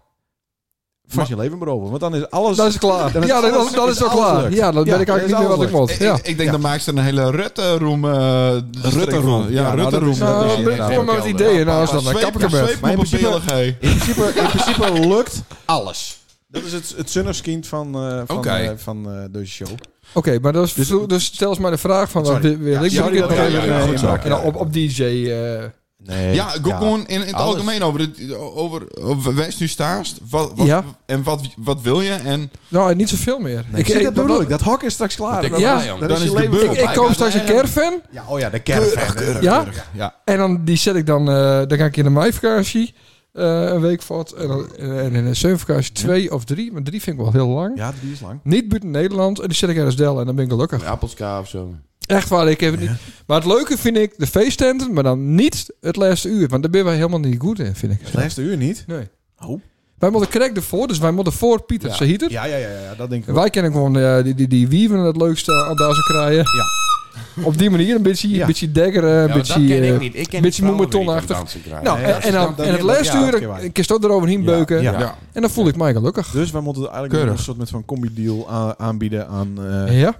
A: van
E: Maar-
A: zijn leven beroven. Want dan is alles...
B: dat is klaar.
A: Dan is
B: ja, dat,
A: alles-
B: dat is al
A: alles
B: klaar.
A: lukt.
B: Ja, dan ben ik
A: dat
B: eigenlijk
A: is
B: niet meer wat
A: alles
B: ik
A: lukt. Eh,
B: moet. Ja.
E: Ik, ik denk dat maakt ze een hele Rutte-room... eh, strik van.
A: Ja,
E: Ja,
A: nou,
E: Rutte-room.
A: dat is-
B: Nou,
A: dat is-
B: ben-
A: ja,
B: kom maar met ideeën. Nou, als dat dan kap ik hem met.
A: Maar in principe-
E: Oké.
A: In principe, in principe lukt alles. Dat is het, het zunnerskind van, eh, van,
E: Oké.
A: eh, van eh, deze show.
B: Oké, maar dat is, dus, stel eens maar de vraag van... Wat
A: Sorry.
B: wil wil ik
A: sorry
B: Brieke
A: dat
B: nog
A: ik
B: even-
A: even,
E: ja,
A: eh,
E: goed zo.
A: inbak.
B: En dan Nou, op, op DJ... eh,
A: Nee.
E: Ja, go- gewoon in, in het
D: Alles.
E: algemeen over, het, over, over waar je nu staast. Wat, wat,
B: Ja.
E: En wat, wat wil je? En
B: nou, en niet zoveel meer.
A: Nee, zie, dat bedoel ik. Dat hak is straks klaar.
D: Ik-
A: Dan-
B: Ja,
D: jong.
A: dan
E: dan
A: je
E: is de
A: leven-
E: beurt.
B: Ik, ik koop straks een caravan.
A: Ja, oh ja, de caravan.
B: Ja?
E: Ja.
B: En dan die zet ik dan... eh, dan ga ik in de meivakantie eh, een week voort. En, dan, en in de zomervakantie twee of drie. Maar drie vind ik wel heel lang.
A: Ja, die is lang.
B: Niet buiten Nederland. En die zet ik ergens del. En dan ben ik gelukkig.
D: Een appelska of zo.
B: Echt waar, ik heb het niet. Maar het leuke vind ik de feesttenten, maar dan niet het laatste uur. Want daar ben wij helemaal niet goed in, vind ik.
A: Het laatste uur niet.
B: Nee.
A: Oh.
B: Wij moeten correct ervoor, dus wij moeten voor Pieter
D: Ja.
B: ze hieter.
A: Ja, ja, ja, ja, dat denk ik
B: En
A: wel.
B: Wij kennen gewoon eh, die, die, die wieven het leukste aan daar zo krijgen.
A: Ja.
B: Op die manier een beetje,
A: Ja.
B: een beetje dekkeren, een
D: Ja, maar
B: beetje...
D: dat ken
B: eh,
D: ik niet. Ik
B: beetje
D: ken die vrouwen
B: moemetonachtig.
D: die ik aan dansen krijg.
B: nou,
A: Nee,
B: en,
A: dat
B: en,
A: is-
B: dan,
A: dat- dat-
B: en het
A: ja, dat
B: laatste
A: ken
B: uur,
A: je wel.
B: dan kist dat eroverheen
A: Ja,
B: beuken.
A: ja.
D: Ja.
B: En dan voel ik mij gelukkig.
A: Dus wij moeten eigenlijk
E: Keurig.
A: een soort met van combi-deal a- aanbieden aan eh
B: Ja,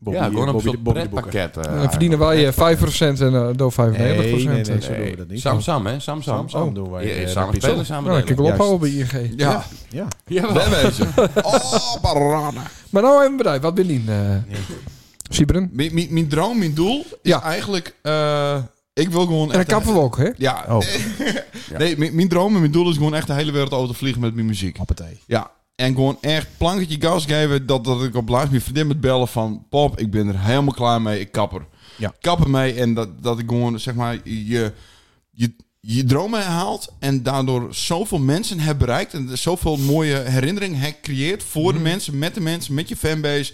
A: Bobby,
D: ja, gewoon op
A: Bobby,
D: zo'n
A: Bobby de Boeker.
D: pretpakket. eh,
B: dan verdienen wij eh, 5% en eh Do 95%.
A: Nee, nee, nee,
B: Nou,
A: zo doen we dat niet.
D: Sam Sam, hè? Sam Sam.
A: Sam doen wij.
D: Ja,
A: eh, de
D: samen
A: pizza.
D: spelen, samen
B: Nou, dan kan ik wel
A: Juist.
B: ophouden bij ING.
E: Ja.
A: Ja.
D: Ja,
E: Dat weet je. Oh, barana.
B: Maar nou even bedrijf, wat ben je? eh Sibren.
E: Mijn, mijn, mijn droom, mijn doel is
B: Ja.
E: eigenlijk... eh, ik wil gewoon
B: En dan
E: echt...
B: kappen we ook, hè? Nou,
E: Ja.
A: Oh.
E: nee, mijn, mijn droom en mijn doel is gewoon echt de hele wereld over te vliegen met mijn muziek.
A: Hoppatee.
E: Ja. En gewoon echt planketje gas geven dat, dat ik op laatst mijn vriendin met bellen van... Pop, ik ben er helemaal klaar mee. Ik kapper.
A: Ja.
E: Kapper mee en dat, dat ik gewoon, zeg maar, je, je, je dromen haalt. En daardoor zoveel mensen hebt bereikt. En zoveel mooie herinneringen hebt creëert voor
A: Mhm.
E: de mensen, met de mensen, met je fanbase.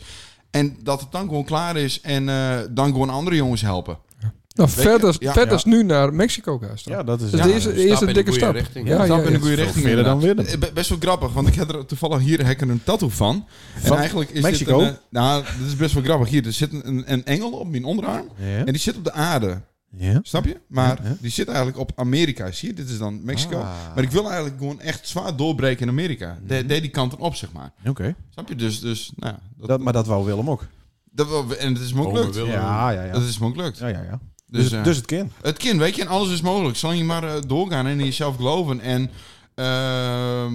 E: En dat het dan gewoon klaar is. En eh, dan gewoon andere jongens helpen.
B: Nou,
E: Weet je,
B: verder
E: ja,
B: verder
A: ja.
B: is nu naar Mexico gaan.
A: Ja, dat is
B: Dus
A: ja,
B: de eerste,
A: dat
B: de
A: is-
B: eerste
D: in de
B: dikke
D: goede
B: stap.
D: richting.
B: Ja,
E: Een stap
B: ja,
E: in de
B: ja.
E: goede
A: Veel
E: richting.
A: verder dan
E: inderdaad.
A: Willem.
E: Eh, be- Best wel grappig, want ik heb er toevallig hier heb ik er een tattoo van.
A: Van
E: en eigenlijk is
A: Mexico?
E: dit een, eh, nou, dit is best wel grappig. Hier, er zit een, een engel op mijn onderarm.
A: Ja.
E: En die zit op de aarde.
A: Ja.
E: Snap je? Maar die zit eigenlijk op Amerika. Zie je, dit is dan Mexico.
A: Ah. Mhm.
E: Maar ik wil eigenlijk gewoon echt zwaar doorbreken in Amerika. De, deed die kant dan op, zeg maar.
A: Oké.
E: Snap je? Dus, dus nou, ja, dat,
A: Dat, maar dat wou Willem ook.
E: dat wel- en het is me ook
D: Oh,
E: gelukt.
D: we willen-
A: Ja, ja, ja.
E: Dat is me ook gelukt.
A: ja, ja, ja. Dus,
E: Dus,
A: dus,
E: eh,
A: het kind.
E: het kind, weet je, en alles is mogelijk. Zolang je maar eh, doorgaan en in jezelf geloven en ehm,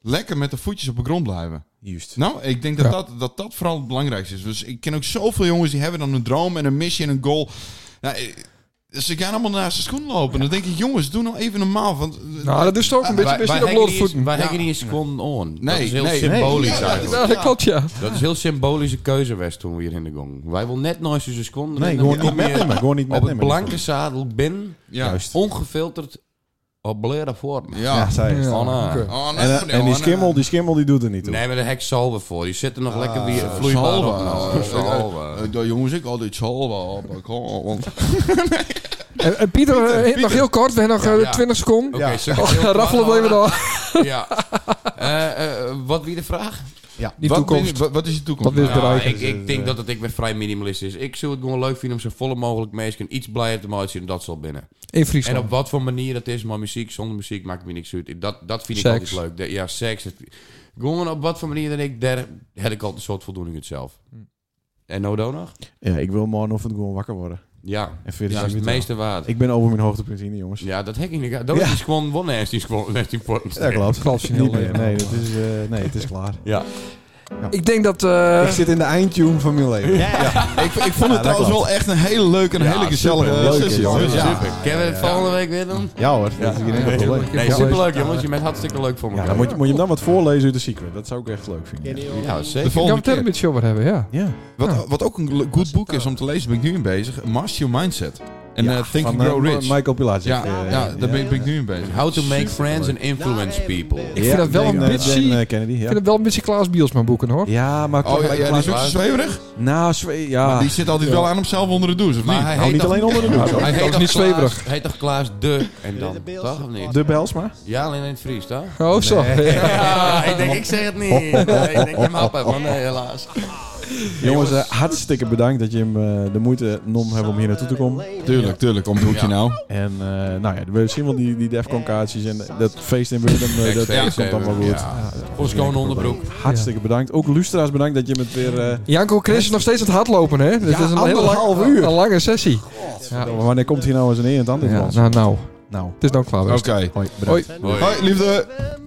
E: lekker met de voetjes op de grond blijven.
A: Juist.
E: Nou, ik denk dat,
B: Ja.
E: dat, dat dat vooral het belangrijkste is. Dus ik ken ook zoveel jongens die hebben dan een droom en een missie en een goal. Nou, ik- ze gaan allemaal naast de schoen lopen. En dan denk ik, jongens, doe nou even normaal. Want, eh,
B: Nou, dat is toch een beetje best op losse voeten.
D: Wij
E: Ja.
D: hebben niet een seconde on.
E: Nee,
D: dat is heel
E: nee, nee.
D: symbolisch
E: Ja, dat is
D: eigenlijk.
B: Ja, dat klopt, ja.
D: Dat is heel symbolische keuze geweest toen we hier in de gong. Wij wil net nooit zo'n seconde.
A: Nee,
D: en dan
A: gewoon niet
D: kom je
A: metnemen. Gewoon niet
D: Op
A: metnemen.
D: het blanke zadel bin,
E: ja.
A: Juist.
D: ongefilterd, op bleren vorm.
E: Ja.
A: Ja, zij is.
B: Ja,
D: van, eh,
B: oké.
E: Oh, nou,
A: En, eh,
E: nou,
A: en die
E: nou.
A: schimmel, die schimmel, die doet er niet toe.
D: Nee, maar de hek salven voor. Die zit er
A: Ah,
D: nog lekker weer vloeibaar op.
E: Salva.
D: Nou,
E: Salva.
D: salven.
E: Eh, Jongens, ik altijd salva op. Kom op.
B: En, en Pieter, eh, nog heel kort, we hebben nog eh,
D: ja.
B: 20 seconden. Oh,
D: Oké,
B: Och, raffelen we even door.
D: Ja. Eh, eh, wat wie de vraag? Ja.
B: Die
E: wat,
B: toekomst.
E: ben je- wat- wat is je toekomst?
B: Wat wil je
D: Ja,
B: bereiken?
D: ik, ik denk dat het ik ben vrij minimalist is. Ik zou het gewoon leuk vinden om zo volle mogelijk mensen iets blijer te maken zien. Dat zal binnen.
B: In
D: En op
B: Friesland.
D: wat voor manier dat is, maar muziek zonder muziek maakt me niks uit. Dat, dat vind ik
B: Seks.
D: altijd leuk. De- ja, seks. Het, gewoon op wat voor manier dan ik, daar heb ik altijd een soort voldoening uit zelf. En no do nog?
A: Ja, ik wil morgenochtend gewoon wakker worden.
D: Ja.
A: En
D: Dus
A: verder
D: dat is het meeste waard.
A: Ik ben over mijn hoogtepunt heen, jongens.
D: Ja, dat hek ik niet. Dat
A: Ja.
D: is gewoon wonnen, is die gewoon is die voor-
A: Ja, klopt.
B: Klopt, is een
A: Niet
B: heel
A: meer.
B: leuk.
A: Nee, dat is, eh, nee, het is klaar.
D: Ja.
B: Ik denk dat... eh,
A: Ik zit in de eindtune van mijn leven.
E: Ik, ik vond het
A: dat klopt.
E: trouwens wel echt een hele leuke en
D: Ja,
E: hele
D: super,
E: gezellige
A: leuk is
E: sessie.
A: het.
E: hoor.
A: Ja,
E: Ja.
D: Super. Kennen we het volgende week weer dan?
A: Ja hoor, dat is geen enkel probleem.
B: Ik heb
D: Nee,
B: wel eens-
D: superleuk jongens. Je bent hartstikke leuk voor
A: Ja,
D: elkaar.
A: dan moet je, moet je hem dan wat voorlezen uit de secret. Dat zou ik echt leuk vinden.
D: Ja,
E: De
D: zeker.
B: Ik kan
E: volgende
B: het er een
E: keer.
B: beetje over hebben, ja.
A: Ja.
E: Wat, wat ook een le- goed boek is om te lezen, ben ik nu in bezig. Master Your Mindset. En
A: Ja,
E: eh, Think
A: van,
E: and Grow
A: eh,
E: Rich.
A: Michael Pilacic.
E: ja,
A: eh,
E: ja, daar ben, ben ik nu in bezig.
D: How to make friends and influence people.
B: Ik vind dat wel een
A: Dan, eh,
B: beetje...
A: Dan, eh,
B: Ik
A: Kennedy, ja.
B: vind het wel een beetje Klaas Bielsma boeken, hoor.
A: Ja, maar...
E: Oh ja, ja, die is ook zo zweverig.
A: Nou, zwe- ja.
E: Die zit altijd wel aan hem zelf onder de douche, of
D: Ah. Maar
E: niet?
D: hij
A: Nou,
D: heet
A: niet
D: toch-
A: alleen onder de
D: hij
A: douche. hoor.
D: heet
B: ook
D: toch
B: niet
D: Klaas-
B: zweverig.
D: Hij heet toch Klaas de en dan?
C: De
D: Toch of niet?
A: De Belsma?
D: Ja, alleen in het Fries, toch?
B: Oh, zo.
D: Ja, ik denk, ik zeg het niet. Nee, ik denk, hem happen, maar nee, helaas.
A: Jongens, eh, hartstikke bedankt dat je hem eh, de moeite nom hebt om hier naartoe te komen.
E: Tuurlijk, tuurlijk. Om het hoekje nou.
A: En eh, nou ja, we zien wel die, die Defcon kaartjes en dat feest in Wurden, eh, dat
D: Backstage
A: komt allemaal goed.
D: hebben, ja. Ons gewoon onderbroek.
A: Hartstikke bedankt. Ook Lustra's bedankt dat je met weer... eh,
B: Janko Chris is nog steeds aan het hardlopen, hè? Dat is een hele
A: anderhalf
B: lang-
A: uur.
B: Een lange sessie.
A: Wanneer
B: É,
A: komt hier nou eens een eer en het ander
B: Ja,
A: van ons?
B: nou, nou.
A: Nou,
E: É
B: Het is nou klaar.
E: Oké.
A: hoi, bedankt.
B: Hoi.
D: Hoi.
E: Hoi, liefde.